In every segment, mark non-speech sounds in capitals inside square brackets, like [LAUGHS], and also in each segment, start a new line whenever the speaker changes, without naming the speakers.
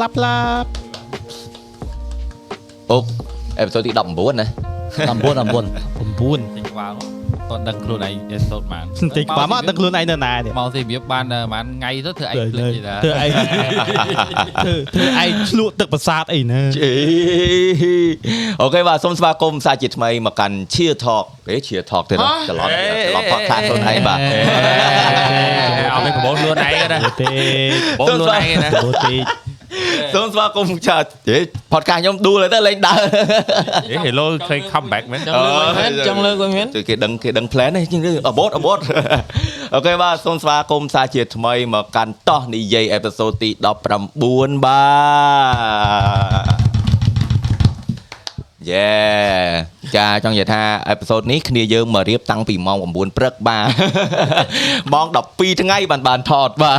លាប់លាប់
អូអេពីសូតទី19ណា
9
9 9តិចវ៉ាអត់ដឹងខ្លួនឯងចេះសូត្របាន
បន្តិចបើមកដឹងខ្លួនឯងនៅណានេះ
មកសិរៀបបានប្រហែលថ្ងៃទៅធ្វើឯងភ្លេចទេណា
ធ្វើឯងធ្វើធ្វើឯងឆ្លក់ទឹកប្រសាទអីណា
ជេ [LAUGHS] អូខេបាទសូមស្វាគមន៍សាជាថ្មីមកកាន់ Cheer Talk អេ Cheer Talk ទេណាច្រឡំច្រឡំ podcast ខ្លួនឯងបាទ
អត់មានប្រមូលខ្លួនឯងទេណា
ទេ
ប្រមូលខ្លួនឯងទេណា
អូទេ
សូមស្វាគមន៍ចាអេ podcast ខ្ញុំដួលហើយទៅលេងដើរ
ហេ hello ឃើញ comeback មែន
អឺ
ចង់លើកវិញមែន
គេដឹងគេដឹង plan នេះជាងរបត់របត់ [LAUGHS] អូខេបាទសូមស្វាគមន៍សាជាថ្មីមកកាន់តោះនិយាយ episode ទី19បាទយេចាចង់និយាយថា episode នេះគ្នាយើងមករៀបតាំងពីម៉ោង9ព្រឹកបាទ [LAUGHS] ម៉ោង12ថ្ងៃបានបានថតបា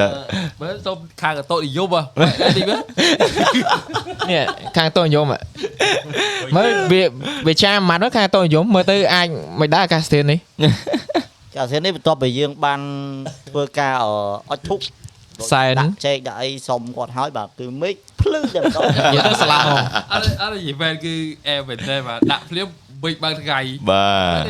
ទ
[LAUGHS] បើសូមខាងកតោនិយមហ៎តិចមើល
នេះខាងតូនយមអ่ะមើលវាវាចាម៉ាត់មើលខាងតូនយមមើលទៅអាចមិនដែរអាកាសធាតុនេះ
ចាអាស៊ាននេះបន្ទាប់ពីយើងបានធ្វើការអអុចធុក
ផ្សែន
ដាក់ចេកដាក់អីសុំគាត់ហើយបាទគឺមេឃភ្លឺតែម្ដង
និយាយទៅស្លាប់ហង
អត់អត់យីមែនគឺអេមែនទេបាទដាក់ភ្លាមបិចបើកថ្ងៃ
បាទ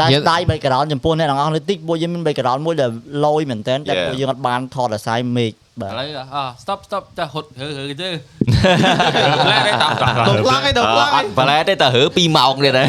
តែស្ដាយ background ចំពោះអ្នកទាំងអស់នេះតិចពួកយើងមាន background មួយដែលលយមែនតើតែ
Yeah.
ពួកយើងអត់បានថតអាស្រ័យមេឃបាទ
ឥឡូវអ่ะ stop stop តែហត់ហឺហឺទៅ
ប្លែកទេតោះតោះ
ដងខ្លាំងអីដងខ្លាំង
អ
អី
ត់ប្លែទេតើរើ2ម៉ោងទៀតហ៎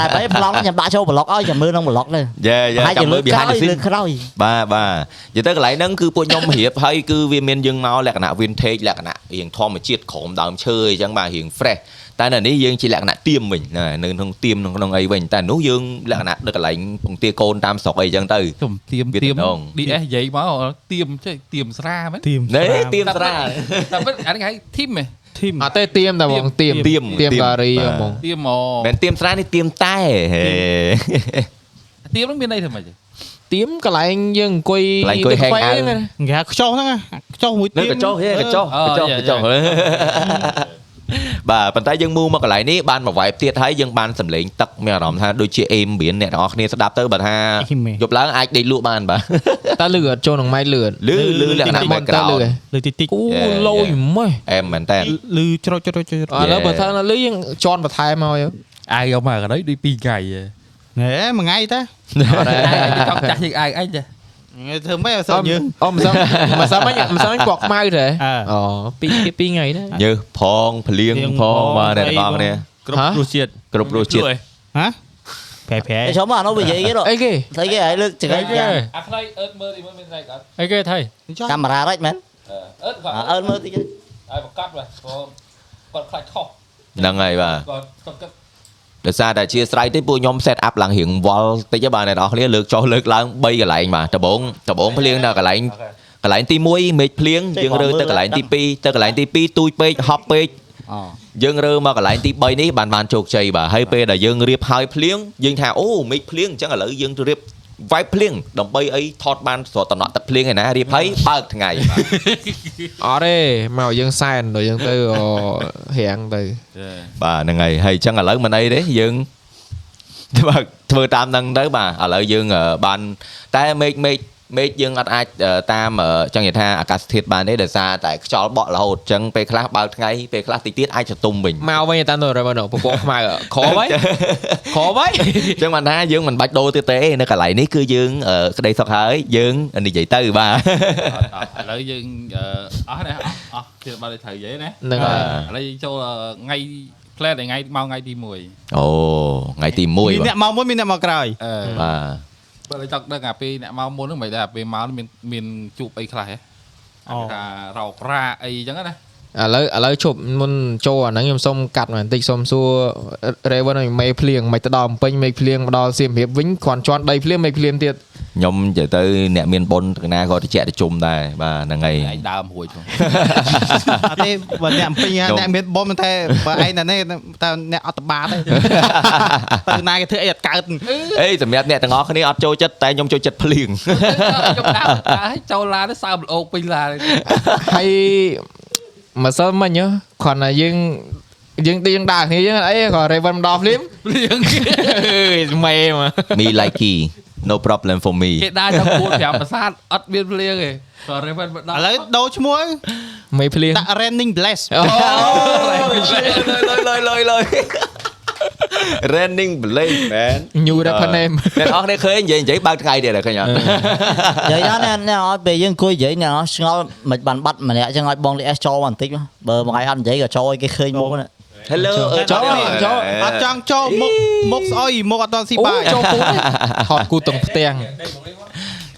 តែបែរប្លង់ខ្ញុំដាក់ចូលប្លុកឲ្យចាំមើលក្នុងប្លុកទៅ
យេយេចាំមើល behind the
លើ
scene
ក្រោយ
បាទបាទនិយាយទៅកន្លែងហ្នឹងគឺពួកខ្ញុំ [LAUGHS] រៀបហើយគឺវាមានយើងមកលក្ខណៈ vintage លក្ខណៈរៀងធម្មជាតិក្រោមដើមឈើអញ្ចឹងបាទរៀង fresh តែនៅនេះយើងជាលក្ខណៈទៀមវិញណានៅក្នុងទៀមក្នុងក្នុងអីវិញតែនោះយើងលក្ខណៈដឹកកន្លែងពងទាកូនតាមស្រុកអីអញ្ចឹងទៅ
ខ្ញុំទៀម
វា
ទៀម
ទៅដង
DS និយាយមកទៀមចេះទៀមស្រាមែន
ទីម
ណែទៀមស្រា
តែពិតអាហ្នឹងហៅធីមហ៎
ទីម
អត់ទេទៀមតែហ្មងទៀម
ទៀមទៀ
ទៀ
ម
មការី
បាទ
ហ្មង
ទៀមមក
មិនទៀមស្រានេះទៀមតែហេ [LAUGHS]
ទៀមហ្នឹងមានន័យធ្វើម៉េច
ទៀមកន្លែងយើងអង្គុយក
ន្លែងអង្គុយ
ទៅ
hang
ខ្វែ
out
ហ្នឹងណា
គេហៅខ្ចោះហ្នឹងណាខ្ចោះមួយទៀ
នៅ
ម
កញ្ចោះហេកញ្ចោះកញ្ចោះកញ្ចោះ [LAUGHS] បាទប៉ុន្តែយើងមូមកកន្លែងនេះបានមកវាយទៀតហើយយើងបានសម្លេងទឹកមានអារម្មណ៍ថាដូចជាអេមបៀនអ្នកទាំងអស់គ្នាស្ដាប់ទៅបើថាយប់ឡើងអាចដេកលក់បានបាទ [LAUGHS]
តែលឺអត់ចូលក្នុងម៉ៃលឺអត់
លឺលឺលក្ខណៈ
មកតែលឺ
background
លើតិចតិច
អូលយម៉េះ
អេមមែនតើ
លឺច្រត់ច្រត់ច្រត់
ឥឡូវបើថាលឺយើងជន់បន្ថែមមក
អាយយកមកកណ្ដីដូច2ថ្ងៃហ៎
ណែមួយថ្ងៃតា
អត់ទេ
ច [LAUGHS] ង់ចាស់ជាងអាយអញចា
ធ្វើម៉េចឲ្យសោះយើង
អូមិនសឹងមិនសឹងមិនមិនសឹងគាត់ខ្មៅទេ
អ่า
អូពីរពីរថ្ងៃដែរ
ញើសផងភ្លៀងផងបាទអ្នកទាំងអស់គ្នា
គ្រប់
ហ៎
រសជាតិ
គ្រប់រសជាតិ
ហ៎ប្រែប្រែ
ឯងចូលមកអានោះវានិយាយគេទៅ
អីគេ
ស្អីគេឲ្យលើកចង្កេះយ៉ាង
អាខ្លៃអឺតមើលទីមើលមានន័យអត់
អីគេថៃ
កាមេរ៉ារិចមែន
អឺតគាត់
អើមើលតិចទេ
ឲ្យប្រកាសបាទគាត់ខ្លាចខុស
ហ្នឹងហើយបាទ
គាត់គាត់គិត
ដោយសារតែជាស្រ័យទេពួកខ្ញុំ set up ឡើងរៀងវល់តិចបាទអ្នកទាំងអស់គ្នាលើកចុះលើកឡើង3កន្លែងបាទដបងដបងភ្លៀងដល់កន្លែងកន្លែងទី1មេឃភ្លៀងយើងរើទៅកន្លែងទី2ទៅកន្លែងទី2ទូចពេកហប់ពេក
អូ
យើងរើមកកន្លែងទី3នេះបានបានជោគជ័យបាទហើយពេលដែលយើងរៀបហើយភ្លៀងយើងថាអូមេឃភ្លៀងអញ្ចឹងឥឡូវយើងរៀប vibe ភ្លៀងដើម្បីអីថតបានស្រកតំណក់ទឹកភ្លៀងឯណារៀបហើយបើកថ្ងៃ
អត់ទេមកយើងសែនដល់យើង [LAUGHS] ទៅអូរាំងទៅ
បាទហ្នឹងហើយហើយអញ្ចឹងឥឡូវមិនអីទេយើងបាទធ្វើតាមហ្នឹងទៅបាទឥឡូវយើងអឺបានតែមេឃមេឃមេឃយើងអត់អាចអឺតាមអឺចង់និយាយថាអាកាសធាតុបានទេដោយសារតែខ្យល់បក់រហូតអញ្ចឹងពេលខ្លះបើកថ្ងៃពេលខ្លះតិចទៀតអាចស្រទុំវិញ
មកវិញតាមទៅរមើល [LAUGHS] ពពកខ្មៅខោវិញខោវិញ
ចឹងបានថាយើងមិនបាច់ដូរទៀតទេនៅកន្លែងនេះគឺយើងអឺក្តីសុខហើយយើងនិយាយទៅបាទ
ឥឡូវយើងអស់ណាអស់អស់ទៀតបើត្រូវនិយាយណា
ហ្នឹងហើ
ឥឡូវ
យ
យើងចូលថ្ងៃ plan ថ្ងៃមកថ្ងៃទី1
អូថ្ងៃទី1
មាន
បាទ
អ្នកមកមួយមានអ្នកមកក្រោយ
អឺ
បាទ
បើចង់ដឹងអាពេលអ្នកមកមុនហ្នឹងមិនដែរពេលមកមានមានជួបអីខ្លះហ៎
អូ
ថារោគរាអីចឹងណា
ឥឡូវឥឡូវជប់មុនចូលអាហ្នឹងខ្ញុំសូមកាត់មកបន្តិចសូមសួរ Raven ហ្នឹងមេភ្លៀងមិនទៅដល់ពេញមេភ្លៀងមកដល់សៀមរាប [LAUGHS] វិញគ្រាន់ជន់ដីភ្លៀងមេភ្លៀងទៀត [LAUGHS]
ខ្ញុំនិយាយទៅអ្នកមានបុណ្យទាំងណាក៏តិចតិចជុំដែរបាទហ្នឹងហើយ
ឯងដើមរួចហ្នឹង
អត់ទេបើអ្នកអំពីអ្នកមានបុំតែបើឯងណានេះតែអ្នកអត់បាតទេទៅណាគេធ្វើអីអត់កើត
អេសម្រាប់អ្នកទាំងអស់គ្នាអត់ចូលចិត្តតែខ្ញុំចូលចិត្តភ្លៀង
ខ្ញុំដើមឲ្យចូលឡានទៅសើមលោកពេញឡាន
ហើយមិនសិលមិញហ៎ [LAUGHS] គ្រាន់តែយើងយើងទី [LAUGHS] យើងដើរ [LAUGHS] គ្នាយើងអត់អីគ្រាន់ Raven មកដល់ភ្លៀង
យើង
អើយមេមក
[LAUGHS] Me like key no problem for [LAUGHS] me
គេដើរដល់4 5ប្រាសាទអត់មានភ្លៀងទេក៏រេវិនដល់
ឥឡូវដូរឈ្មោះ
មេភ្លៀ [LAUGHS] ង
ដាក់ Raining Bless
លុយលុយលុយលុយ [LAUGHS] Running Blade man
New rapper [LAUGHS] name
[LAUGHS] អ្នកអស់គ្នាឃើញនិយាយនិយាយបើកថ្ងៃទៀតហើយឃើ [LAUGHS] ញអត់
និយាយដល់អ្នកអ្នកអត់ពេលយើងអង្គុយនិយាយអ្នកអត់ស្ងល់មិនបានបាត់ម្នាក់ចឹងឲ្យបងលីអេសចូលបន្តិចមកបើបងឯងអត់និយាយក៏ចូលឲ្យគេឃើញមុខហ្នឹង
Hello អឺ
ចូល
[LAUGHS]
ចូលអត់ចង់ចូលមុខមុខស្អុយមុខអត់តន់ស៊ី
អូ
បាយ
ចូលពូថតគូទាំងផ្ទាំង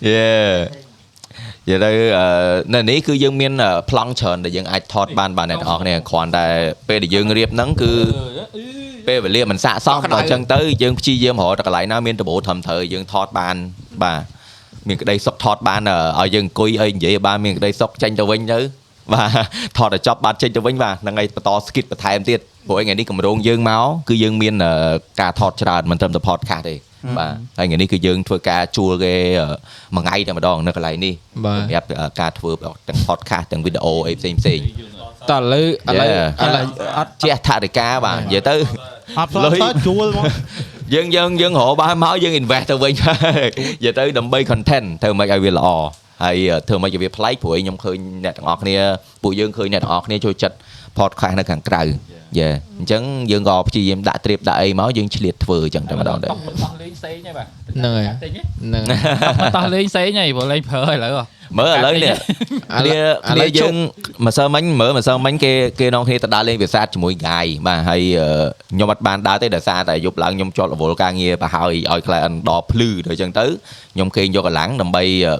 យេនិយាយទៅអឺនៅនេះគឺយើងមានអឺប្លង់ច្រើនដែលយើងអាចថតបានបាទអ្នកទាំងអស់គ្នាគ្រាន់តែពេលដែលយើងរៀបហ្នឹងគឺពេលវេលាមិនស័កសមដល់អញ្ចឹងទៅយើងព្យាយាមរកតែកន្លែងណាមានតម្រូវធំត្រូវយើងថតបានបាទមានក្តីសុខថតបានអឺឲ្យយើងអង្គុយឲ្យនិយាយឲ្យបានមានក្តីសុខចេញទៅវិញទៅ [LAUGHS] បាទថតឲ្យចប់បានចេញទៅវិញបាទហ្នឹងហើយបន្តស្គីតបន្ថែមទៀតព្រោះថ្ងៃនេះកម្រងយើងមកគឺយើងមានអឺការថតច្រើនមិនត្រឹមតែ podcast ទេបាទហើយថ្ងៃនេះគឺយើងធ្វើការជួលគេអឺ មួយថ្ងៃតែម្ដងនៅកន្លែងនេះ
ប
ស
ាទ
ម្រាប់អឺការធ្វើទាំង podcast ទាំង video អីផ្សេងផ្សេង
តឥឡូវឥឡូវ
Yeah.
ឥឡូវអត់
ជាអថរិកាបាទនិយាយទៅ
អត់ផ្លោះ
លុយ
សោះជួលមក
យើងយើងយើងរកបានមកយើង invest ទៅវិញហើយនិយាយទៅដើម្បី content ធ្វើម៉េចឲ្យវាល្អហើយអឺធ្វើម៉េចឲ្យវាប្លែកព្រោះឯងខ្ញុំឃើញអ្នកទាំងអស់គ្នាពួកយើងឃើញអ្នកទាំងអស់គ្នាចូលចិត្ត podcast នៅខាងក្រៅយេអញ្ចឹងយើងក៏ព្យាយាមដាក់ត្រៀបដាក់អីមកយើងឆ្លៀតធ្វើអញ្ចឹងតែម្ដងដែរ
តោះលេងផ្សេងហ្នឹងបាទ
ហ្នឹងហើយ
តិចទេ
ហ្នឹងហើយ
តោះលេងផ្សេងហ្នឹងព្រោះលេងព្រើឥឡូវ
មើលឥឡូវនេះ
ឥឡូវ
នេះ
ឥឡូវ
នេះ
ជុ
យើ
ក
ងម្សិលមិញមើលម្សិលមិញគេគេនាំគ្នាទៅដើរលេងវាសាទជាមួយងាយបាទហើយអឺខ្ញុំអត់បានដើរទេដោយសារតែយប់ឡើងខ្ញុំជាប់រវល់ការងារប្រហើយឲ្យ client ដល់ភ្លឺដល់អញ្ចឹងទៅខ្ញុំគេងយកកន្លាំងដើម្បីអឺ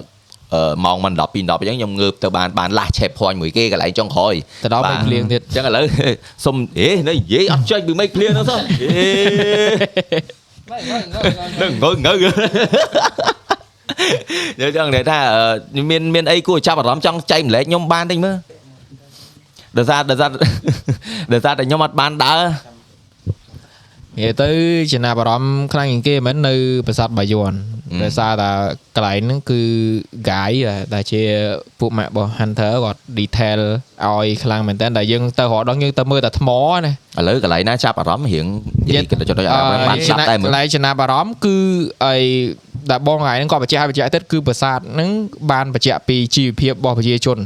អឺម៉ោងមិន10 2 10អញ្ចឹងខ្ញុំងើបទៅបានបានឡាស់ឆេបភ័ញមួយគេកន្លែងចុងក្រោយ
ទៅដល់
បា
មេ
ទ
ភ្លៀងទៀត
អញ្ចឹងឥ [LAUGHS] ឡូវ សុំអេនៅនិយាយអត់ចេញពីមេឃភ្លៀងហ្នឹងសោះអេនឹងងើងើយើចង់និយាយថាអឺមានមានអីគួរចាប់អារម្មណ៍ចង់ចែកម្លែកខ្ញុំបានតិចមើលដោយសារដោយ [LAUGHS] សារដោយសារតែខ្ញុំអត់បានដើរ
និយាយទៅចំណាប់អារម្មណ៍ខ្លាំងជាងគេមិននៅប្រាសាទបាយ័នដោយសារតែកន្លែងហ្នឹងគឺ guy ដែលដែលជាពួកម៉ាក់របស់ Hunter គាត់ detail ឲ្យខ្លាំងមែនតើដែលយើងទៅរកដល់យើងទៅមើលតែថ្មណា
ឥឡូវកន្លែងណាចាប់អារម្មណ៍រៀងនិយាយគិតទៅចុចអារម្មណ៍បាន
អឺ
ស្ដាប់តែមើល
កន្លែងចំណាប់អារម្មណ៍គឺអីដែលបងថ្ងៃហ្នឹងគាត់បញ្ជាក់ឲ្យបញ្ជាក់ទៀតគឺប្រាសាទហ្នឹងបានបញ្ជាក់ពីជីវភាពរបស់ប្រជាជន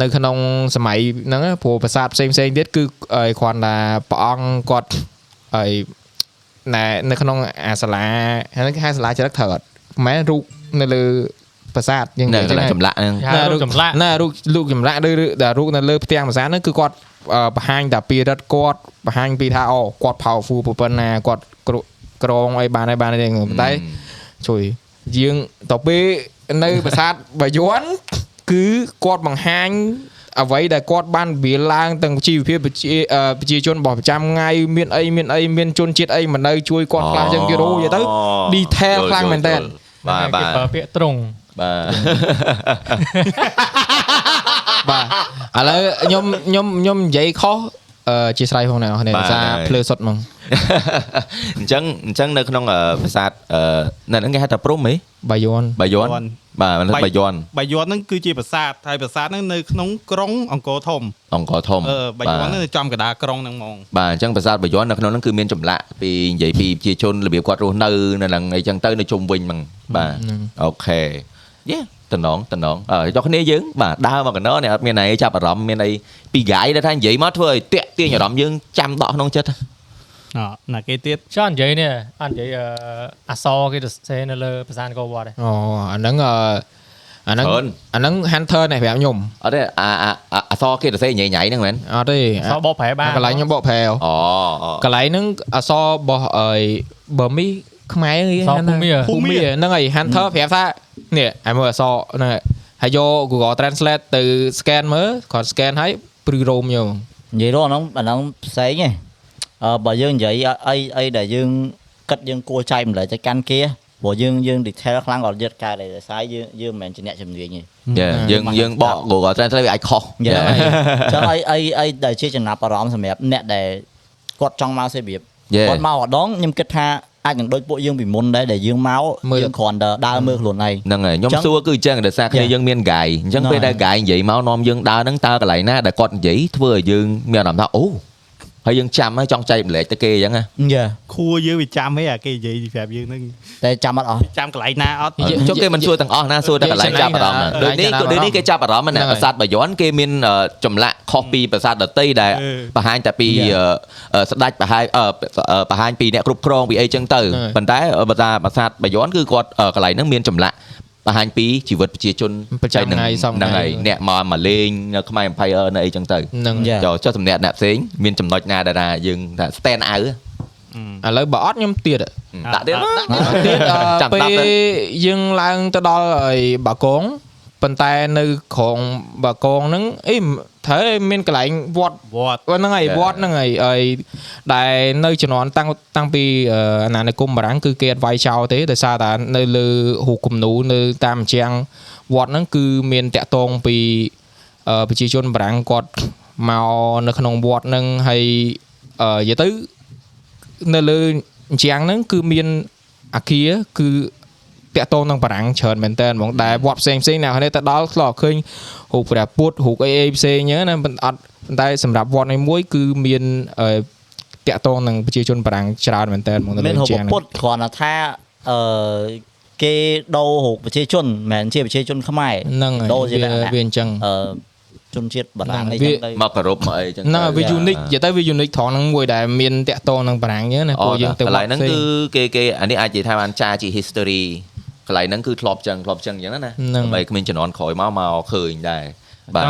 នៅក្នុងសម័យហ្នឹងណាព្រោះប្រាសាទផ្សេងផ្សេងៗទៀតគឺអីគ្រាន់តែព្រះអង្គគាត់អីណែនៅក្នុងអាសាលាហ្នឹងគេហៅសាលាចរិតត្រូវអត់មិនមែនរូបនៅលើប្រាសាទយើង
នៅកន្លែងច
ចឹង
ម្លាក់ហ្នឹង
គេហៅរូបចម្លាក់
ណារូបរូបចម្លាក់ឬឬដែលរូបនៅលើផ្ទាំងប្រាសាទហ្នឹងគឺគាត់អឺបង្ហាញតែពីរដ្ឋគាត់បង្ហាញពីថាអូគាត់ powerful ប្រពន្ធណាគាត់គ្រក្រងអីបានហើយបានហើយហ្នឹងប៉ុន្តែជួយយើងទៅពេលនៅប្រាសាទបាយ័នគឺគាត់បង្ហាញអ្វីដែលគាត់បានវាឡើងទាំងជីវភាពប្រជាអឺប្រជាជនរបស់ប្រចាំថ្ងៃមានអីមានអីមានជនជាតិអីមកនៅជួយគាត់ខ្លះចឹងគេរូយទៅ detail ខ្លាំងមែនតើ Dạ,
បាទបាទ
ប្រើពាក្យត្រង់
បាទ
បាទឥឡូវខ្ញុំខ្ញុំខ្ញុំនិយាយខុសអឺជាស្រ័យផងអ្នកនរគ្នា
បាទ
សារភ្លើសុតហ្មង
[LAUGHS] អញ្ចឹងអញ្ចឹងនៅក្នុងអឺប្រាសាទអឺនៅហ្នឹងគេហៅថាព្រំហី
បាយ័ន
បាយ័ន
បាយ័ន
បាទមិនបាយ័ន
បាយ័នហ្នឹងគឺជាប្រាសាទហើយប្រាសាទហ្នឹងនៅក្នុងក្រុងអង្គរធំ
អង្គរធំ
អឺបាយ័ន
ទ
ហ្នឹងចំកណ្ដាលក្រុងហ្នឹងហ្មង
បាទអញ្ចឹងប្រាសាទបាយ័ននៅក្នុងហ្នឹងគឺមានចម្លាក់ពីនិយាយពីប្រជាជនរបៀបគាត់រស់នៅនៅហ្នឹងអីចឹងទៅនៅជុំវិញហ្នឹងបាទអូខេយេតំណងតំណងអឺដល់គ្នាយើងបាទដើរមកកណ្ដោនេះអត់មានអីចាប់អារម្មណ៍មានអីពីហ្គាយដែលថានិយាយមកធ្វើឲ្យតាក់ទាញអារម្មណ៍យើងចាំដកក្នុងចិត្ត
អ่ะណាគេទៀត
ចុះនិយាយនេះអត់និយាយអឺអសរគេទៅសេរនៅលើប្រាសាទអង្គរវត្តទេ
អូអាហ្នឹងអឺអាហ្នឹង
ច្រើន
អាហ្នឹង hunter នេះប្រាប់ខ្ញុំ
អត់ទេអាអាអាអសរគេទៅសេញ៉ៃញ៉ៃហ្នឹងមែន
អត់ទេ
អសរបោកប្រែបា
អា
ន
កន្លែងខ្ញុំបកប្រែអូ
អូអូ
កន្លែងហ្នឹងអសររបស់អីបើមីខ្មែរអី
អសរភូមិ
ភូមិហ្នឹងហើយ hunter ប្រាប់ថានេះអាមើលអសរហ្នឹងហើយហើយយក Google Translate ទៅ scan មើលគាត់ scan ហើយព្រឺរោមយកហ្មង
និយាយរួមអាហ្នឹងអាហ្នឹងផ្សេងឯងអឺបើយើងនិយាយអីអីដែលយើងគិតយើងគួរចែកម្លែកទៅកាន់គេព្រោះយើងយើង detail ខ្លាំងក៏យត់កើតដែរដោយសារយើងយើងមិនមែនជាអ្នកជំនាញទេ
យេយើង
បាទ
យើងបក Google Translate វាអាចខុស
យ៉ា
[LAUGHS] Dạ.
យេ
ចឹងអីអីអីដែលជាចំណាប់អារម្មណ៍សម្រាប់អ្នកដែលគាត់ចង់មកសេរីប
Yeah.
គាត់មកម្ដងខ្ញុំគិតថាអាចនឹងដូចពួកយើងពីមុនដែរដែលយើងមក
មើល
យើងគ្រាន់តែដើរមើលខ្លួនឯង
ហ្នឹងហើយខ្ញុំ
ចឹង
សួរគឺអញ្ចឹងដោយសារគ្នា
Yeah.
យើងមានហ្គាយអញ្ចឹង
ហ្នឹង
ពេលដែលហ្គាយនិយាយមកនាំយើងដើរហ្នឹងតើកន្លែងណាដែលគាត់និយាយធ្វើឲ្យយើងមានអារម្មណ៍ថាអូ ហើយយើងចាំហើយចង់ចែកម្លែកទៅគេអញ្ចឹងណា
យ៉ា
ខួរយើងវាចាំហីអាគេនិយាយប្រាប់យើងហ្នឹង
តែចាំអត់អស់
ចាំកន្លែងណាអត់
និយាយ
ចុះគេមិនសួរទាំងអស់ណាសួរតែកន្លែងចាប់អារម្មណ៍ដូចនេះដូចនេះគេចាប់អារម្មណ៍ណាប្រាសាទបាយ័នគេមានចម្លាក់ខុសពីប្រាសាទដតីដែលបង្ហាញតែពីស្ដាច់បង្ហាញបង្ហាញពីអ្នកគ្រប់គ្រងពីអីចឹងទៅប៉ុន្តែបើថាប្រាសាទបាយ័នគឺគាត់កន្លែងហ្នឹងមានចម្លាក់បង្ហាញពីជីវិតប្រជាជនហ្នឹងហើយអ្នកមកមកលេងនៅខ្មែរអភ័យនៅអីចឹងទៅ
ហ្នឹង
Yeah.
ចុះចុះសំណាក់អ្នកផ្សេងមានចំណុចណាដែលថាយើងថា stand out
ឥឡូវបើអត់ខ្ញុំទៀតអ่ะ
ដាក់ទៀត [LAUGHS]
ទៀតអឺ
ចាំតា
ពេល
ប់ទៅ
យើងឡើងទៅដល់អីបាកងប៉ុន្តែនៅក្រុងបាកងហ្នឹងអីត្រូវឲ្យមានកន្លែងវត្ត
វត្ត
វត្តហ្នឹងហើយវត្តហ្នឹងហើយហើយដែលនៅជំនាន់តាំងតាំងពីអឺអាណានិគមបារាំងគឺគេអត់វាយចោលទេដោយសារតែនៅលើហូគំនូនៅតាមជៀងវត្តហ្នឹងគឺមានតាក់តងពីអឺប្រជាជនបារាំងគាត់មកនៅក្នុងវត្តហ្នឹងហើយអឺនិយាយទៅនៅលើជៀងហ្នឹងគឺមានអាគារគឺតាក់តងនឹងបារាំងច្រើនមែនតើហ្មងដែលវត្តផ្សេងផ្សេងណាគ្នាទៅដល់ឆ្លោះឃើញរូបព្រះពុទ្ធរូបអីអីផ្សេងហ្នឹងណាមិនអត់ ប៉ុន្តែសម្រាប់វត្តនេះមួយគឺមានអឺតាក់តងនឹងប្រជាជនបារាំងច្រើនមែនតើហ្មងនៅលើ
មានហូប
ជាង
ពុតគ្រាន់តែថាអឺគេដូររូបប្រជាជនមិនមែនជាប្រជាជនខ្មែរ
ហ្នឹងហើយ
ដូរជាលក្ខ
វា
ណៈ
វាអញ្ចឹង
អឺជនជាតិបារាំងនេះ
វា
ចឹងទៅ
មកគោរពមកអីចឹង
ហ្នឹងហើយវា
Yeah.
unique និយាយទៅវា unique ត្រង់ហ្នឹងមួយដែលមានតាក់តងនឹងបារាំងអញ្ចឹងណា
អូ
ពួកយើងទៅ
កន្លែង
វត្ត
ហ្នឹងគឺ
ផ្សេ
គេគេអានេះអាចនិយាយថាបានចារជា history កន្លែងហ្នឹងគឺធ្លាប់ចឹងធ្លាប់ចឹងអញ្ចឹងណា
ហ្នឹង
ដើម្បីគ្មានចំនួនក្រោយមកមកឃើញដែរបាទ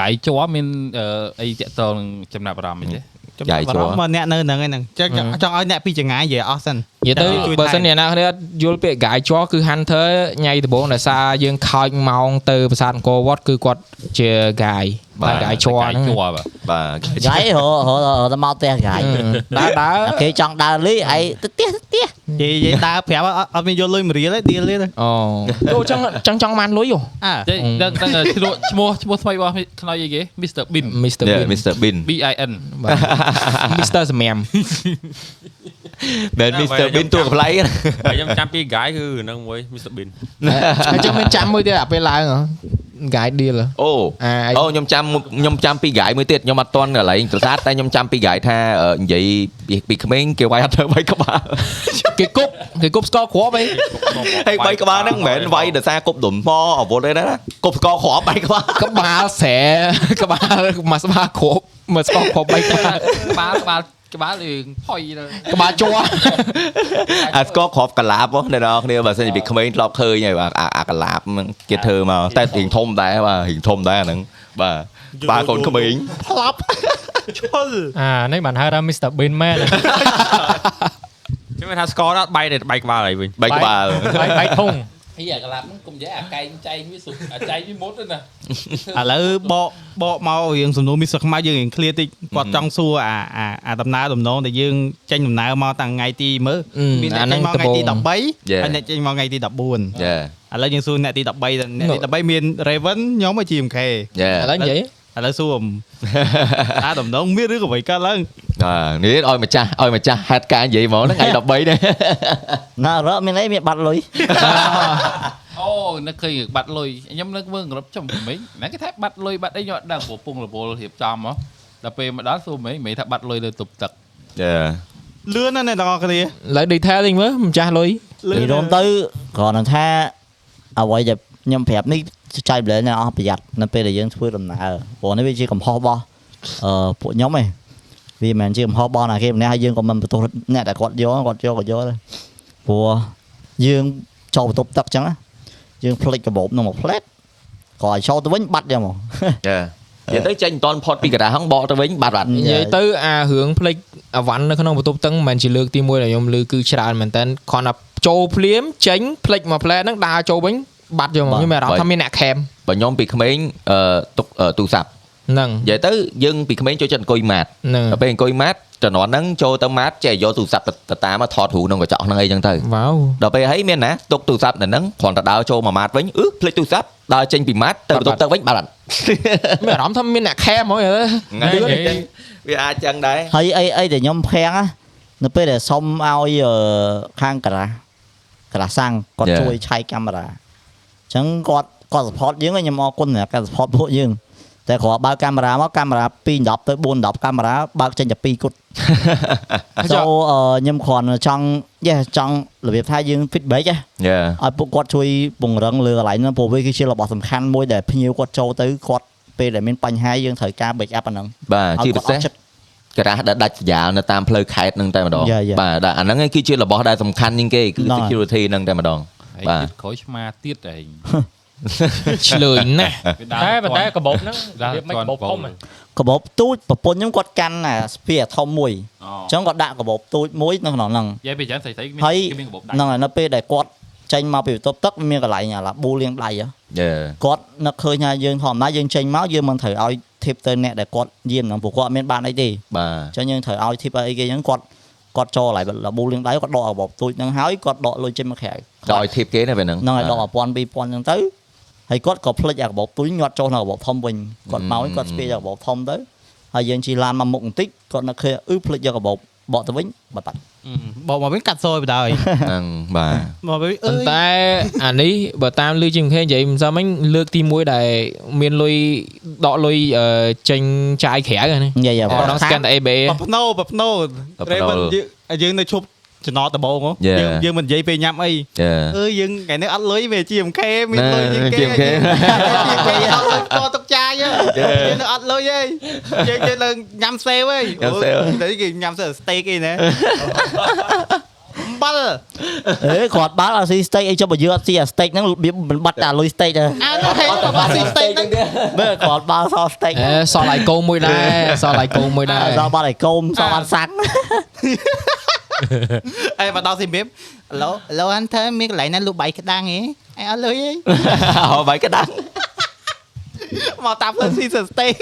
កាយជាប់មានអឺអីតាក់ទងនឹងចំណាប់អារម្មណ៍អីទេ
ចាំបា
ចាយ
ប់
ជាប់
មកអ្នកនៅហ្នឹងឯហ្នឹងចង់ចង់ឲ្យអ្នកពីចង្ងាយនិយាយអស់សិន
និយាយទៅ
ជួយថែ
បើសិនអ្នកណាគ្នាអត់យល់ពាក្យ guy ជាប់គឺ hunter ញ៉ៃដបងដោយសារយើងខោចម៉ោងទៅប្រាសាទអង្គរវត្តគឺគាត់ជា guy
បាទ
guy ជាប់ហ្នឹង
Guy
បាទ
ហ្គាយហៅហៅហៅទៅមកផ្ទះហ្គាយ
ដើរដើរ
គេចង់ដើរលីឯងទៅផ្ទះទៅផ្ទះ
និយាយនិយាយដើរប្រាប់អត់អត់មានយកលុយមួយរៀលទេឌីលទេ
អូចូលចឹងចឹងចង់បានលុយហ៎
អើ
ចេះដឹងដឹងឈ្មោះឈ្មោះឈ្មោះថ្មីរបស់ខ្នើយអីគេ Mr Bin
Mr
Yeah,
Bean
Mr Bin
B I N
បាទ
[LAUGHS]
Mr សម្រាម
មែន Mr Bin ទួកម្លៃណា
ហើយខ្ញុំចាំពី guy គឺនឹងមួយ Mr Bin
ហើយចាំមានចាំមួយទៀតអាពេលឡើងហ៎ guide deal ហ៎
អូ
អាឯង
អូខ្ញុំចាំខ្ញុំចាំពីហ្គាយមួយទៀតខ្ញុំអត់តន់កន្លែងប្រាសាទតែខ្ញុំចាំពីហ្គាយថាអឺនិយាយពីពីក្មេងគេវាយអត់ទៅវាយក្បាល [LAUGHS]
គេគប់គេគប់ស្កគ្រាប់អី
ហើយវាយក្បាលហ្នឹងមិនមែនវាយដោយសារគប់ដុំថ្មអាវុធទេណាគប់ស្កគ្រាប់វាយក្បាល
ក្បាលស្រែ [LAUGHS] ក្បាលមកស្បាគ្រាប់មកស្កគ្រាប់បីក្បាល
ក្បាលក្បាលក្បាលរឿងផុយទៅ
ក្បាលជ័រ
អាស្គរគ្រាប់កលាបបងអ្នកនរគ្នាបើសិនជាពីក្មេងធ្លាប់ឃើញហើយបាទអាអាកលាបហ្នឹងគេធ្វើមកតែរៀងធំដែរបាទរៀងធំដែរអាហ្នឹងបាទបាទកូនក្មេងផ្លាប់
អានេះបានហៅថា Mr Bean មែ [LAUGHS] ន
ខ្ញុំមានថា score ដល់បែកតែបែកក្បាលហើយវិញ
បែកក្បាល
បាយបាយធុង
ហើយអាកឡាប់ហ្នឹងកុំនិយាយអាកែងចែងវាសុខអាចែងវាមុតទៅណា
ឥឡូវបកបកមករឿងសំណួរមីសខ្មៅយើងរៀងឃ្លាតិចគាត់ចង់សួរអាអាអាដំណើរដំណងដែលយើងចេញដំណើរមកតាំងថ្ងៃទីមើលមានអ្នកចេញមកថ្ងៃទី13ហើយអ្នកចេញមកថ្ងៃទី14ឥ
យេ
ឡូវយើងសួរអ្នកទី13ទៅអ្នកទី13មាន Raven ខ្ញុំមក GMK
យេ
ឥឡូវនិយាយ
ឥឡូវសួរ [LAUGHS] អាដំណងមានឬក៏អ្វីកើតឡើង
បាទនេះឲ្យម្ចាស់ឲ្យម្ចាស់ហេតុការណ៍និយាយហ្មកហ្នឹងថ្ងៃ13នេះ [LAUGHS]
ណារត់មានអីមានបាត់លុយ
អូនឹកឃើញបាត់លុយខ្ញុំនឹកមើលក្រុមចំមិញហ្នឹងគេថាបាត់លុយបាត់អីខ្ញុំអត់ដឹងព្រោះពងរវល់រៀបចំហ៎ដល់ពេលមកដល់សួរមិញមិញថាបាត់លុយលើតុបទឹក
យេ
លឿនណាស់អ្នកទាំងអស់គ្នា
ឥឡូវ detail វិញមើលម្ចាស់លុយ
លឿ
ពី
ន
រំទៅគ្រាន់តែថាអ្វីដែលខ្ញុំប្រាប់នេះចែកម្លែកអ្នកអស់ប្រយ័ត្ននៅពេលដែលយើងធ្វើដំណើរព្រោះនេះវាជាកំហុសរបស់អឺពួកខ្ញុំឯងវាមិនមែនជាកំហុសរបស់ណាគេម្នាក់ហើយយើងក៏មិនបន្ទោសអ្នកដែលគាត់យកគាត់យកក៏យកដែរព្រោះយើងចូលបន្ទប់ទឹកអញ្ចឹងណាយើងផ្លិចកាបូបនោះមកផ្លែតក៏ឲ្យចូលទៅវិញបាត់យ៉ាងមក
យេនិយាយទៅចេញមិនតាន់ផុតពីកណ្ដាលហ្នឹងបកទៅវិញបាត់បាត់
និយាយទៅអារឿងផ្លេចអាវ៉ាន់នៅក្នុងបន្ទប់តឹងមិនមែនជាលើកទី1ដែលខ្ញុំលើគឺច្រើនមែនតើគ្រាន់តែចូលភ្លាមចេញផ្លេចមកផ្លែហ្នឹងដើរចូលវិញបាត់យកមកខ្ញុំមានអារម្មណ៍ថាមានអ្នកខេម
បើខ្ញុំពីក្មេងអឺទុកអឺទូរស័ព្ទ
ហ្នឹង
និយាយទៅយើងពីក្មេងចូលចិត្តអង្គុយម៉ាត់
ហ្នឹង
ដល់ពេលអង្គុយម៉ាត់ជំនាន់ហ្នឹងចូលទៅម៉ាត់ចេះយកទូរស័ព្ទទៅតាមមកថតរូបក្នុងកញ្ចក់ហ្នឹងអីចឹងទៅ
វ៉ាវ
ដល់ពេលហើយមានណាទុកទូរស័ព្ទនៅហ្នឹងគ្រាន់តែដើរចូលមកម៉ាត់វិញអឺភ្លេចទូរស័ព្ទដើរចេញពីម៉ាត់ទៅបន្ទប់ទឹកវិញបាត់
មានអារម្មណ៍ថាមានអ្នកខេមហ្មងអី
ហ្នឹង
ហ្នឹងហើយ
វាអាចចឹងដែរ
ហើយអីអីដែលខ្ញុំភាំងណានៅពេលដែលសុំឲ្យអឺខាងការ៉ាការ៉ាសាំងគាត់ជួយឆៃកាមេរ៉ាអញ្ចឹងគាត់គាត់ support យើងហើយខ្ញុំអរគុណសម្រាប់ការ support ពួកយើង តែគ្រាន់បើកកាមេរ៉ាមកកាមេរ៉ា2 10ទៅ4 10កាមេរ៉ាបើកចេញតែ2គត់ ចូលខ្ញុំគ្រាន់ចង់យេចង់របៀបថាយើង feedback ហ្នឹង
យ៉ា
ឲ្យពួកគាត់ជួយពង្រឹងលើកន្លែងហ្នឹងព្រោះវាគឺជារបស់សំខាន់មួយដែលភ្ញៀវគាត់ចូលទៅគាត់ពេលដែលមានបញ្ហាយើងត្រូវការ back up អាហ្នឹង
បាទជាពិសេស
ចិត្ត
ក្រាស់ដែលដាច់សញ្ញានៅតាមផ្លូវខេត្តនឹងតែម្ដង
Yeah, yeah.
បាទដែលអាហ្នឹងឯងគឺជារបស់ដែលសំខាន់ជាងគេគឺ
ហ្នឹងហើយ
security នឹងតែម្ដង
ហើយ
បាទ
ទៀតក្រោយឆ្មាទៀតឯង
ឆ្លើយណាស់
វា
តែប៉ុន្តែ
ទាន់
កាបូបហ្នឹង
ដាល់
វាមិន
ទាន់
កាបូប
កបោប
ធំហ៎
កបោបទូចប្រពន្ធខ្ញុំគាត់កាន់អាស្ពាយធំមួយ
អូ
អញ្ចឹងគាត់ដាក់កបោបទូចមួយនៅក្នុងហ្នឹង
និយាយពីយ៉ាងស្រីស្រីៗ
ហើយ
គេមានកបោបដៃ
ហ្នឹងហើយនៅពេលដែលគាត់ចេញមកពីបន្ទប់ទឹកមានកន្លែងអាឡាប៊ូលាងដៃហ៎
Yeah.
គាត់នឹកឃើញថាយើងធម្មតាយើងចេញមកយើងមិនត្រូវឲ្យធីបទៅអ្នកដែលគាត់យាមហ្នឹងព្រោះគាត់អត់មានបានអីទេ
បាទ
អញ្ចឹងយើងត្រូវឲ្យធីបអីគេអញ្ចឹងគាត់គាត់ចូលឡៃលបូលលៀងដៃគាត់ដករបបទូចហ្នឹងហើយគាត់ដកលុយចេញមកក្រៅ
ដល់ឲ្យធីបគេណាពេលហ្នឹង
ហ្នឹងហើយដក1000 2000ហ្នឹងទៅហើយគាត់ក៏ផ្លិចអារបបទូចញាត់ចូលក្នុងរបបធំវិញគាត់មកវិញគាត់ស្ពាយអារបបធំទៅហើយយើងជីឡានមកមុខបន្តិចគាត់នឹកឃើញអឺផ្លិចយករបបបកទៅវិញបាត់បាត់
បោកមកវិញកាត់សយបណ្ដោយ
[LAUGHS]
[LAUGHS]
ហ្នឹងបាទ
មក [LAUGHS] វិញអើ
ប៉ុ
យ
ន្តែអានេះបើតាមលឺជាងគេនិយាយមិនសមវិញលើកទី1ដែលមានលុយដកលុយអឺចេញចាយក្រៅហ្នឹង
និយាយ
អត់ដល់ scan តែ ABA
បបភ្នោបបភ្នោ
បប
រេ
ភ្នោ
មិនយើងយើងនៅឈប់ចំណតដបងហ៎
Yeah.
យើងយើងមិននិយាយពេលញ៉ាំអី
Yeah.
អើយយើងថ្ងៃនេះអត់លុយវា GMK មានលុយ
ណែ
GMK
GMK [LAUGHS]
Dạ, គេអត់លុយតទុកចាយហ៎យើងនៅអត់លុយហីយើងយើងនៅញ៉ាំសេវហី
ញ៉ាំសេវ
អូតែគេញ៉ាំសេវស្តេកអីណា អំបិល
[LAUGHS] អេគាត់បាល់អាស៊ីស្តេកអីចុះបើយើងអត់ស៊ីអាស្តេកហ្នឹងរបៀបមិនបាត់តែលុយស្តេកទេ
អើទៅហេ
[LAUGHS]
បបាក់ស៊ីស្តេក [LAUGHS] ហ្នឹង
មើលគាត់បាល់សស្តេក
អេសល់ឲ្យកូនមួយដែរសល់ឲ្យកូនមួយដែរ
ដល់បាល់ឲ្យកូមសអត់
[LAUGHS]
សាំង
អេមកដល់ស៊ីមីមឡូឡូអានធើមានកន្លែងណាលុបបាយក្តាំងហីអេអត់លុយហី
អោបាយក្តាំង
មកតាមផ្លូវស៊ីស្តេក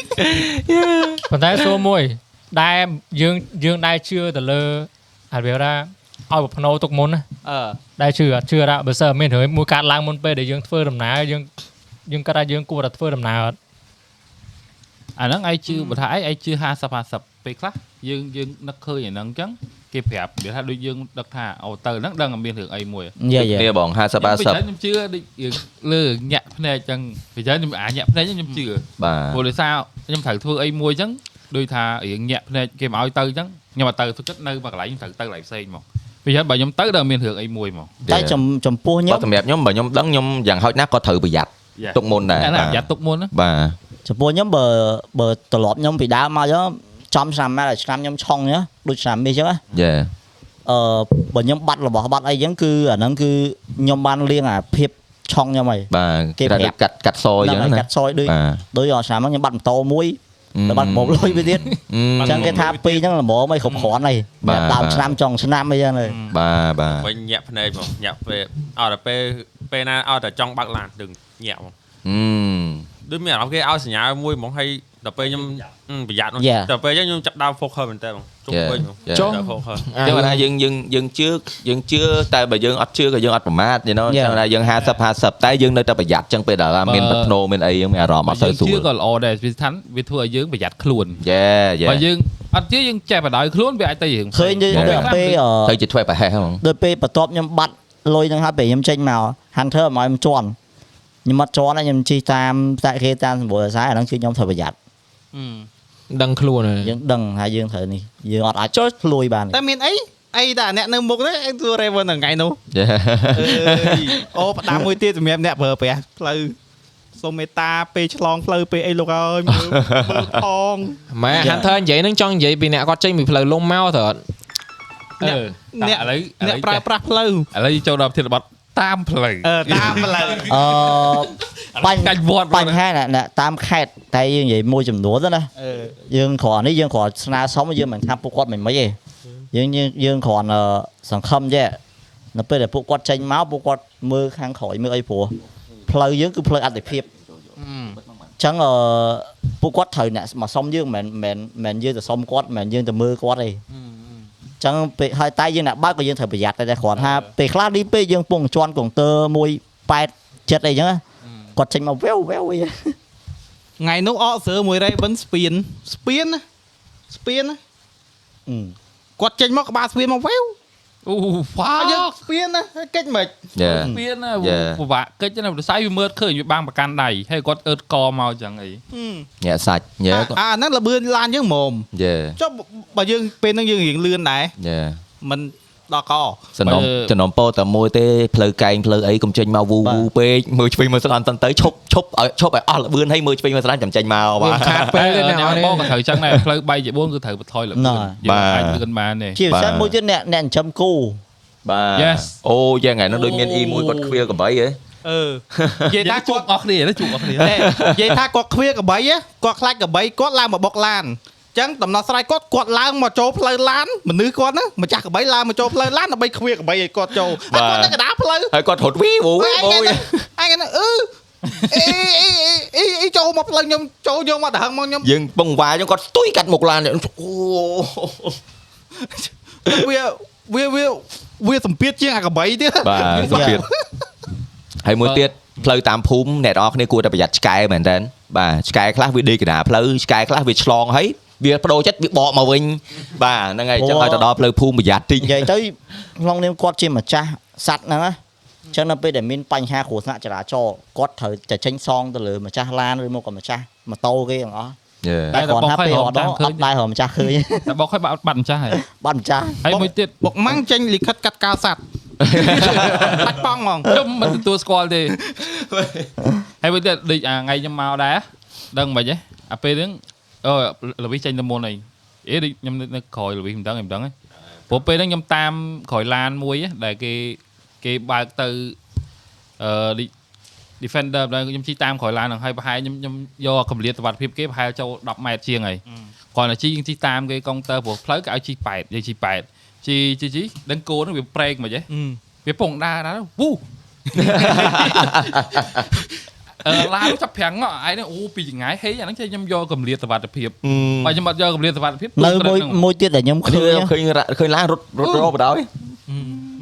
ប៉ុន្តែសួរមួយដែលយើងយើងដែរជឿទៅលើអាវាថាឲ្យប្រភ្នោទុកមុនណា
អឺ
ដែរជឿអត់ជឿថាបើសិនអត់មានរឿងមួយកាត់ឡើងមុនពេលដែលយើងធ្វើដំណើរយើងយើងគិតថាយើងគួរតែធ្វើដំណើរអត់
អាហ្នឹងឯងជឿបើថាឯងឯងជឿ50 50ពេលខ្លះយើងយើងនឹកឃើញអាហ្នឹងអញ្ចឹងគេប្រាប់វាថាដូចយើងដឹកថាអូទៅហ្នឹងដឹងតែមានរឿងអីមួយ
យាយា
គ្នាបង50
[LAUGHS] ខ្ញុំពីច្រើន
50
ខ្ញុំជឿដូចរឿងលើញាក់ភ្នែកអញ្ចឹងពីច្រើនខ្ញុំអាញាក់ភ្នែកហ្នឹងខ្ញុំជឿ
បា
ព្រោះដោយសារខ្ញុំត្រូវធ្វើអីមួយអញ្ចឹងដូចថារឿងញាក់ភ្នែកគេមកឲ្យទៅអញ្ចឹងខ្ញុំមកទៅទុកចិត្តនៅមួយកន្លែងខ្ញុំត្រូវទៅកន្លែងផ្សេងមកពីច្រើនបើខ្ញុំទៅដល់មានរឿងអីមួយមក
ទ
តែចំចំពោះខ្ញុំ
បាទសម្រាប់ខ្ញុំបើខ្ញុំដឹងខ្ញុំយ៉ាងហោចណាស់ក៏ត្រូវប្រយ័ត្នទុកមុនដែរ
អាហ្នឹងអាយ៉ាទុកមុនណា
បាទ
ចំពោះខ្ញុំបើបើត្រឡប់ខ្ញុំពីដើមមកចឹងចំឆ្នាំណាដែលឆ្នាំខ្ញុំឆុងចឹងដូចឆ្នាំនេះចឹងណា
យេ
អឺបើខ្ញុំបាត់របស់បាត់អីចឹងគឺអាហ្នឹងគឺខ្ញុំបានលៀងអាភាពឆុងខ្ញុំហើយ
បាទ
គេ
គេ
ប្រាប់
ថាកាត់កាត់សយ
ដល់
យ៉ាង
ហើយ
ណា
កាត់សយដូច
បាទ
ដូចអស់ឆ្នាំហ្នឹងខ្ញុំបាត់ម៉ូតូមួយ
ម
ដល់បាត់ប្រមូលលុយវាទៀតអ
ម
ញ្ចឹងគេថាពីរហ្នឹងល្មមអីគ្រប់គ្រាន់ហើយ
បាទ
ដើម
បាទ
ឆ្នាំចុងឆ្នាំអីចឹងទៅ
បាទបា
វិញញាក់ភ្នែកមកញាក់ពេលអត់តែពេលពេលណាអត់តែចង់បើកឡានដឹងញាក់មក
ទ
ដូចមានអារម្មណ៍គេឲ្យសញ្ញាមួយហ្មងហើយដល់ពេលខ្ញុំអឺប្រយ័ត្នមកដល់ពេលអញ្ចឹងខ្ញុំចាប់ដើម focus មែនតើហ្មងជុំវិញហ្មង
យេ
ចាប់ focus
ចឹងបើថាយើងយើងយើងជឿយើងជឿតែបើយើងអត់ជឿក៏យើងអត់ប្រមាថ you know ចឹងថាយើង50 50តែយើងនៅតែប្រយ័ត្នចឹងពេលដែលថាមាន
បើ
ប្រធ្នោមានអីយើងមានអារម្មណ៍អត់សូវស្រួ
យើង
ល
ជឿក៏ល្អដែរពីស្ថានវាធ្វើឲ្យយើងប្រយ័ត្នខ្លួន
យេយេ
បើយើងអត់ជឿយើងចេះបដៅខ្លួនវាអាចទៅរឿងផ្សេង
ឃើញដូចដូចអាពេលអឺ
ទៅជាធ្វើប្រហែសហ្នឹង
ដល់ពេលបន្ទាប់ខ្ញុំបាត់លុយហ្នឹងហើយពេលខ្ញុំចេញមក Hunter មកឲ្យខ្ញុំជន់ខ្ញុំអត់ជន់ទេខ្ញុំជិះតាមតាក់គេតាមសម្បូរស័យអាហ្នឹងគឺខ្ញុំត្រូវប្រយ័ត្ន
Ừ.
ដឹងខ្លួនហើយ
យើងដឹងថាយើងត្រូវនេះយើងអត់អាចចុះភ្លួយបានទេ
តែមានអីអីតែអ្នកនៅមុខហ្នឹងឯងទួរេវិនថ្ងៃនោះ
Yeah.
អើយអូផ្ដាំមួយទៀតសម្រាប់អ្នកប្រើប្រាស់ផ្លូវ [LAUGHS] សូមមេត្តាពេលឆ្លងផ្លូវពេលអីលោកអើ [LAUGHS] យមើលមើលផង
ម៉ែ Hunter និយាយហ្នឹងចង់និយាយពីអ្នកគាត់ចេញពីផ្លូវលំមកទៅអត់
អឺ
អ្នក
ឥឡូវឥឡូ
អ្នក
វ
ប្រើប្រាស់ផ្លូវ
ឥឡូវចូលដល់ប្រធានបទតាមផ្លូវ
អឺតាមផ្លូវ
អឺប
កា
ញ្ហា
ច់វត្ត
បញ្ហាណាស់ណាស់តាមខេតតែយើងនិយាយមួយចំនួនទៅណា
អឺ
យើងគ្រាន់នេះយើងគ្រាន់ស្នើសុំយើងមិនថាពួកគាត់មិនមិនទេយើងយើងយើងគ្រាន់អឺសង្ឃឹមទេនៅពេលដែលពួកគាត់ចេញមកពួកគាត់មើលខាងក្រោយមើលអីព្រោះផ្លូវយើងគឺផ្លូវអតិភិប ចឹងអឺពួកគាត់ត្រូវអ្នកមកសុំយើងមិនមែនមិនមែនយើងទៅសុំគាត់មិនមែនយើងទៅមើលគាត់ទេចឹងពេលហើយតែយើងអ្នកបើកក៏យើងត្រូវប្រយ័ត្នដែរតែគ្រាន់ថាពេលខ្លះនេះពេលយើងពងជន់កុងទ័រ187ចិត្តអីចឹងណាគាត់ចេញមកវេវវេវវិញ
ថ្ងៃនោះអកសើមួយរេវិនស្ពានស្ពានណាស្ពានណាគាត់ចេញមកក្បាលស្ពានមកវ៉ាវ
អូហ្វា
យើ
យើង ង
ពៀនណាកិច្ចមិន
យេ
មានណា
Yeah.
ពិបាកកិច្ចណាវិស័យវាមើលឃើញវាបាំងប្រកាន់ដៃហើយគាត់អឺតកមកចឹងអី
ញ៉ាសាច់ញ៉ា
អាហ្នឹងលបឿនឡានយើងហ្មម
យេ
ចុះបើយើងពេលហ្នឹងយើងរៀងលឿនដែរ
យេ
មិនដល់ក
សំណុំសំណុំពោតតែមួយទេផ្លូវកែងផ្លូវអីកុំចេញមកវូវូពេកមើលឆ្វេងមើលស្ដាំតាន់ទៅឈប់ឈប់ឲ្យឈប់ឲ្យអស់លបឿនហើយមើលឆ្វេងមើលស្ដាំចាំចេញមកបា
វា
ទ
ខាតពេលទេណា
ញ៉ាំ
អត់ទេ
បងក៏ត្រូវចឹងដែរផ្លូវបែកជា4គឺត្រូវបន្ថយលំ
ណ៎
នឹង
បា
យើ
ទ
ងអាចលឿនបានទេ
ជាពិសេសមួយទៀតអ្នកអ្នកចិញ្ចឹមគោ
បាទ
Yes
អូយ៉ាងហ្នឹងដូចមាន E មួយគាត់ខ្វៀលកបីហ៎
អឺនិយាយ
និ
ថា
យាយជួ
គា
ប
ត់
អស់គ្នាណាជួបអ [LAUGHS] ស់គ្នា
តែនិយាយថាគាត់ខ្វៀកបីហ៎គាត់ខ្លាចកបីគាត់ឡើងមកបុកឡានអញ្ចឹងដំណោះស្រាយគាត់គាត់ឡើងមកចូលផ្លូវឡានមនុស្សគាត់ហ្នឹងម្ចាស់កបីឡើងមកចូលផ្លូវឡានដើម្បីខ្វៀកបីឲ្យគាត់ចូលហើយគាត់នៅកណ្ដាលផ្លូវ
ហើយគាត់រត់វីវូវូ
អ
អូយ
អញហ្នឹងអឺអេអេអេអេចូលមកផ្លូវខ្ញុំចូលយកមកដង្ហឹងមកខ្ញុំ
យើងបងវាយគាត់ស្ទុយកាត់មុខឡានអូ
វាវាវាវាសម្ពាធជាងអាកបីទៀត
បាទសុខភាពហើយមួយទៀតផ្លូវតាមភូមិអ្នកនរគ្នាគួរតែប្រយ័ត្នឆ្កែមែនតើបាទឆ្កែខ្លះវាដេកកណ្ដាលផ្លូវឆ្កែខ្លះវាឆ្លងហើយវាបដូរចិត្តវាបកមកវិញបាទហ្នឹងហើយអញ្ចឹងឲ្យទៅដល់ផ្លូវភូមិប្រយ័ត្នតិច
និយាយទៅក្នុងនាមគាត់ជាម្ចាស់សัตว์ហ្នឹងណាអញ្ចឹងនៅពេលដែលមានបញ្ហាគ្រោះថ្នាក់ចរាចរណ៍គាត់ត្រូវតែចេញសងទៅលើម្ចាស់ឡានឬមកក៏ម្ចាស់ម៉ូតូគេទាំងអស់
យេ
តែគាត់ថាពេលរត់ដល់អត់ដែររកម្ចាស់ឃើញ
តែបងខ້ອຍបាត់បាត់ម្ចាស់ហើយ
បាត់ម្ចាស់
ហើយមួយទៀត
បុកម៉ាំងចេញលិខិតកាត់កោសัตว์បាច់ប៉ងហ្មង
ខ្ញុំមិនទទួលស្គាល់ទេហើយមួយទៀតដូចអាថ្ងៃខ្ញុំមកដែរដឹងមិនហ៎អាពេលហ្នឹងអូលវិសចេញទៅមុនអីអេដូចខ្ញុំនៅនៅក្រោយលវិសមិនដឹងឯងមិនដឹងឯងព្រោះពេលហ្នឹងខ្ញុំតាមក្រោយឡានមួយហ៎ដែលគេគេបើកទៅអឺដូច defender ដែរខ្ញុំជិះតាមក្រោយឡានហ្នឹងហើយប្រហែលខ្ញុំខ្ញុំយកកម្រិតសុវត្ថិភាពគេប្រហែលចូល10ម៉ែត្រជាងហើយគ្រាន់តែជិះយើងជិះតាមគេកុងតើព្រោះផ្លូវគេឲ្យជិះ8យើងជិះ8ជិះជិះជិះដឹងគោហ្នឹងវាប្រេកមកហ៎ វាពងដាណាវូអឺឡានចាប់ប្រាំងអឯនេះអូពីចងាយហេអាហ្នឹងចេះខ្ញុំយកកម្លៀតសវត្ថិភាពបើខ្ញុំអត់យកកម្លៀតសវត្ថិភាព
នៅមួយ
នឹង
មួយទៀតដែលខ្ញុំ
ឃើ
ឃើញ
ញឃើញរ៉ាឃើញឡានរត់រត់រោបដោយ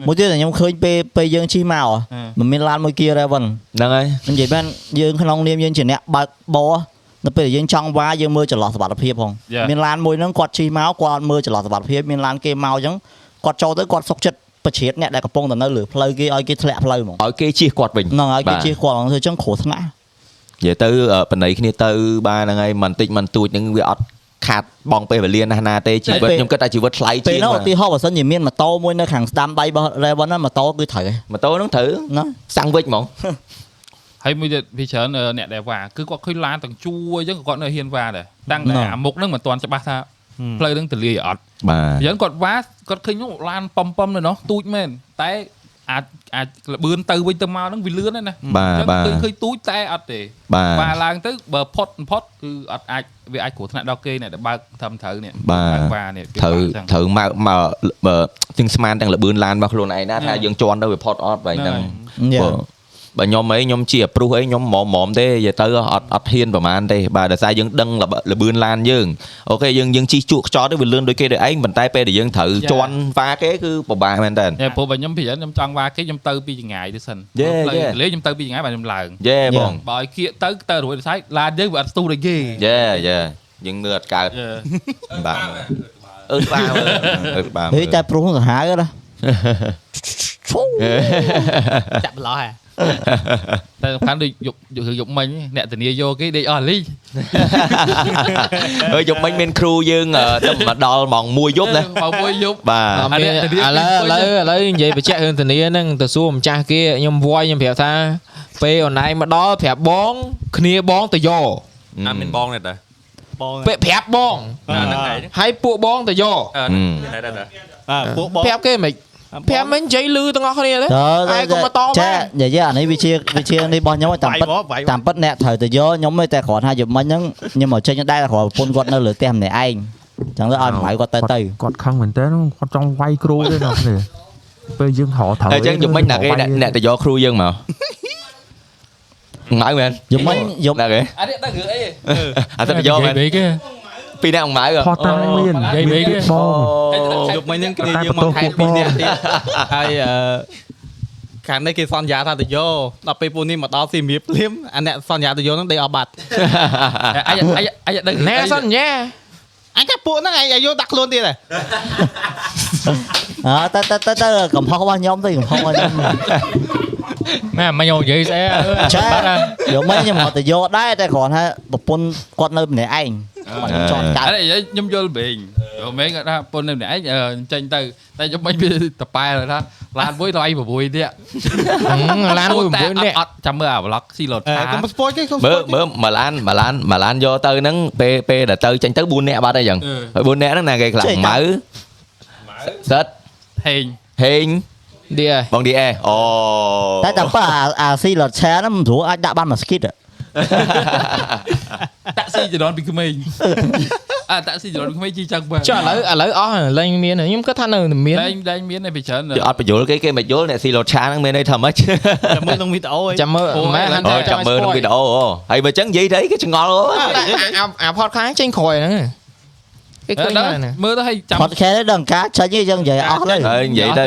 មួយទៀតដែលខ្ញុំឃើញពេលពេលយើងជិះមកមិនមានឡានមួយ Kia Raven
ហ្នឹងហើយ
និយាយមែនយើងក្នុងនាមយើងជាអ្នកបើកបរនៅពេលដែលយើងចង់វាយយើងមើលចន្លោះសុវត្ថិភាពផងមានឡានមួយហ្នឹងគាត់ជិះមកគាត់អត់មើលចន្លោះសុវត្ថិភាពមានឡានគេមកអញ្ចឹងគាត់ចូលទៅគាត់សុកចិត្តប្រជ្រៀតអ្នកដែលកំពុងតែនៅលើផ្លូវគេឲ្យគេធ្លាក់ផ្លូវហ្មង
ឲ្យគេជិះគាត់វិញ
ហ្នឹងហើយគេ
បាទ
ជិះគាត់ហ្នឹងធ្វើអញ្ចឹងគ្រោះថ្នាក់
និយាយទៅអឺបណ្ណៃគ្នាទៅបាទហ្នឹងហើយមិនតិចមិនទួចហ្នឹងវាអត់ខាតបងពេលវេលាណាស់ណាទេជីវិតខ្ញុំគិតថាជីវិតថ្លៃ
ពេល
ជាង
ហ្នឹងឧទាហរណ៍បើសិនជាមានម៉ូតូមួយនៅខាងស្ដាំដៃរបស់ Raven ហ្នឹងម៉ូតូគឺត្រូវឯង
ម៉ូតូហ្នឹងត្រូវ
ណា
សាំងវិចហ្មង
ហើយមួយទៀតវាច្រើនអឺអ្នកដែលវ៉ាគឺគាត់ឃើញឡានទាំងជួរអញ្ចឹងគាត់នៅហ៊ានវ៉ាដែរតាំងតែអាមុខហ្នឹងមិនទាន់ច្បាស់ថាផ្លូវហ្នឹងទលាយអត់
បា
អ
ទ
ញ្ចឹងគាត់វ៉ាគាត់ឃើញនោះឡានប៉ំប៉ំនៅនោះទូចមែនតែអាចអាចលបឿនទៅវិញទៅមកហ្នឹងវាលឿនហើយណា
បាទបាទ
ឃើញឃើញទូចតែអត់ទេ
បា
បា
ទ
រឡើងទៅបើផុតមិនផុតគឺអត់អាចវាអាចគ្រោះថ្នាក់ដល់គេអ្នកដែលបើកត្រឹមត្រូវនេះ
បាទ
បានេះវា
ត្រូវ
បើកចឹង
ត្រូវមកមកបើទាំងស្មានទាំងលបឿនឡានរបស់ខ្លួនឯងណាថាយើងជន់ទៅវាផុតអត់បែបហ្នឹង
យ៉ា
បាទបើខ្ញុំអីខ្ញុំជាព្រោះអីខ្ញុំម៉មម៉មទេនិយាយទៅអត់អត់ហ៊ានប្រហែលទេបាទដោយសារយើងដឹងលបលបឿនឡានយើងអូខេយើងយើងជិះជក់ខ្ចត់ទៅវាលឿនដូចគេដូចឯងប៉ុន្តែពេលដែលយើងត្រូវជន់វ៉ាគេគឺពិបាកមែនតើ
តែព្រោះបើខ្ញុំពីខ្ញុំចង់វាគេខ្ញុំទៅពីចង្ងាយទៅសិន
Yeah,
ផ្លូវ
yeah.
លេខ្ញុំទៅពីចង្ងាយបាទខ្ញុំឡើង
យេបង
បើឲ្យគៀកទៅទៅរួចដល់ស្អែកឡានយើងវាអត់ស្ទុះដូចគេ
យេយេយើងនឿអត់កើត
Dạ.
បាទអឺបាទអឺបាទ
ហេតែព្រោះសាហាវណា
ចាក់បន្លោះហ่ะ
តែសំខាន់ដូចយកយករឿងយកមិញអ្នកធានាយកគេដេកអស់លីង
អើយប់មិញមានគ្រូយើងទៅមកដល់ម៉ោង1យប់ណា
មកមួយយប់
បាទ
អត់មានឥឡូវឥឡូវឥឡូវនិយាយបញ្ជាក់រឿងធានាហ្នឹងទៅសួរម្ចាស់គេខ្ញុំវយខ្ញុំប្រាប់ថាពេលអនឡាញមកដល់ប្រាប់បងគ្នាបងទៅយក
Ừ.
អាមានបងដែរតើ
បង
ពេលប្រាប់បង
អាហ្នឹងឯង
ហើយពួកបងទៅយក
អឺ
Ừ.
ហ្នឹងដែរតើ
អើពួកបង
ប្រាប់គេមិនប្រាប់មិនជ័យលឺទាំងអស់គ្នាទេ
ទៅ
ឯងក៏មកតបដែ
ចា
រ
និយាយអានេះវាជាវាជានេះរបស់ខ្ញុំឲ្យតាម
បាយ
ពិត
បងបាយ
តាមពិតអ្នកត្រូវទៅយកខ្ញុំទេតែគ្រាន់ថាយប់មិញហ្នឹងខ្ញុំមកចេញដែរគ្រាន់ប្រពន្ធគាត់នៅលើផ្ទះម្នាក់ឯងចឹងទៅឲ្យម្លាយគាត់ទៅទៅ
គាត់ខឹងមែនតើគាត់ចង់វាយគ្រូទេណាស់នេះពេលយើងហៅត្រូវ
អញ្ចឹងយប់មិញណាគេអ្នកទៅយកគ្រូយើងមកម៉ៅមែន
យប់មិញយប់
ណាគេ
អានេះដឹងរឿងអី
[LAUGHS] អាទៅយកមែន
និយាយគេ
ពីអ្នកម៉ៅ
ផោះតាំងមាន
និយាយវិ
ប
ញ
ង
យប់មិញហ្នឹងគេយើងមកខែពីរនាក់ទៀតហើយអឺខាងនេះគេសន្យាថាទៅយកដល់ពេលពួកនេះមកដល់សៀមរាបភ្លាមអាអ្នកសន្យាទៅយកហ្នឹងដេកអស់បាត់
អាយអាយអាយដឹងរឿងអី
ណែសន្យា
អញថាពួកហ្នឹងឯងយកដាក់ខ្លួនទៀតហ៎
អើទៅទៅទៅទៅកំហុសរបស់ខ្ញុំទៅកំហុសរបស់ខ្ញុំ
ម៉ែមិនយកនិយាយស្អីអឺ
ចា
បាត់ហើយ
យកមិនខ្ញុំក៏ទៅយកដែរតែគ្រាន់ថាប្រពន្ធគាត់នៅម្នាក់ឯងគាត់ចង់ចោល
អីខ្ញុំយល់ពេងមែនគាត់ថាប៉ុននៅម្នាក់ឯងអឺខ្ញុំចេញទៅតែខ្ញុំមិនមានតប៉ែលគាត់ថាឡានមួយថ្លៃ6ទៀត
ឡានមួយ9នាក់
អត់ចាំមើលអាប្លុកស៊ីឡូតថា
កុំស្ពតគេកុំស្ព
មើល
ត
មើលមួយឡានមួយឡានមួយឡានយកទៅហ្នឹងពេលពេលដែលទៅចេញទៅ4នាក់បាត់ហើយចឹងហើយ4នាក់ហ្នឹងណាគេខ្លាំង
ចេះតែ
ម៉ៅសិត
ហេង
ហេង
ឌីអេ
បងឌីអេអូ
តែ
[LAUGHS]
តែប៉ះអាអាស៊ីលត់ឆែហ្នឹងមិនស្រួលអាចដាក់បានមួយស្គីត
តាក់ស៊ីចរនពីក្មេងអាតាក់ស៊ីចរនពីក្មេងជីចាក់បើ
ចុះឥឡូវឥឡូវអស់ហើយលែងមានហើយខ្ញុំគិតថានៅតែមាន
ដែងដែងមានឯងពីច្រើន
យកអត់បញ្យល់គេគេមិនយល់អ្នកស៊ីលោតឆាហ្នឹងមានន័យថាម៉េច
តែមើលក្នុងវីដេអូឯង
ចាំមើលម៉ែហាន់
អូ
តែ
យចាំមើលក្នុងវីដេ
អូ
អូអូហើយបើចឹងនិយាយទៅអីគេឆ្ងល់អូយ
អាផតខាងចេញក្រោយហ្នឹងគេឃើញ
ដល់
ហ្នឹង
មើលទៅឲ្យចាំ
ផតខែនេះដឹងការចាញ់ឯងចឹងនិយាយអស់ហើយ
ហើយនិយាយទៅ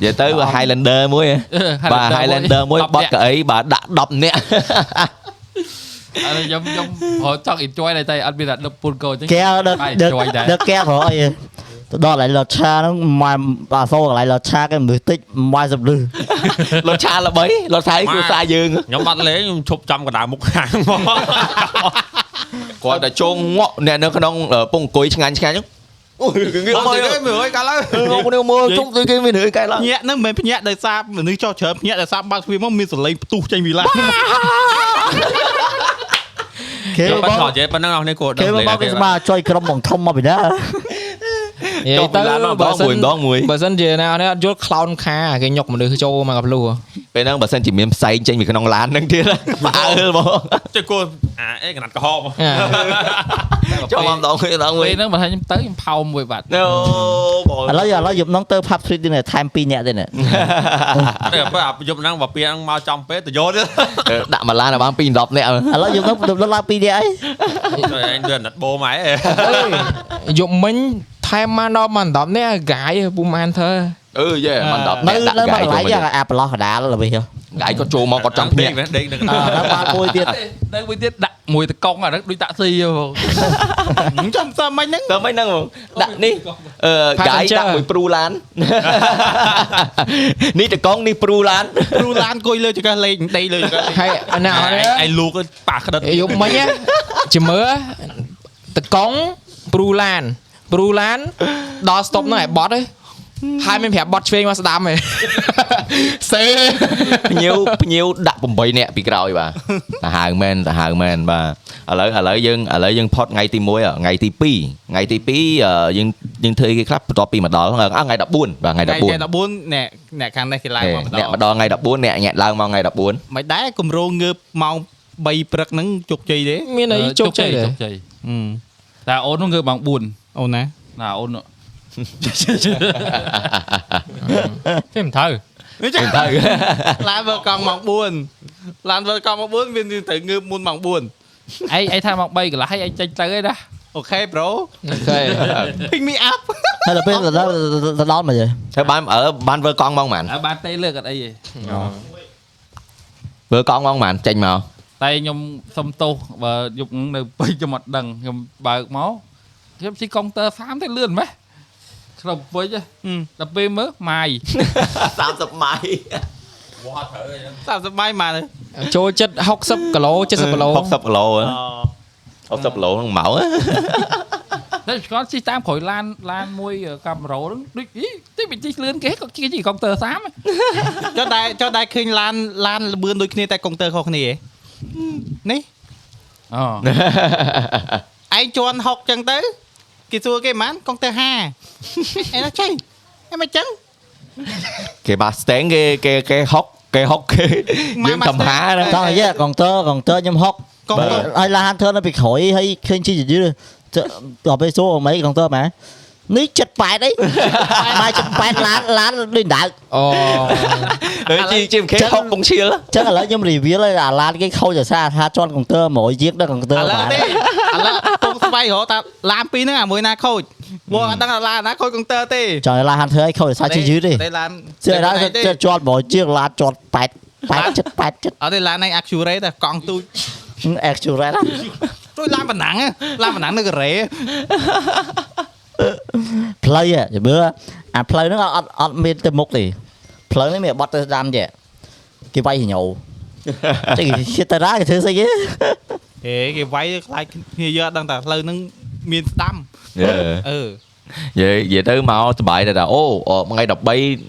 និយាយទៅវា Highlander មួយហ៎បាទ Highlander មួយបត់កៅអីបាទដាក់10នាក់
ឥឡូវខ្ញុំខ្ញុំហៅចង់ enjoy តែតែអត់មានតែដឹកពូនកោចឹង
កែដឹកដឹកដឹកកែប្រអីទៅដល់កន្លែងលត់ឆាហ្នឹងម៉ែអាសូកន្លែងលត់ឆាគេមនុស្សតិច80លឺ
លត់ឆាល្បីលត់ឆានេះគ្រួសារយើង
ខ្ញុំបាត់លេងខ្ញុំឈប់ចំកណ្ដាលមុខខាងមក
គាត់តែជងងក់អ្នកនៅក្នុងអឺពងអង្គុយឆ្ងាញ់ឆ្ងាញ់ហ្នឹងអូយគេងើប
អត់
មើ
ទេ
ល
មើលឲ្យកាលហើយ
មកនេះមើលជុំដូចគេមានរឿងកែឡើង
ភ្ញាក់ហ្នឹងមិនមែនភ្ញាក់ដោយសារមនុស្សចោះច្រើនភ្ញាក់ដោយសារបើកទ្វារមកមានសលេងផ្ទុះចេញពីឡាន
គេ
បា
ប
ត់
ក
ខោចេះប៉ុណ្ណឹងអស់នេះគាត់ដឹង
គេ
លេង
មកគេស្មើជួយក្រុមបងធំមកពីណា
និយាយទៅ
បើ
បើ
សិ
សិ
ន
ន
ម្ដងមួយ
បើសិនជាណាអ្នកអត់យល់ខ្លោនខាគេញុកមនុស្សចូលមកកាភ្លុះ
ពេលហ្នឹងបើសិនជាមានផ្សែងចេញពីក្នុងឡានហ្នឹងទៀតបើអើលបង
ចេះគាត់អាអេកណាត់កហកមក
ចូលមកម្ដងមួយម្ដងមួយ
ពេលហ្នឹងបើថាខ្ញុំទៅខ្ញុំផោមមួយបាត់
អូបង
ឥឡូវឥឡូវយប់ហ្នឹងទៅ pub street ទៀតថែម2នាក់ទៀតណា
តែបើអាយប់ហ្នឹងបើពីហ្នឹងមកចំពេទៅយក
[LAUGHS]
ទៀត
ដាក់មកឡានឲ្យបាន2 10នាក់
ឥឡូវយប់ហ្នឹងទៅឡើង2នាក់អី
តែអញទៅណាត់បូម៉ែ
យកមិញថែមមកដល់មក10នាក់កាយពូម៉ានធ្វើ
អឺយេបាន10
នៅ
នាក់ដាក់
នៅមក
កាយក
ន្លែង
ចូល
យ៉ា
មក
អាប្រឡោះកដាលល្បីហ៎
កាយគាត់ចូលមកគាត់ចង់ភ្នាក់
ដេកនឹង
អឺដល់បានមួយទៀត
ទៅមួយទៀតដាក់មួយតកង់អាហ្នឹងដូចតាក់ស៊ីហ៎បង
ខ្ញុំចាំសើមិញហ្នឹង
ទៅមិនហ្នឹងបងដាក់នេះអឺ
Passenger
កាយដាក់មួយព្រូឡាន [LAUGHS] នេះតកង់នេះព្រូ [LAUGHS] ឡាន
គ្រូឡានអង្គុយលើចង្កេះលេងដីលើចង្កេះលេង
ហើយណាអត់
ឯងលូកប៉ាក្តិត
យកមិញណាជាមើលតកង់ព្រូឡានព្រូឡានដល់ស្តុបហ្នឹងឯបត់ឯងហើយមានប្រាប់បត់ឆ្វេងមកស្ដាំ
[LAUGHS]
ឯងសេ
ភ្ញៀវភ្ញៀវដាក់8នាក់ពីក្រោយបាទសាហាវមែនសាហាវមែនបាទឥឡូវឥឡូវយើងឥឡូវយើងផុតថ្ងៃទី1ថ្ងៃទី2ថ្ងៃទី2អឺយើងយើងធ្វើអីគេខ្លះបន្ទាប់ពីមកដល់អ่ะថ្ងៃ14បាទថ្ងៃ
ថ្ងៃ
14
14អ្នកអ្នកខាងនេះគេឡើងមក
អ្នកម
ម្ដ
កដល់
ង
ថ្ងៃ14អ្នកញាក់ឡើងមកថ្ងៃ [LAUGHS]
មិនដែរគម្រោងងើបម៉ោង3ព្រឹកហ្នឹងជោគជ័យទេ
មានអីជោគជ័យទេ
ជោគជ័យ
ហឹម
តែអូននោះគឺបង4
អូនណា
ណាអូននោះ
14
ទេមិនត្រូវ
[LAUGHS] ចាំ
ទៅ
ឡានធ្វើកង់ម៉ោង4ឡានធ្វើកង់ម៉ោង4វាមានត្រូវងើបមុនម៉ោង
ឯងឯងថាមក3កន្លះឯងចេញទៅឯណា
4អូខេប្រូ
អូខេ
[LAUGHS] pick me up [LAUGHS]
ហើយដល់ពេលដល់ដល់ដល់មកយើ
ហើយបានអើបានធ្វើកង់មកហ្មង
អើបានទេលើកអត់អីទេ
ធ្វើកង់មកហ្មងចេញមក
តែខ្ញុំសុំទោសបើយប់ [LAUGHS] ហ្នឹងនៅពេញខ្ញុំអត់ដឹងខ្ញុំបើកមកខ្ញុំស៊ីកុងទ័រ30ទេលឿនម៉េះខ្ញុំពេញដល់ពេលមើលម៉ា [LAUGHS] យ
30ម៉ៃ
30ម៉ៃមក
ចូលចិត្ត60គីឡូ70គីឡូ
60គីឡូហ៎60គីឡូក្នុងម៉ោងហ៎ [LAUGHS]
តែស្គាល់ស៊ីតាមក្រោយឡានឡានមួយកាមេរ៉ាហ្នឹងដូចអីតិចតិចលឿនគេក៏ជិះជីកុងទ័រ30ហ៎
ចុះតែចុះតែឃើញឡានឡានលឿនដូចគ្នាតែកុងទ័រខុសគ្នាឯងនេះ
អូ
ឯងជន់6ចឹងទៅគេសួរគេហ្មងកុងទៅ5ឯនោះចេះឯងមិនចឹង
គេបាស្តេងគេគេគេហុកគេហុកគេ [LAUGHS]
ម៉ែ
យើងកំហាណា
Mustang
ចង់យេកុងទ័រកុងទ័រខ្ញុំហុក
កុងទ័រ
ហើយឡានធ្វើនៅពីក្រោយហើយឃើញជីយឺទៅទៅសួរអីកុងទ័រម៉ែនេះ78អីម៉ែ78ឡានឡានដូចដៅ
អូ
ដូចជីជីមគេហុកពងឈៀ
[LAUGHS]
ល
ចឹងឥឡូវខ្ញុំ reveal ឲ្យអាឡានគេខូចអាសាថាជន់កុងទ័រ100ជាងដល់កុងទ័រ
ឥឡូវទេឥឡូវពងស្បៃរហូតតាឡានពីរហ្នឹងអាមួយណាខូចមកអត់ដឹងថាឡានណាខូចកុងទ័រទេ
ចង់ឡានហាន់ធ្វើឲ្យខូចអាសាជីយឺទេ
តែឡាន
ជឿដល់ជន់100ជាងឡានជន់8 8 7
អត់ទេឡានឯង accurate តែកង់ទូច
7 actual
ជួយឡានប៉ណ្ណឹងឡានប៉ណ្ណឹងនៅកូរ៉េ
ផ្លូវហ៎ជម្រើអាផ្លូវហ្នឹងអត់អត់មានទៅមុខទេផ្លូវហ្នឹងមានបត់ទៅស្ដាំចេះគេវាយញោចេះគេទៅរ៉ាគេធ្វើស្អីគេ
ហេគេវាយខ្លាចគ្នាយើងអត់ដឹងតែផ្លូវហ្នឹងមានស្ដាំ
យេន
អឺ
ិយាយនិយាយទៅមកសប្បាយដែរថាអូអឺថ្ងៃ13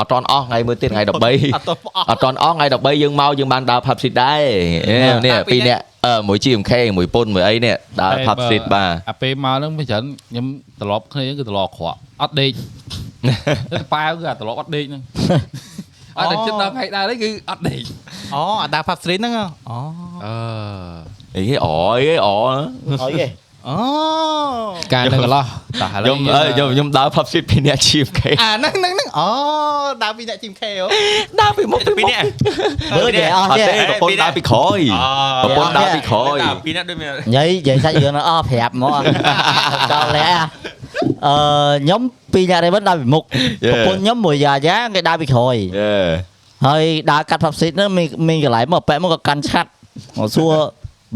អត់តន់អស់ថ្ងៃមួយទៀតថ្ងៃ13
អត់ទៅផ្អស់
អត់តន់អស់ថ្ងៃ13យើងមកយើងបានដើរ pub street ដែរ
អ่า
នេះ
អ่าពី
ពីរ
រ
នាក់អឺមួយ GMK មួយពុនមួយអីនេះដើរ
Hey,
pub
bro.
street បាទ
អាពេលមកហ្នឹងវាច្រើនខ្ញុំត្រឡប់គ្នាគឺត្រឡប់អក្រក់អត់ដេក ទៅប៉ាវគឺអាត្រឡប់អត់ដេកហ្នឹង អត់តែចិត្តដល់ថ្ងៃដើរនេះគឺអត់ដេក
អូអាដាផាប់ស្រីហ្នឹងហ៎អូ
អ
អី
ឺ
គេអអីគេអ
អីគេ
អូ
ការនឹងកន្លោះ
តោះឥឡូវ
ខ្ញុំអើយខ្ញុំខ្ញុំដើរ pub street ពីរនាក់ GMK
អាហ្នឹងហ្នឹងហ្នឹងអូដើរពីអ្នកជីមខេអូ
ដើរពីមុខពី
ពី
មុខ
នេះ
មើលគេអស់
អត់
ទេ
ទេប្រពន្ធដើរពីក្រោយ
អូ
ប្រពន្ធដើរពីក្រោយ
តែពីនេះដូចមាន
ញ៉ៃនិយាយសាច់រឿងហ្នឹងអស់ប្រាប់ហ្មកដល់លះអឺខ្ញុំពីរអ្នកនេះមិនដើរពីមុខ
Yeah.
ប្រពន្ធខ្ញុំមួយយ៉ាយ៉ាគេដើរពីក្រោយ
យេ
ហើយដើរកាត់ផាប់ស៊ីតហ្នឹងមានមានកន្លែងមកប៉ែកមកក៏កាន់ឆាត់មកសួរ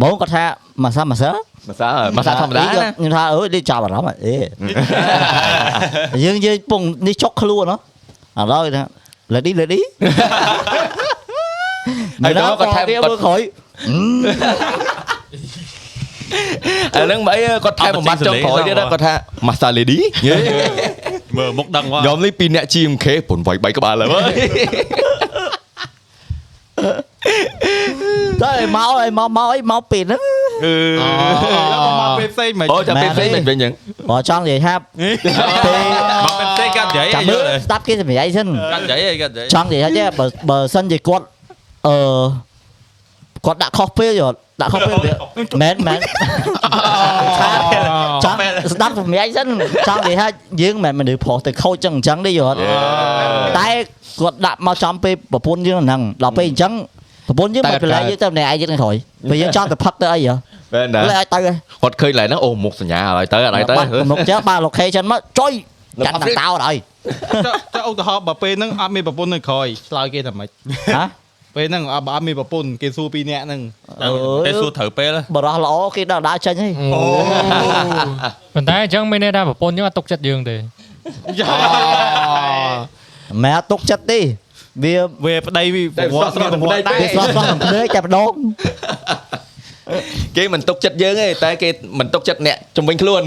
បងគាត់ថាមកសាមកសា
មកសាមកសាធម្មតាណា
ខ្ញុំថាអើយនេះចាប់អារម្មណ៍អេ
Ừ.
យើងយើងពងនេះចុកខ្លួនហ៎ឥឡូវថា lady lady
ហើយដល់គាត់ថែម
វា
គាត់
មើលក្រោយ
ឥឡូវមកអីគាត់ថែមបំបត្តិចុងក្រោយទៀតណាគាត់ថា Master Lady
មើលមុខដឹងវ៉ា
ខ្ញុំនេះពីរអ្នក GMK ពុនវាយបែកក្បាលឡើយ
តើឲ្យមកឲ្យមកមកអីមកពេលហ្នឹង
Ờ,
ដល់មកពេលផ្សេងមិន
អូចាំពេលផ្សេង
ម៉ែ
មិ
ន
ន
ទេ
វិញអញ្ចឹង
បើចង់និយាយថា
ម
ពេល
កមិនទេកាត់យាយ
ចាំមើលស្ដាប់គេសម្រាប់សិន
Ừ.
កាត់យាយឯងកាត់យាយ
ចង់និយាយថាបើបើសិនជាគាត់អឺគាត់ដាក់ខុសពេលយល់ដាក់ខុសពេលវាមែនមែនចង់ស្ដាប់សម្រាប់សិនចង់និយាយថាយើងមិនមែនមនុស្សប្រុសទៅខូចចឹងអញ្ចឹងទេយល់តែគាត់ដាក់មកចំពេលប្រពន្ធយើងហ្នឹងដល់ពេលអញ្ចឹងប្រពន្ធយើង
តែ
មិនប្រឡែក
កើត
យើងទៅម្នាក់ឯងទៀតនឹងក្រោយពេលយើងចង់ទៅផឹកទៅអីហ៎
មែនណា
ប្រឡែកឲ្យទៅហ៎
គាត់ឃើញឡើយហ្នឹងអូមុខសញ្ញាឥឡូវទៅឥឡូវទៅ
បាទមុខចឹងបាទ location មកចុយ
នៅ
កាន់
ផាប់
តែ
ស្រី
តោតឲ្យ
ចុះចុះឧទាហរណ៍បើពេលហ្នឹងអត់មានប្រពន្ធនៅក្រោយឆ្លើយគេថាម៉េច
ហ៎
ពេលហ្នឹងអត់បើអត់មានប្រពន្ធគេសួរពីរអ្នកហ្នឹង
អ
តែ
ឺ
សួរត្រូវពេល
បរោះល្អគេដល់ដើរចេញហី
ប៉ុន្តែអញ្ចឹងមានន័យថាប្រពន្ធយើងអត់ទុកចិត្តយើងទេ
ម៉ែអត់ទុកចិត្តទេវា
វាប្តីវាប្រវត្តិស្រីប្រវត្តិដែរ
វាស្រស់ស្រស់ទាំងភ្នែកតែម្ដង
គេមិនទុកចិត្តយើងទេតែគេមិនទុកចិត្តអ្នកជំនាញខ្លួន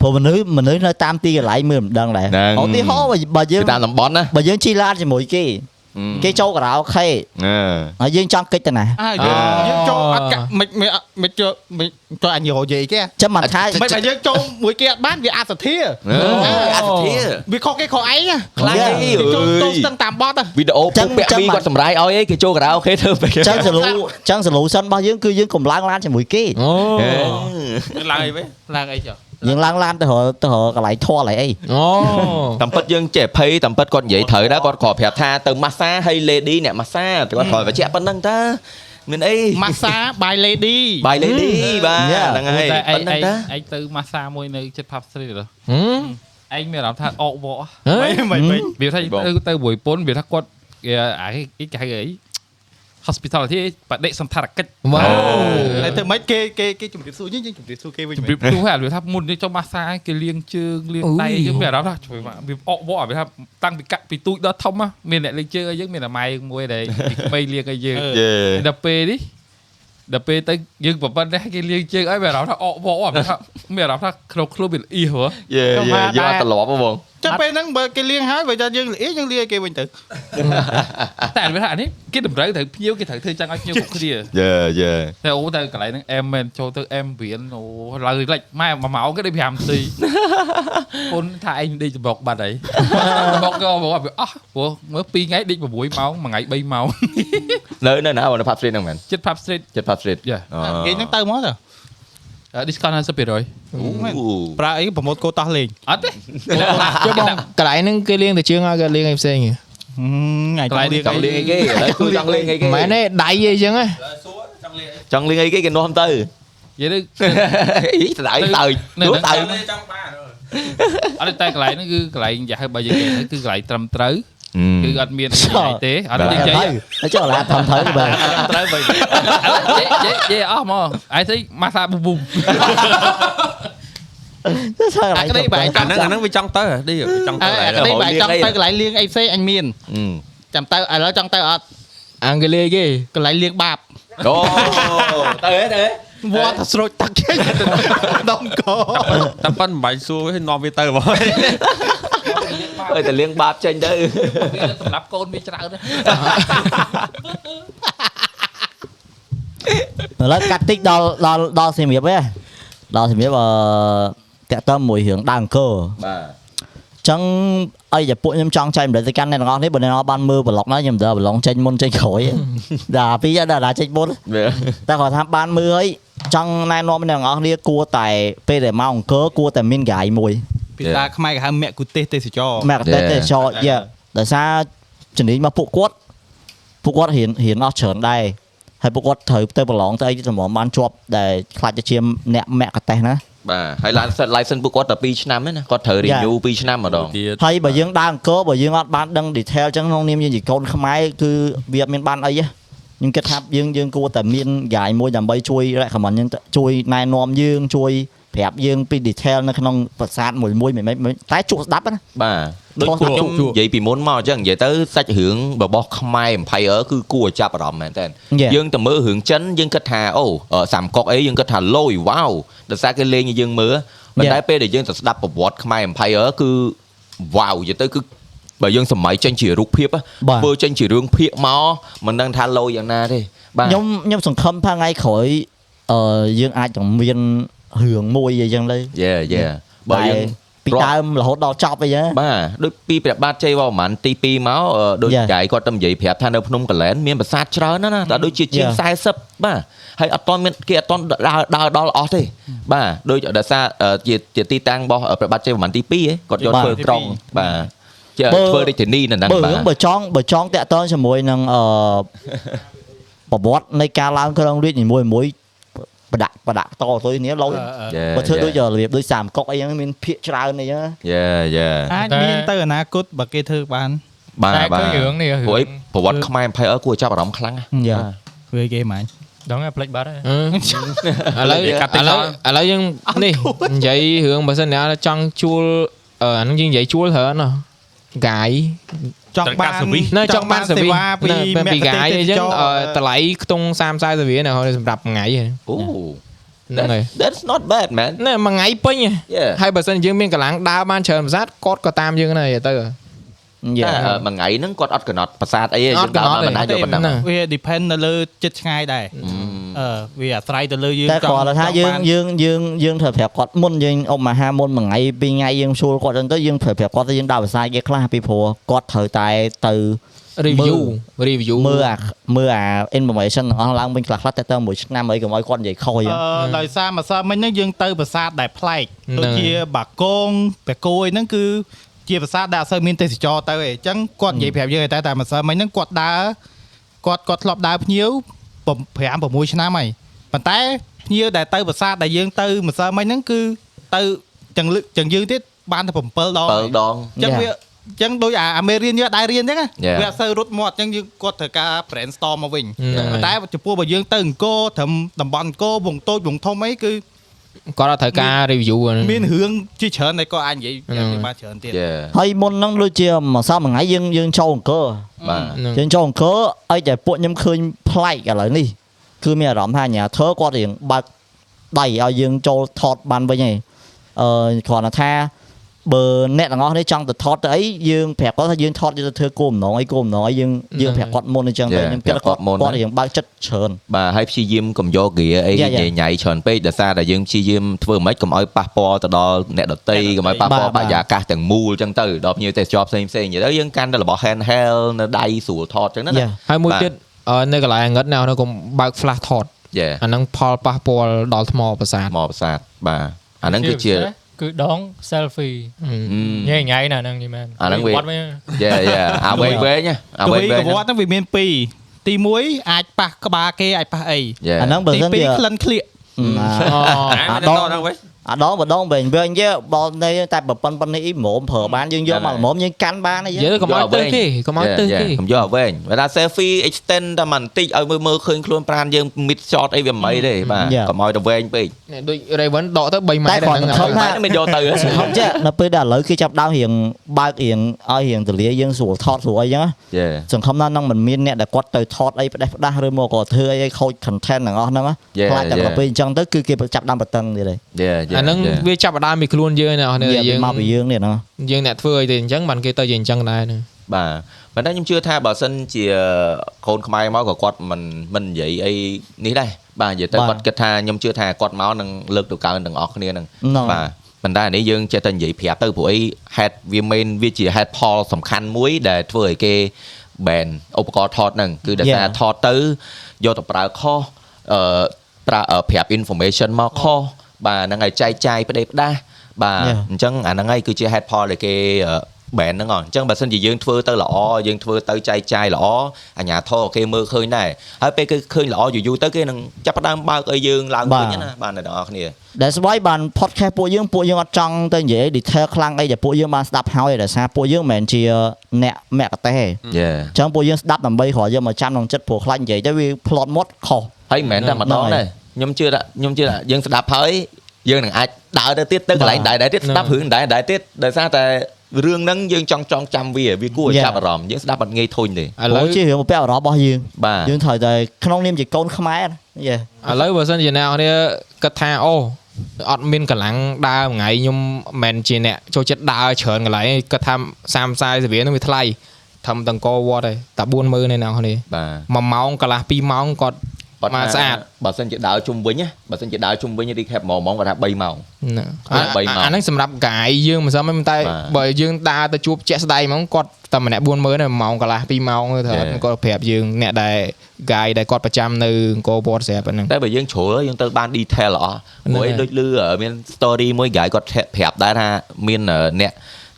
ព្រោះមនុស្សមនុស្សនៅតាមទីកន្លែងមើលមិនដឹងដែរ
ហ្នឹង
ឧទាហរណ៍បើបើយើង
ទៅតាមតំបន់ណា
បើយើងជិះឡានជាមួយគេ
Ừ.
គេចូលការ៉ាអូខេ
អឺ
ហើយយើងចង់កិច្ចទៅណា
អើយយើងចូលអត់កាក់មិនមិនអត់មិនចូលមិនចូលអញយោយាយគេ
ចាំមិនថា
មិនតែយើងចូលមួយគេអត់បានវាអសធា
អឺអសធា
វាខុសគេខុសឯងណា
ខ្លាំងទេ
គេចូលទូស្ទឹងតាមបត់ទៅ
វីដេអូពុកពាក់ពីគាត់សម្រាយឲ្យឯងគេចូលការ៉ាអូខេធ្វើពេក
ចឹងសលូចឹងសលូសិនរបស់យើងគឺយើងកំឡើងឡានជាមួយគេ
អូ
ឡើងអីវិញ
ឡើងអីចុះ
យើងឡើងឡានទៅរកទៅរកកន្លែងធေါ်កន្លែងអី
អូ
តាមពិតយើងចេះភ័យតាមពិតគាត់និយាយត្រូវដែរគាត់ក៏ប្រាប់ថាទៅម៉ាស្សាហើយ lady អ្នកម៉ាស្សាគាត់គាត់បញ្ជាក់ប៉ុណ្្នឹងតើមានអី
ម៉ាសាបាយលេឌី
បាយ lady បាទហ្នឹងហើយ
តែឯ
ប៉ុ
ង
ណ្្នឹង
ឯង
តើ
ឯងទៅម៉ាស្សាមួយនៅចិត្តផាប់ស្រីទៅ
ហឹ
ឯង
ម
មានអារម្មណ៍ថាអកវកហ៎
ហេ
វាថា
បង
ទៅទៅមួយពុនវាថាគាត់គេអាគេគេហៅអី hospitality បដិសន្តារកិច្ច
វ៉ាវ
តែធ្វើម៉េចគេគេគេជំរាបសួរយើងយើងជំរាបសួរគេវិញ
ជំរាបទូហើយវាថាមុននេះចូលម៉ាសាគេលាងជើងលាងដៃយើងមានអារម្មណ៍ថាជួយមកវាអកវកវាថាតាំងពីកាក់ពីទូចដល់ធំមានអ្នកលេងជើងឲ្យយើងមានអាម៉ែមួយដែលពីក្មេងលាងឲ្យយើង
យេ
ដល់ពេលនេះដល់ពេលទៅយើងប្រប៉ុណ្ណេះគេលាងជើងឲ្យមានអារម្មណ៍ថាអក [LAUGHS] វកថាមានអារម្មណ៍ថាក្នុងខ្លួនវាល្អហ៎
យេយេយកត្រឡប់ហ៎បង
ចាំពេលហ្នឹងបើគេលៀងហើយបើចាំយើងលាយើងលាគេវិញទៅ
តែវាថានេះគេតម្រូវត្រូវភ្ញៀវគេត្រូវធ្វើចឹងឲ្យភ្ញៀវគ្រប់គ្នា
យេយេ
តែអូតែកន្លែងហ្នឹងអែមមែនចូលទៅអែមរៀនអូឡើងលេចម៉ែមួយម៉ោងគេដល់5នាទីពុនថាឯងដេកសម្បុកបាត់ហើយសម្បុកក៏មកអស់ព្រោះមើល2ថ្ងៃដេក6ម៉ោងមួយថ្ងៃ3ម៉ោង
នៅនៅណាបងនៅ pub street ហ្នឹងមែន
ចិត្ត pub street
ចិត្ត pub street
យ៉ា
គេហ្នឹងទៅមកទៅ
discount 50%
អូ
ប្រើអីប្រម៉ូតកូតោះលេង
អត់ទេ
ចុះបងកន្លែងហ្នឹងគេលៀងតែជើងឲ្យគេលៀងឲ្យផ្សេងហ៎
ថ្ងៃទៅលៀង
ចង់លេងអីគេឥឡូវគឺចង់លេងអីគេ
មិនទេដៃអីចឹងហ៎
ចង់លេងអីគេគេនាំ [LAUGHS] ទៅ
និយាយទៅ
អីស្ដាយតើនោះតើ
ចង់បាន
អត់ទេតែកន្លែងហ្នឹងគឺកន្លែងយ៉ាហៅបើយើងនិយាយទៅគឺកន្លែងត្រឹមត្រូវគឺអត់មានអីណាយទេអត់មាននិ
Ờ,
យាយ
ហើយចូលឡានធំទៅបើ
ត្រូវវិញយេយេយេអស់មកអាយទីម៉ាសាប៊ូប៊ូ
ទៅឆ្លើយ
អាក្ដីបែរច
អា
ង់
ហ្នឹងអាហ្នឹងវាចង់ទៅហ៎នេះវាចង់ទៅ
អើអា
ហើយ
ក្ដី
ទៅ
បែរចង់
ហៅលៀងអី
ទៅកន្លែងលៀងអីផ្សេងអញមានចាំទៅឥឡូវចង់ទៅអត់
អង់គ្លេសគេ
កន្លែងលៀងបាប
អូទៅហេទៅហេ
វត្តស្រូចទឹកចេញដុំកោ
តែប៉ុនមិនបាច់សួរវានាំវាទៅបង
អើតែលៀងបាបចេញទៅ
[LAUGHS] វាសម្រាប់កូនវាច្រើនណាស់
ឥឡូវកាត់តិចដល់ដល់ដល់សៀមរាបឯងដល់សៀមរាបអឺតាក់តើមួយរឿងដើមអង្គរ
[LAUGHS] បាទ
ចឹងអីតែពួកខ្ញុំចង់ចែកម្លេចទៅកាន់អ្នកទាំងអស់នេះបើអ្នកនរបានមើលប្លុកណាខ្ញុំដើរប្លុកចេញមុនចេញក្រោយឯង ដាក់ពីរដាក់ចេញមុនតែគាត់ថាបានមើលហើយចង់ណែនាំអ្នកទាំងអស់គ្នាគួរតែពេលដែលមកអង្គរគួរតែមានកាយមួយ
ភាសាខ្មែរគេហៅមគ្គុទេសទេសចរ
មកតែ
Yeah.
ទេចរយដោយសារជំនាញរបស់ពួកគាត់ពួកគាត់រៀនរៀនអស់ច្រើនដែរហើយពួកគាត់ត្រូវទៅប្រឡងទៅអីសម្រាប់បានជាប់ដែលខ្លាចទៅជាអ្នកមគ្គុទេសណា
បាទហើយឡានសិត license ពួកគាត់តែ2ឆ្នាំទេណាគាត់ត្រូវ
Yeah.
renew 2ឆ្នាំម្ដង
ទៀត
ហើយបើយើងដើរអង្គរបើយើងអត់បានដឹង detail ចឹងក្នុងនាមយើងជាកូនខ្មែរគឺវាអត់មានបានអីហ៎ខ្ញុំគិតថាយើងយើងគួរតែមាន guide មួយដើម្បីជួយ recommend យើងទៅជួយណែនាំយើងជួយប្រាប់យើងពី detail នៅក្នុងប្រាសាទមួយមួយមិនមែនមិនមែនតែជក់ស្ដាប់ណា
បាទដូច
ខុស
ពួកខ្ញុំ
ខុស
និយាយពីមុនមកអញ្ចឹងនិយាយទៅសាច់រឿងរបស់ខ្មែរ Empire គឺគួរឲ្យចាប់អារម្មណ៍មែនតើ
Yeah.
យើងទៅមើលរឿងចិនយើងគិតថាអូអឺសាមកុកអីយើងគិតថាលយវ៉ាវដោយសារគេលេងឲ្យយើងមើលប៉ុ
Yeah.
ន្តែពេលដែលយើងទៅស្ដាប់ប្រវត្តិខ្មែរ Empire គឺវ៉ាវនិយាយទៅគឺបើយើងសម័យចេញជារូបភាពហ៎
បាទ
ធ្វើចេញជារឿងភាគមកមិនដឹងថាលយយ៉ាងណាទេបាទ
ខ្ញុំខ្ញុំសង្ឃឹមថាថ្ងៃក្រោយអឺយើងអាចនឹងមានរឿងមួយអីចឹងទៅ
យេយេបើយើង
ពី
រាប់
ដើមរហូតដល់ចប់អីចឹង
បាទដូចពីព្រះបាទជ័យវរ្ម័នទី2មកអឺដូច
Yeah.
កាយគាត់ទៅនិយាយប្រាប់ថានៅភ្នំកលែនមានប្រាសាទច្រើនណាស់ណាតែដូចជាជាង
Yeah.
40បាទហើយអត់ទាន់មានគេអត់ទាន់ដើរដើរដល់អស់ទេបាទដូចដោយសារអឺជាជាទីតាំងរបស់ព្រះបាទជ័យវរ្ម័នទី2ឯងគាត់យក
បាទ
ធ្វើត្រង់បាទជា
បើ
ធ្វើរាជធានីនៅហ្នឹង
បើ
បា
រឿង
ទ
បើចង់បើចង់តាក់ទងជាមួយនឹងអឺ ប្រវត្តិនៃការឡើងក្រុងរាជនីមួយមួយៗប្រដាក់ប្រដាក់តទៅនេះឡូវ
Yeah,
បើធ្វើដូច
yeah.
របៀបដូចសាមកុកអីហ្នឹងមានភាកច្រើនអីហ្នឹង
Yeah, yeah.
អាចមានទៅអនាគតបើគេធ្វើបាន
បាទ
តែ
បា
គឺ
ទ
រឿងនេះ
ព្រោះអី
រឿង
ប្រវត្តិខ្មែរ Empire គួរចាប់អារម្មណ៍ខ្លាំងណាស់
យ៉ា
ព្រោះគេហ្មង
ដឹងហើយផ្លេចបាត់ហើយ
អឺ ឥឡូវ
និយាយកាត់តិច
ឥឡូ
ចោ
វ
ល
ឥឡូវយើងនេះនិយាយរឿងបើសិនអ្នកចង់ជួលអឺអាហ្នឹងយើងនិយាយជួលច្រើនណាកាយ
ចង់បាន
នៅចង់បានសេវី
វាពី
នៅពីកាយអីចឹងអឺតម្លៃខ្ទង់30 40រៀលណាសម្រាប់មួយថ្ងៃហ
Ooh.
ហ្នឹង
[LAUGHS]
ហើយ
That's not bad man.
ណែមួយថ្ងៃពេញហ៎
Yeah.
[LAUGHS] ហើយបើសិនយើងមានកម្លាំងដើរបានច្រើនប្រាសាទគាត់ក៏តាមយើងដែរទៅ
តែអឺមួយថ
យ៉ា
្ងៃហ្នឹងគាត់អត់កំណត់ប្រាសាទអីទេ
អត់
យើងដើរ
កំ
បានមិន
ណត់ទេ
អាចយកប៉ុណ្ណឹង
វា depend នៅលើចិត្តឆ្ងាយដែរអឺវាអាស្រ័យទៅលើយើង
តែគាត់ថាយើងយើងយើងយើងត្រូវប្រាប់គាត់មុនយើងអុកមហាមុនមួយថ្ងៃពីរថ្ងៃយើងជួលគាត់ចឹងទៅយើងត្រូវប្រាប់គាត់ថាយើងដើរភាសាគេខ្លះពីព្រោះគាត់ត្រូវតែទៅ
review review
មើលអាមើលអា information ទាំងអស់ឡើងវិញខ្លះខ្លះតែទៅមួយឆ្នាំអីកុំឲ្យគាត់និយាយខុសអី
អ
ចឹង
ឺដោយសារម្សិលមិញហ្នឹងយើងទៅប្រាសាទដែលប្លែកដូចជាបាគងបាគួយហ្នឹងគឺជាប្រាសាទដែលអត់សូវមានទេសចរទៅឯងអញ្ចឹងគាត់និយាយប្រាប់យើងតែតែម្សិលមិញហ្នឹងគាត់ដើរគាត់គាត់ធ្លាប់ដើរភ្ញៀវ5 6ឆ្នាំហើយប៉ុន្តែភ្ញៀវដែលទៅប្រាសាទដែលយើងទៅម្សិលមិញហ្នឹងគឺទៅទាំងលឹកទាំងយើងទៀតបានតែ7ដងហើយ
7ដង
អញ្ចឹង
Yeah.
វាអញ្ចឹងដូចអាអាមេរៀនយើងអត់ដែររៀនអញ្ចឹងណា
Yeah.
វាអត់សូវរត់មាត់អញ្ចឹងយើងគាត់ត្រូវការ brainstorm មកវិញ
Yeah.
ប៉ុន្តែចំពោះបើយើងទៅអង្គរត្រឹមតំបន់អង្គរវងតូចវងធំអីគឺ
គាត់អត់ត្រូវការ review ហ្នឹង
មានរឿងជាច្រើនដែលគាត់អាចនិយាយ
ហ្នឹង
យ៉ាងនេះបានច្រើនទៀត
Yeah.
ហើយមុនហ្នឹងដូចជាមួយសប្តាហ៍មួយថ្ងៃយើងយើងចូលអង្គរ
បាទ
ហ្នឹង
យើងចូលអង្គរឲ្យតែពួកខ្ញុំឃើញប្លែកឥឡូវនេះគឺមានអារម្មណ៍ថាអាញាធើគាត់រៀងបើកដៃឲ្យយើងចូលថតបានវិញឯងអឺគ្រាន់តែថាបើអ្នកទាំងអស់នេះចង់ទៅថតទៅអីយើងប្រាប់គាត់ថាយើងថតយកទៅធ្វើគោលបំណងអីគោលបំណងអីយើងយើងប្រាប់គាត់មុនអញ្ចឹងទៅ
Yeah,
ខ្ញុំគិតថា
ប្រាប់គា
គាត់
ត់មុន
គាត់រៀងបើកចិត្តច្រើន
បាទហើយព្យាយាមកុំយកហ្គាអី
Yeah, yeah.
ញ៉ៃញ៉ៃច្រើនពេកដោយសារតែយើងព្យាយាមធ្វើមិនខ្មិចកុំឲ្យប៉ះពាល់ទៅដល់អ្នកដតីកុំឲ្យប៉ះពាល់ប
បាទ
រិយាកាសទាំងមូលអញ្ចឹងទៅដល់ភ្ញៀវទេសចរផ្សេងផ្សេងៗទៅយើងកាន់តែរបស់ hand held នៅដៃស្រួលថតអញ្ចឹងណាណា
Yeah.
ហើយមួយ
បាទ
ទៀតអឺនៅកន្លែងងឹតណៅនៅកុំបើក flash ថត
យេ
អាហ្នឹងផលប៉ះពាល់ដល់ថ្មប្រាសាទ
ថ្មប្រាសាទបាទអាហ្នឹងគឺជា
គឺដង selfie
Ừ.
ញ៉ៃញ៉ៃណាហ្នឹងនេះមែន
អាហ្នឹងវា
វត្តវិញ
យេយេអាវែងវែងៗណាអាវែងវែង
ទ្វីកវត្តហ្នឹងវាមាន2ទី1អាចប៉ះក្បាលគេអាចប៉ះអី
យេ
អាហ្នឹងបើ
ទី
សិនជា
2ក្លិនក្លៀក
អឺ
អា
អា
មិន
ដ
ដល់
ង
ដល់ហ្នឹងវិញ
អាដងម្ដងវិញវិញយើបោនេះតែប្រប៉ុនប៉ុននេះអ៊ីហ្មងព្រើបានយើងយកមកល្មមយើងកាន់បានហើយយើ
យើកុំឲ្យទៅគេកុំឲ្យទៅគេ
ខ្ញុំយកឲ្យវែងបើថា selfie extend តែបន្តិចឲ្យមើលមើលឃើញខ្លួនប្រានយើង mid shot អីវាមិនទេបាទ
Yeah.
កុំឲ្យទៅវែងពេក
នេះដូច Raven ដកទៅ3ម៉ែ
តែ
ត្រ
គាត់
ហ្នឹ
មិន
ង
ខំ
ហើយ
ថា
មិនយកទៅហ៎
ខំចេះដល់ពេលដែលឥឡូវគេចាប់ដើមរៀងបើករៀងឲ្យរៀងទលាយើងស្រួលថតស្រួលអីចឹងណា
Yeah.
សង្ឃឹមថានឹងមិនមានអ្នកដែលគាត់ទៅថតអីផ្ដេសផ្ដាស់ឬមកក៏ធ្វើអីឲ្យខូច content ទាំងអស់ហ្នឹងណា
Yeah,
ខ្លាចតែ
yeah.
ដល់ពេលអញ្ចឹងទៅគឺគេចាប់ដើមប្រតឹងទៀតហើយ
Yeah, yeah,
អាហ្នឹង
yeah.
វាចាប់ផ្ដើមពីខ្លួនយើងណាអស់នេះ
Yeah,
យើង
មកពីយើងនេះណា
យើងអ្នកធ្វើអីទេអញ្ចឹងបានគេទៅជាអញ្ចឹងដែរហ្នឹង
បាទប៉ុន្តែខ្ញុំជឿថាបើសិនជាកូនខ្មែរមកក៏គាត់មិនមិននិយាយអីនេះដែរបាទនិយាយទៅ
បាទ
គាត់គិតថាខ្ញុំជឿថាគាត់មកនឹងលើកទៅកើនទាំងអស់គ្នានឹង
ហ្នឹង
បាទប៉ុន្តែអានេះយើងចេះតែនិយាយប្រាប់ទៅព្រោះអី head វា main វាជា head poll សំខាន់មួយដែលធ្វើឲ្យគេ ban ឧបករណ៍ថតហ្នឹងគឺដោយសារ
Yeah.
ថតទៅយកទៅប្រើខុសអឺប្រើអឺប្រាប់ information មកខុសបាទហ្នឹងហើយចែកចាយផ្ដេសផ្ដាស់បាទ
Yeah.
អញ្ចឹងអាហ្នឹងហើយគឺជា head poll ដែលគេអឺ brand ហ្នឹងអត់អញ្ចឹងបើសិនជាយើងធ្វើទៅល្អយើងធ្វើទៅចែកចាយល្អអាញាធរគេមើលឃើញដែរហើយពេលគេឃើញល្អយូរយូរទៅគេនឹងចាប់ផ្ដើមបើកឲ្យយើងឡើង
បាទ
វិញណាបាទអ្នកទាំងអស់គ្នា
ដែលស្វាយបាន podcast ពួកយើងពួកយើងអត់ចង់ទៅនិយាយ detail ខ្លាំងអីដែលពួកយើងបានស្ដាប់ហើយដោយសារពួកយើងមិនមែនជាអ្នកមគ្គទេសទេ
យេ
អញ្ចឹងពួកយើងស្ដាប់ដើម្បីគ្រាន់យកមកចាំក្នុងចិត្តព្រោះខ្លាចនិយាយទៅវាផ្លត់មាត់ខុស
ហើយមិនមែនតែម្ដងទេខ្ញុំជឿថាខ្ញុំជឿថាយើងស្ដាប់ហើយយើងនឹងអាចដើរទៅទៀតទៅកន្លែង
បាទ
ដែរដែរទៀតស្ដាប់
ហ្នឹង
រឿងដែរដែរទៀតដោយសារតែរឿងហ្នឹងយើងចង់ចងចាំវាវាគួរឲ្យ
Yeah.
ចាប់អារម្មណ៍យើងស្ដាប់អត់ងាយធុញទេ
ឥ
ព្រ
ឡូវ
ោះជារឿងបំពាក់អារម្មណ៍របស់យើង
បាទ
យើងត្រូវតែក្នុងនាមជាកូនខ្មែរយេ
ឥឡូវបើសិនជាអ្នកនរគ្នាគិតថាអូអត់មានកម្លាំងដើរមួយថ្ងៃខ្ញុំមិនមែនជាអ្នកចូលចិត្តដើរច្រើនកន្លែងគិតថា30 40សេវាហ្នឹងវាថ្លៃធំតង្កវត្តឯងតែ40000ឯអ្នកនរគ្នា
បាទ
1ម៉ោងកន្លះ2ម៉ោងគាត់
គាត់
បាទ
ថា
ស្អាត
បើសិនជាដើរជុំវិញណាបើសិនជាដើរជុំវិញ recap ហ្មងហ្មងគាត់ថា3ម៉ោង
ណា
អា
អា
បីម៉ោង
អាហ្នឹងសម្រាប់កាយយើងមិនសមទេប៉ុន្តែ
បាទ
បើយើងដើរទៅជួបជាក់ស្ដែងហ្មងគាត់តែម្នាក់40000ហ្នឹងម៉ោងកន្លះ2ម៉ោងទៅ
Yeah.
គាត់ប្រាប់យើងអ្នកដែលកាយដែលគាត់ប្រចាំនៅអង្គរវត្តស្រាប់ហ្នឹង
តែបើយើងជ្រុលយើងទៅបាន detail ល្អ
ហ្នឹង
ព្រោះឯ
ហើយ
ងដូចលឺមាន story មួយ guy គាត់ប្រាប់ដែរថាមានអ្នក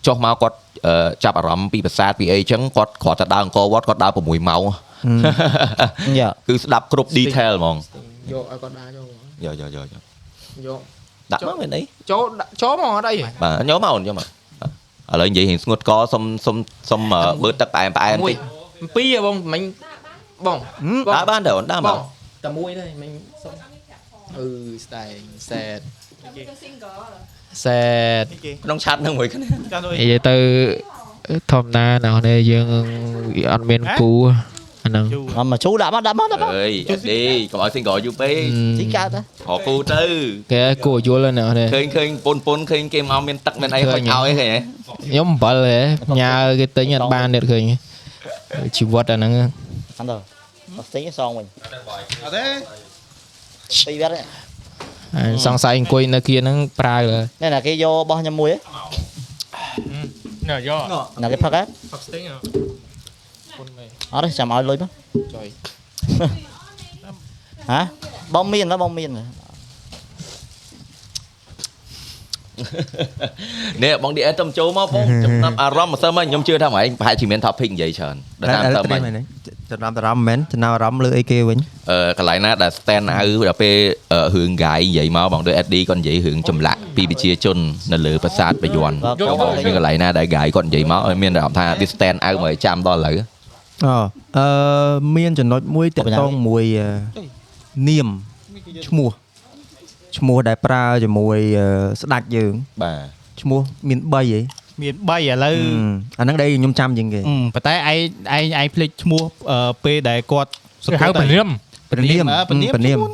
ចុះមកគាត់អឺចាប់អារម្មណ៍ពីប្រាសាទពីអីចឹងគាត់គ្រាន់តែដើរអង្គរវត្តគាត់ដើរ6ម៉ោង
Ừ,
[LAUGHS]
យេ
គឺស្ដាប់គ្រប់ detail ហ្មង
យកឲ្យគាត់ដើរចូល
យកយកយកយក
យក
ដាក់មកមានអី
ចូលចូលមកអត់អី
បាទញោមមកអូនញោមមកឥឡូវនិយាយរឿងស្ងួតកសុំសុំសុំអឺបើកទឹកផ្អែមផ្អែម
មួយ
តិច
ពីរហ៎បងមិញបង
ដើរបានទេអូនដើរម
ប
ក
ងតែមួយទេមិញសុំអឺស្ដែងសែតសែត
ក្នុងឆាតនឹងមួយ [LAUGHS] គ្នា
និយាយទៅធម្មតាណាស់នេះយើងអត់មានគូអាហ្នឹង
មកមកជូរដាក់មកដាក់មកដាក់មក
អើយអត់ទេកុំឲ្យ single យូរពេក
Ừ.
ជីកើតទៅ
ខកគូទៅ
គេគួរយល់ណាស់នេះ
ឃើញឃើញពុនពុនឃើញគេមកមានទឹកមានអី
ឃើ
ហុច
ញ
ឲ្យឃើញហ៎ [LAUGHS]
ខ្ញុំអំបិលហ៎ផ្ញើគេទិញអត់បានទៀតឃើញជីវិតអាហ្នឹង
អត់ទៅអត់ស្ទិញសងវិញអត់ទេពីវានេះ
សង្ស័យអង្គុយនៅគៀហ្នឹងប្រើលើ
នេះណាគេយករបស់ខ្ញុំមួយ
នេះយក
ណាគេផឹកហ៎
ផឹកស្ទិញអ่ะ
អត់ទេចាំឲ្យលុយមក [LAUGHS] ហ៎បងមានណាបងមាន
នេះបង DS ទៅចូលមក [LAUGHS] បងចំណាប់អារម្មណ៍មិនសិនមកខ្ញុំជឿថាហ្មងប្រហែលជាមាន topic និយាយច្រើនដល់តាមទៅមិញ
ចំណាំតារម្មណ៍មែនចំណាំអារម្មណ៍លើអីគេវិញ
អឺកន្លែងណាដែល stand out ដល់ពេលអឺរឿងកាយនិយាយមកបងដូច SD គាត់និយាយរឿងចម្លាក់ពីប្រជាជននៅលើប្រា [LAUGHS] សាទបាយ័នមានកន្លែងណាដែលកាយគាត់និយាយមកឲ្យមានអារម្មណ៍ថាវា stand out មកឲ្យចាំដល់ឥឡូវ
អូអឺមានចំណុចមួយតាក់ទងមួយអឺនាមឈ្មោះឈ្មោះដែលប្រើជាមួយអឺស្ដាច់យើង
បាទ
ឈ្មោះមាន3ហី
មាន3ឥឡូវ
អាហ្នឹងដែរខ្ញុំចាំជាងគេ
អឺប៉ុន្តែឯងឯងឯងភ្លេចឈ្មោះអឺពេលដែលគាត់
គេហៅ
តែ
ព្រាម
ព្រានាម
ព្រានាមអ่ะព្រានាម
ព្រានាម
ឈ្មោះ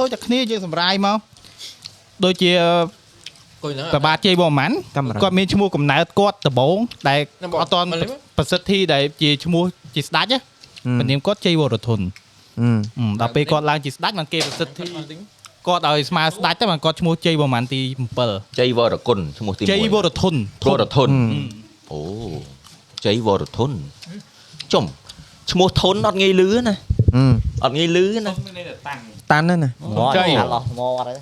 ដូចតែគ្នាយើងសម្រាយមកដូចជា
អង្គុយហ្នឹង
ប្របាទជ័យបងម៉ាន់
កាមេរ៉ា
គាត់មានឈ្មោះកំណើតគាត់ដំបងដែលអត់ត
មកលេងមក
ប្រសិទ្ធិដែលជាឈ្មោះជាស្ដេចណាព្រានាមគាត់ជ័យវរធន
អឺ
អឺដល់ពេលគាត់ឡើងជាស្ដេចបានគេប្រសិទ្ធិគាត់ឲ្យស្មើស្ដេចទៅបានគាត់ឈ្មោះជ័យប្រហែលទី
ជ័យវរគុណឈ្មោះទី
7ជ័យវរធន
1វរធនអូជ័យវរធនចំឈ្មោះធនអត់ងាយលឺណា
អឺ
អត់ងាយលឺណា
តាន់ណាស់ណា
មកអត់អស់មកអត់ទេ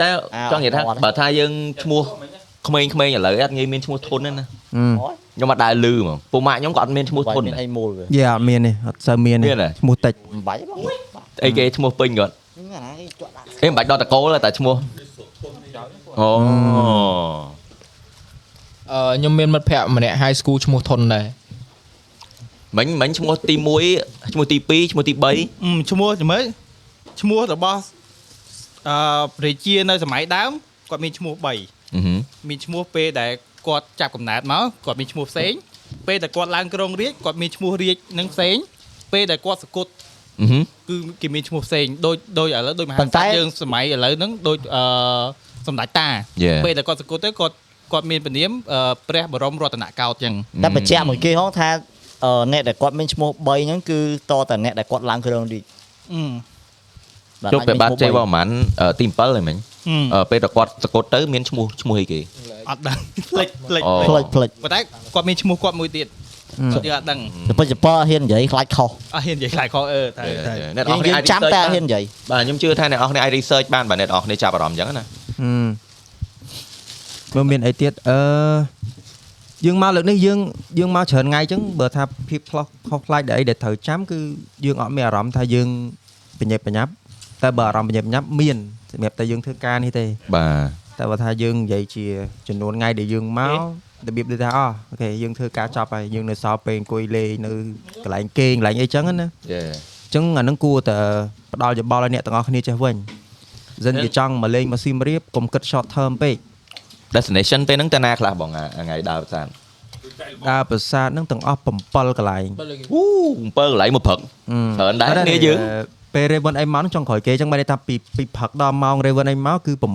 តែ
អ่า
ចង់និយាយថា
អត់អត់
បើថាយើងឈ្មោះក្មេងៗឥឡូវអត់ងាយមានឈ្មោះធន់ទេណាខ្ញុំអត់ដែរលឺហ្មងពូម៉ាក់ខ្ញុំក៏អត់មានឈ្មោះធ
បា
ន់
ញ់មាន
ដែរ
អីមូលវា
យេអត់មានទេអត់សូវមានទេ
មានទេ
ឈ្មោះតិច
មិនបាច់ទេបង
អីគេឈ្មោះពេញគាត់
ហ្នឹងណាគេជក់ដាក់
អេមិនបាច់ដល់តកូលទេតែឈ្មោះ អូ
អឺខ្ញុំមានមិត្តភក្តិម្នាក់ high school ឈ្មោះថុនដែរ
មិញមិញឈ្មោះទី1ឈ្មោះទី2ឈ្មោះទី3
អឺឈ្មោះចាំមើលឈ្មោះរបស់អឺព្រះជានៅសម័យដើមគាត់មានឈ្មោះ3មានឈ្មោះពេលដែលគាត់ចាប់កំណើតមកគាត់មានឈ្មោះផ្សេងពេលដែលគាត់ឡើងក្រុងរាជគាត់មានឈ្មោះរាជនឹងផ្សេងពេលដែលគាត់សកុតគឺគេមានឈ្មោះផ្សេងដូចដូចឥឡូវដូចមហា
ប៉ុន្តែ
ក្សត្រយើងសម័យឥឡូវហ្នឹងដូចអឺសម្ដេចតា
Yeah.
ពេលដែលគាត់សកុតទៅគាត់គាត់មានព្រានាមអឺព្រះបរមរតនកោដ្ឋចឹង
តែបញ្ជាក់មួយគេហងថាអឺអ្នកដែលគាត់មានឈ្មោះ3ហ្នឹងគឺតតអ្នកដែលគាត់ឡើងគ្រឿងរាជ
ជប់ទៅបាត់ជ័យវ
អ
រ្ម័នអឺទី7ហើយមិញ
អឺ
អឺពេលដល់គាត់សកុតទៅមានឈ្មោះឈ្មោះអីគេ
[LAUGHS] អត់ដឹង [LAUGHS] ផ្លេចផ្លេច
អូ
ផ្លិចផ្លិច
ប៉ុន្តែគាត់មានឈ្មោះគាត់មួយទៀតគាត់យើងអត់ដឹង
ទៅពិតចប៉ហ៊ាននិយាយខ្លាចខុស
អត់ហ៊ាននិយាយខ្លាចខុសអឺតែតែ
អ្នកនរ
យើង
គ្នា
យើង
អាច
ចាំតែអត់ហ៊ាននិយាយ
បាទខ្ញុំជឿថាអ្នកនរគ្នាអាច research បានបាទអ្នកនរគ្នាចាប់អារម្មណ៍អញ្ចឹងណា
ហឹមមើលមានអីទៀតអឺយើងមកលើកនេះយើងយើងមកច្រើនថ្ងៃអញ្ចឹងបើថាភាពផ្លោះខុសខ្លាចដែលអីដែលត្រូវចាំគឺយើងអត់មានអារម្មណ៍ថាយើងបញ្ញាប់បញ្ញាប់តែបើអារម្មណ៍បញ្ញាប់បញ្ញាប់មានសម្រាប់តែយើងធ្វើការនេះទេ
បាទ
តែបើថាយើងនិយាយជាចំនួនថ្ងៃដែលយើងមករបៀបដូចថាអោះអូខេយើងធ្វើការចប់ហើយយើងនៅសល់ពេលអង្គុយលេងនៅកន្លែងគេងកន្លែងអីចឹងណាអញ្
យេ
ចឹងអាហ្នឹងគួរតែផ្ដល់យោបល់ឲ្យអ្នកទាំងអស់គ្នាចេះវិញសិនជាចង់មកលេងមកស៊ីមរៀបកុំគិត short term ពេក
destination ពេលហ្នឹងតាណាខ្លះបងអាថ្ងៃដើរសាន
ដល់ប្រាសាទហ្នឹងទាំងអស់7កន្លែង
អូ7កន្លែងមកព្រឹក ច្រើនដែរគ្នាយើង
ពេល Raven អីមកហ្នឹងចង់ក្រោយគេអញ្ចឹងបានន័យថាពីពីព្រឹកដល់ម៉ោង Raven អីមកគឺ6
ហ្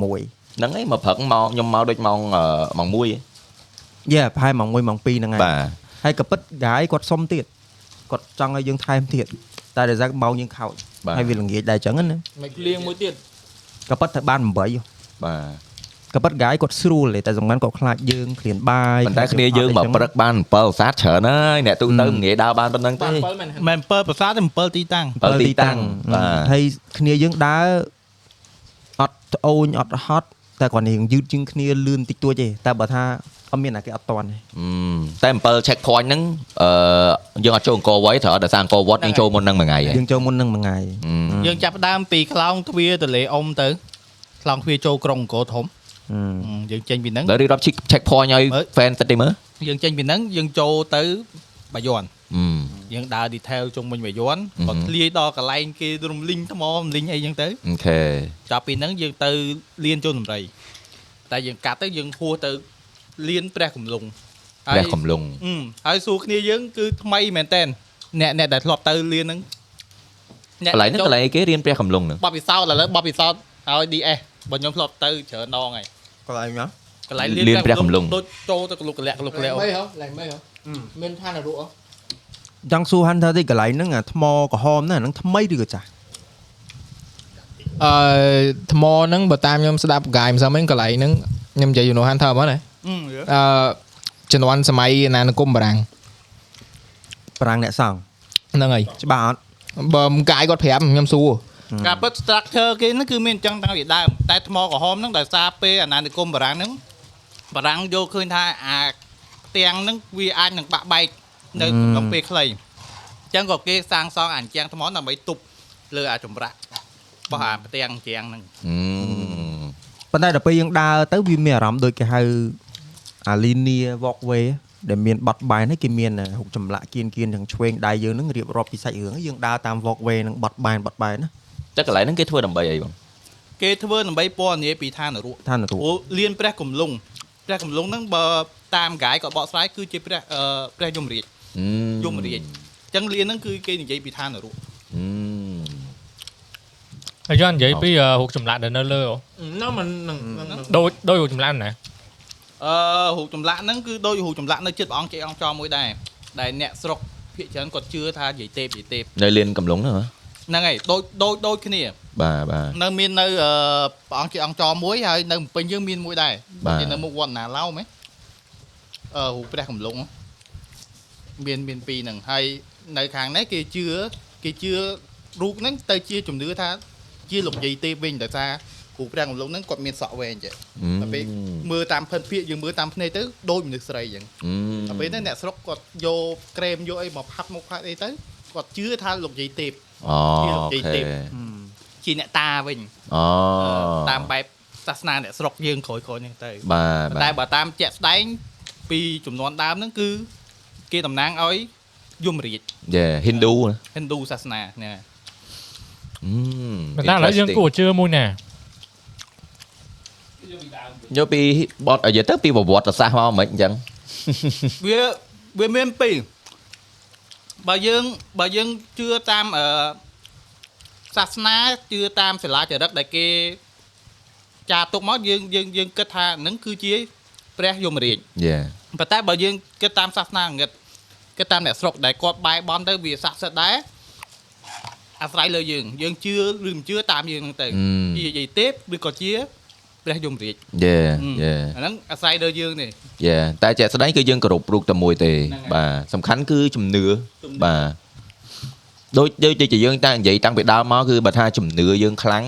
នឹងឯងមកព្រឹកមកខ្ញុំមកដូចម៉ោងអឺម៉ោង1ហ៎
យេប្រហែលម៉ោង1ម៉ោង2ហ្នឹង
បាទ
ហើយហើយក៏ពិតដែរគាត់សុំទៀតគាត់ចង់ឲ្យយើងថែមទៀតតែដល់តែម៉ោងយើងខោច
បាទ
ហើយវាល្ងាចដែរអញ្ចឹងណា
មិនលៀងមួយទៀត
ក៏ពិតទៅបាន8
បាទ
ក៏ពិតហ្គាយគាត់ស្រួលទេតែសំខាន់គាត់ខ្លាចយើងគ្រានបាយ
ប៉ុន្តែគ្នាយើងមកព្រឹកបាន7សាស្ត្រច្រើនហើយអ្នកទូទៅមិនងាយដើរបានប៉ុណ្ណឹងទេ
7មែន
មិន7ប្រាសាទទេ7ទីតាំង
7ទីតាំង
បាទ
ហើយគ្នាយើងដើរអត់ត្អូញអត់ហត់តែគាត់នេះយឺតជាងគ្នាលឿនតិចតួចទេតែបើថាអត់មានអាគេអត់តន់ទេ
អឺតែ7 check point ហ្នឹងអឺយើងអត់ចូលអង្គរវត្តត្រូវដល់សារអង្គរវត្តយើងចូលមុនហ្នឹងមួយថ្ងៃឯង
យើងចូលមុននឹងមួយថ្ងៃ
យើងចាប់ផ្ដើមពីខ្លោងទ្វារទន្លេអុំទៅខ្លោងទ្វារចូលក្រុងអង្គរធំយើងចេញពីហ្នឹង
ដល់រៀបរាប់ check check point ឲ្យ
មើល
fan តិចទេមើល
យើងចេញពីហ្នឹងយើងចូលទៅបាយ័នយើងដើរ detail ជុំវិញបាយ័ន
ហឹម
ក៏ធ្លាយដល់កន្លែងគេរំលីងថ្មរំលីងអីចឹងទៅ
អូខេ
ចាប់ពីហ្នឹងយើងទៅលៀនចូលសំរីតែយើងកាត់ទៅយើងហួសទៅលៀនព្រះកំលុង
ព្រះកំឡុង
អឺហើយសួរគ្នាយើងគឺថ្មីមែនតែនអ្នកអ្នកដែលធ្លាប់ទៅលៀនហ្នឹង
កន្លែងហ្នឹងកន្លែងអីគេរៀនព្រះកំឡុងហ្នឹង
បបពិសោធន៍ឥឡូវបបពិសោធន៍ឲ្យ DS បងខ្ញុំធ្លាប់ទៅច្រើនដងហើយ
កន្លែងណា
កន្លែង
រៀនព្រះកំឡុង
ដូចចូលទៅកលុកកលាក់កលុកកលាក់
ហ៎ឡើងមិនហ៎មានឋានរੂអ
ចង់សួរ Hunter តិចកន្លែងហ្នឹងអាថ្មក្រហមហ្នឹងអាហ្នឹងថ្មីឬក៏ចាស់
អឺថ្មហ្នឹងបើតាមខ្ញុំស្ដាប់ហ្គាយមិនសមហ្នឹងកន្លែងហ្នឹងខ្ញុំនិយាយយូណូហានថាអត់ណាអឺជំនាន់សម័យអាណានិគមបារាំង
ប្រាំងអ្នកសង្ឃ
ហ្នឹងហើយ
ច្បាស់អត់
បើមកាយគាត់ប្រាប់ខ្ញុំសួរ
ការពិត structure គេហ្នឹងគឺមានអញ្ចឹងតាំងពីដើមតែថ្មក្រហមហ្នឹងដោយសារពេលអាណានិគមបារាំងហ្នឹងបារាំងយល់ឃើញថាអាផ្ទាំងហ្នឹងវាអាចនឹងបាក់បែកនៅក្នុងពេលខ្លីអញ្ចឹងក៏គេសាងសង់អាអញ្ចឹងថ្មដើម្បីទប់លើអាចម្រាក់របស់អាផ្ទាំងអញ្ចឹងហ្នឹង
អឺ
ប៉ុន្តែដល់ពេលយើងដើរទៅវាមានអារម្មណ៍ដូចគេហៅអាលីនី walkway ដែលមានបត់បែនហ្នឹងគេមានហុកចម្លាក់គៀនគៀនទាំងឆ្វេងដៃយើងហ្នឹងរៀបរាប់ពីសាច់រឿងហ្នឹងយើងដើរតាម walkway ហ្នឹងបត់បែនបត់បែនណា
តែកន្លែងហ្នឹងគេធ្វើដើម្បីអីបង
គេធ្វើដើម្បីពណ៌នាពីឋាននរក
ឋាននរ
ព្រោះលៀនព្រះកំលុងព្រះកំលុងហ្នឹងបើតាមកាយក៏បកស្រាយគឺជាព្រះអឺព្រះយមរាជយមរាជអញ្ចឹងលៀនហ្នឹងគឺគេនិយាយពីឋាននរក
អឺ
ហើយយើងនិយាយពីហុកចម្លាក់ដែលនៅលើហ៎
ហ្នឹងមិនហ្នឹង
ដូចដូចហុកចម្លាក់ណា
អឺរូបចម្លាក់ហ្នឹងគឺដូចរូបចម្លាក់នៅចិត្តព្រះអង្គជ័យអង្គចោមមួយដែរដែលអ្នកស្រុកភាគច្រើនគាត់ជឿថាយាយទេពយាយទេព
នៅលៀនកំឡុងហ្នឹងហ៎
ហ្នឹងហើយដូចដូចដូចគ្នា
បាទបាទ
នៅមាននៅអឺព្រះអង្គជ័យអង្គចោមមួយហើយនៅភ្នំពេញយើងមានមួយដែរ
បាទ
គេនៅមុខវត្តណាឡោមហ៎អឺរូបព្រះកំឡុងមានមានពីរហ្នឹងហើយនៅខាងនេះគេជឿគេជឿរូបហ្នឹងទៅជាជំនឿថាជាលោកយាយទេពវិញដោយសារគ្រូព្រះកំឡុងហ្នឹងគាត់មានសក់វែងចេះ
អឺ
តែពេលមើលតាមផិនភាកយើងមើលតាមភ្នែកទៅដូចមនុស្សស្រីអញ្ចឹងតែពេលហ្នឹងអ្នកស្រុកគាត់យកក្រែមយកអីមកផាត់មកផាត់អីទៅគាត់ជឿថាលោកយាយទេព
អូ
ជាលោកយាយ
ខេ
ទេព ជាអ្នកតាវិញ
អូ
តាមបែប សាសនាអ្នកស្រុកយើងក្រោយក្រោយនេះទៅ
បាទ
តែ
បាទ
បើតាមជាក់ស្ដែងពីចំនួនដើមហ្នឹងគឺគេតំណាងឲ្យយមរាជ
យេ Hindu ណា
ហិណ្ឌូសាសនានេះ
Mm,
ប៉ុន្តែឥឡូវយើងគួរជឿមួយណា
interesting យកពីបត់និយាយទៅពីប្រវត្តិសាស្ត្រមកហ្មងអញ្ចឹង
វាវាមានពីរបើយើងបើយើងជឿតាមអឺសាសនាជឿតាមសិលាចារឹកដែលគេចារទុកមកយើងយើងយើងគិតថាហ្នឹងគឺជាព្រះយមរាជ
យេ
ប៉ុន្តែបើយើងគិតតាមសាសនាអង្កឹតគិតតាមអ្នកស្រុកដែលគាត់បែរបន់ទៅវាស័ក្តិសិទ្ធិដែរអាស្រ័យលើយើងយើងជឿឬមិនជឿតាមយើងហ្នឹងទៅជាយាយទេពឬក៏ជាព្រះយមរាជ
យេយេ
អាហ្នឹងអាស្រ័យលើយើងនេះ
យេតែជាក់ស្ដែងគឺយើងគោរពរូបតែមួយទេ
ហ្នឹងហើយ
បាទសំខាន់គឺជំនឿ
ជំនឿ
បាទដូចដូចដូចជាយើងតាំងនិយាយតាំងពីដើមមកគឺបើថាជំនឿយើងខ្លាំង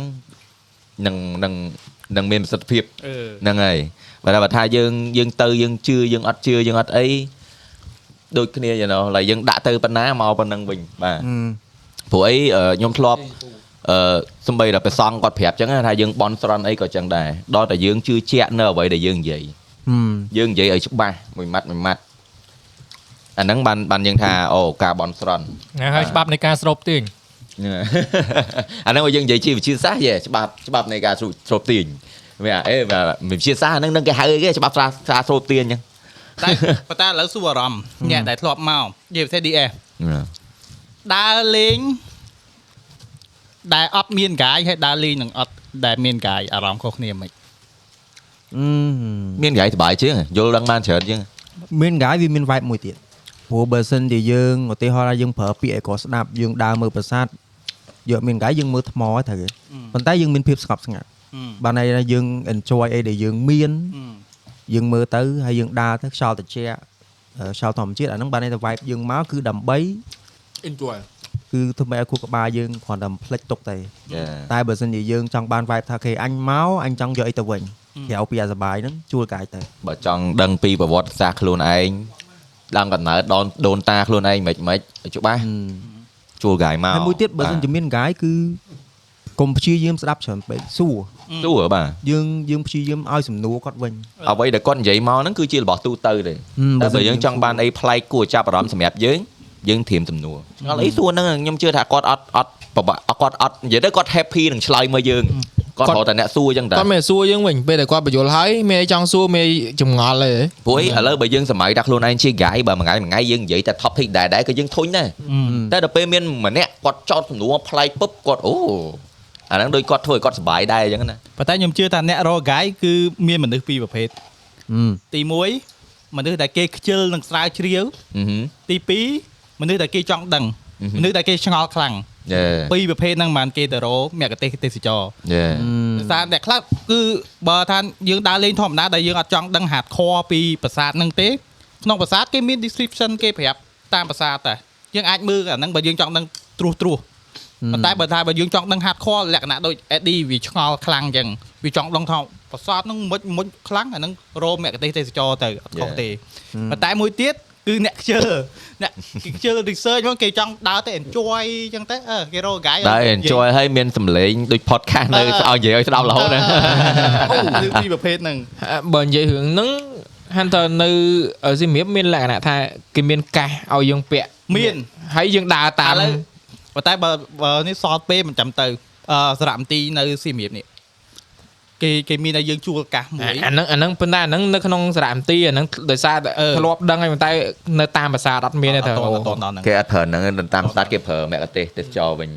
នឹងនឹងនឹងមានប្រសិទ្ធភាពហ្នឹ
អឺ
ងហើយបើថាបើថាយើងយើងទៅយើងជឿយើងអត់ជឿយើងអត់អីដូចគ្នាយ៉ាងណោះឡើយយើងដាក់ទៅប៉ុណ្ណាមកប៉ុណ្ណឹងវិញបាទ ព្រោះអីអឺខ្ញុំធ្លាប់អឺសំបីដល់ព្រះសង្ឃគាត់ប្រាប់ចឹងណាថាយើងបន់ស្រន់អីក៏ចឹងដែរដល់តែយើងជឿជាក់នៅអ្វីដែលយើងនិយាយយើងនិយាយឲ្យច្បាស់មួយម៉ាត់មួយម៉ាត់អាហ្នឹងបានបានយើងថាអូការបន់ស្រន់
ណាហើយច្បាប់នៃការស្រូប
[LAUGHS]
ទាញ
ហ្នឹងហើយ អាហ្នឹងឲ្យយើងនិយាយជាវិទ្យាសាស្ត្រយេច្បាប់ច្បាប់នៃការស្រូបស្រូបទាញវាអេវាវិទ្យាសាស្ត្រហ្នឹងនឹងគេហៅអីគេច្បាប់ស្រាស្រាស្រូបទាញចឹង
តែ [LAUGHS] ប៉ុន្តែឥឡូវសួរអារម្មណ៍អ្នកដែលធ្លាប់មកនិយាយពិសេស DS
ហ្នឹង
ដើរលេងដែលអត់មានកាយហើយដើរលេងនឹងអត់ដែលមានកាយអារម្មណ៍ខុសគ្នាមិន
មានកាយសុបាយជាងយល់ដឹងបានច្រើនជាង
មានកាយវាមាន vibe មួយទៀតព្រោះបើសិនជាយើងឧទាហរណ៍ថាយើងប្រើពាក្យឲ្យគាត់ស្ដាប់យើងដើរមើលប្រាសាទយកមានកាយយើងមើលថ្មឲ្យត្រូវទេប៉ុន្តែយើងមានភាពស្ងប់ស្ងាត់បានន័យថាយើង enjoy អីដែលយើងមាន យើងមើលទៅហើយយើងដើរទៅខ្យល់ត្រជាក់អឺខ្យល់ធម្មជាតិអាហ្នឹងបានន័យថា vibe យើងមកគឺដើម្បី
enjoy
គឺធ្វើម៉េចឲ្យខួរក្បាលយើងគ្រាន់តែផ្លិចទុកតែ
យេ
តែបើសិនជាយើងចង់បាន vibe ថាគេអញមកអញចង់យកអីទៅវិញក្រៅពីអាសប្បាយហ្នឹងជួលកាយទៅ
បើចង់ដឹងពីប្រវត្តិសាស្ត្រខ្លួនឯងដឹងកំណើតដូនដូនតាខ្លួនឯងមិនមិនច្បាស់ជួលកាយមក
ហើយមួយទៀតបើសិនជាមានកាយគឺកុំព្យាយាមស្ដាប់ច្រើនពេកសួរ
ទូហ៎បាទ
យើងយើងព្យាយាមឲ្យសំណួរគាត់វិញ
អ្វីដែលគាត់និយាយមកហ្នឹងគឺជារបស់ទូទៅទេតែបើយើងចង់បានអីប្លែកគួរចាប់អារម្មណ៍សម្រាប់យើងយើងធៀមសំណួរឆ្ងល់អីសួរហ្នឹងខ្ញុំជឿថាគាត់អត់អត់ប្របាក់គាត់អត់និយាយទៅគាត់ happy នឹងឆ្លើយមកយើងគាត់ហៅតែអ្នកសួរអញ្ចឹងតា
គាត់មិនសួរយើងវិញពេលតែលគាត់បញ្យល់ហើយមានអីចង់សួរមានអីចម្ងល់ទេ
ព្រោះឥឡូវបើយើងសម័យថាខ្លួនឯងជា guy បើមួយថ្ងៃមួយថ្ងៃយើងនិយាយតែ topic ដែរដែរក៏យើងធុញដែរតែដល់ពេលមានម្នាក់គាត់ចោតសំណួរប្លែកពឹបគាត់អូអាហ្នឹងដូចគាត់ធ្វើឲ្យគាត់សុបាយដែរអញ្ចឹងណា
ប៉ុន្តែខ្ញុំជឿថាអ្នករកកាយគឺមានមនុស្សពីរប្រភេទទី1មនុស្សដែលគេខ្ជិលនឹងស្រាវជ្រាវ
អឺហ
ទី2មនុស្សដែលគេចង់ដឹង
ឺ
មនុស្សដែលគេឆ្ងល់ខ្លាំង
យេ
ពីរប្រភេទហ្នឹងបានគេទៅរកមគ្គទេសទេសចរ
យេ
ដោយសារអ្នកខ្លះគឺបើថាយើងដើរលេងធម្មតាដែលយើងអត់ចង់ដឹង hardcore ពីប្រាសាទហ្នឹងទេក្នុងប្រាសាទគេមាន description គេប្រាប់តាមប្រាសាទតែយើងអាចមើលអាហ្នឹងបើយើងចង់ដឹងត្រួសត្រួស ប៉ុន្តែបើថាបើយើងចង់ដឹង hardcore លក្ខណៈដូច AD វាឆ្ងល់ខ្លាំងអញ្ចឹងវាចង់ដឹងថាប្រាសាទហ្នឹងមុចមុចខ្លាំងអាហ្នឹងរមគ្គទេសទេសចរទៅអត់ខុសទេប៉ុន្តែមួយទៀតគឺអ្នកខ្ជិលអ្នក [LAUGHS] គេខ្ជិល research ហ្នឹងគេចង់ដើរទៅ enjoy អញ្ចឹងទៅអឺគេរក guy
ដែរ enjoy ឲ្យមានសម្លេងដូច podcast នៅឲ្យនិយាយឲ្យស្ដាប់រហូត
[LAUGHS]
ណា
អូគឺពីរប្រភេទហ្នឹង
អ่ะបើនិយាយរឿងហ្នឹង Hunter នៅសៀមរាបមានលក្ខណៈថាគេមានកាសឲ្យយើងពាក់
មាន
ហើយយើងដើរតាម
ឥឡូវ ប៉ុន្តែបើបើនេះសល់ពេលមិនចាំទៅអឺសារមន្ទីរនៅសៀមរាបនេះគេគេមានឲ្យយើងជួលកាសមួយ
អាហ្នឹងអាហ្នឹងប៉ុន្តែអាហ្នឹងនៅក្នុងសារមន្ទីរអាហ្នឹងដោយសារតែ
អឺ
ធ្លាប់ដឹងហើយប៉ុន្តែនៅតាមភាសាអត់មាន
អ
ទេ
ត់
ត្រូវ
តអត់តដល់ហ្នឹង
គេអត់ប្រើហ្នឹងទេតាមស្ដាត់គេប្រើមគ្គទេសទេសចរវិញ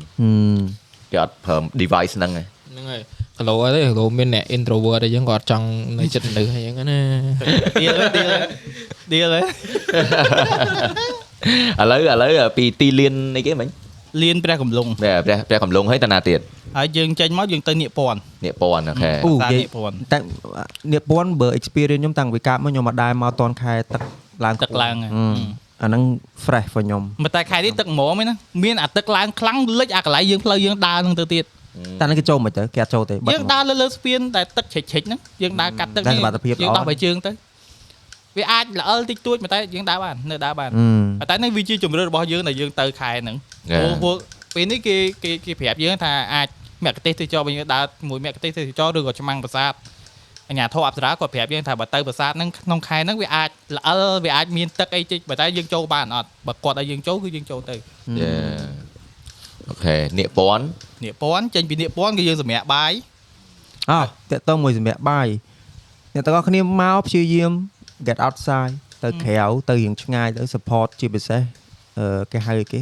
គេអត់ប្រើ device ហ្នឹងឯង
ហ្នឹងហើយក្លោទេក្លោមានអ្នក introvert អីចឹងគាត់ចង់នៅចិត្តមនុស្ស [LAUGHS] អីចឹងណា
ឌីលឌីលឌីល
ឥឡូវឥឡូវពីទីលានអីគេមិញ
លៀនព្រះកំឡុង
ព្រះព្រះព្រះកំឡុងហើយតាណាទៀត
ហើយយើងចេញមកយើងទៅនៀកពាន់
នេះប៉ុនអូខេ
អូ
សា
និយាយ
នៀកពាន់
តែនេះពន់បើ experience ខ្ញុំតាំងពីកាប់មកខ្ញុំមកដែរមកតនខែទឹកឡើង
ទឹកឡើងហ៎
ហឹមអាហ្នឹង fresh for ខ្ញុំ
ប៉ុន្តែខែនេះទឹកហ្មងឯណាមានអាទឹកឡើងខ្លាំងលិចអាកន្លែងយើងផ្លូវយើងដើរហ្នឹងទៅទៀត
តែហ្នឹងគេចូលមិនទៅគេអត់ចូលទេ
យើងដើរលើលើស្ពានតែទឹកជ្រិចជ្រិចហ្នឹងយើងដើរកាត់ទឹក
តែសមត្ថភាព
យើង
ល្អ
ដោះបែរជើងទៅវាអាចល្អិលតិចតួចប៉ុន្តែយើងដើរបាននៅដើរបាន
ហឹម
ប៉ុន្តែនេះវាជាជំរឿនរបស់យើងដែលយើងទៅខែហ្នឹង
Yeah.
ព្រោះពួកពេលនេះគេគេគេប្រាប់យើងថាអាច មគ្គទេសទេសចរវិញដើរមួយមគ្គទេសទេសចរឬក៏ឆ្មាំងប្រាសាទអញ្ញាធរអប្សរាគាត់ប្រាប់យើងថាបើទៅប្រាសាទហ្នឹងក្នុងខែហ្នឹងវាអាចល្អិលវាអាចមានទឹកអីតិចបើតែយើងចូលបានអត់បើគាត់ឲ្យយើងចូលគឺយើងចូលទៅ
យេអូខេនាគពាន់
នាគពាន់ចេញពីនាគពាន់គឺយើងសម្រាប់បាយ
អោះតើតើមួយសម្រាប់បាយអ្នកទាំងអស់គ្នាមកព្យាយាម get outside ទៅក្រៅទៅរៀងឆ្ងាយទៅ support ជាពិសេសអឺគេហៅគេ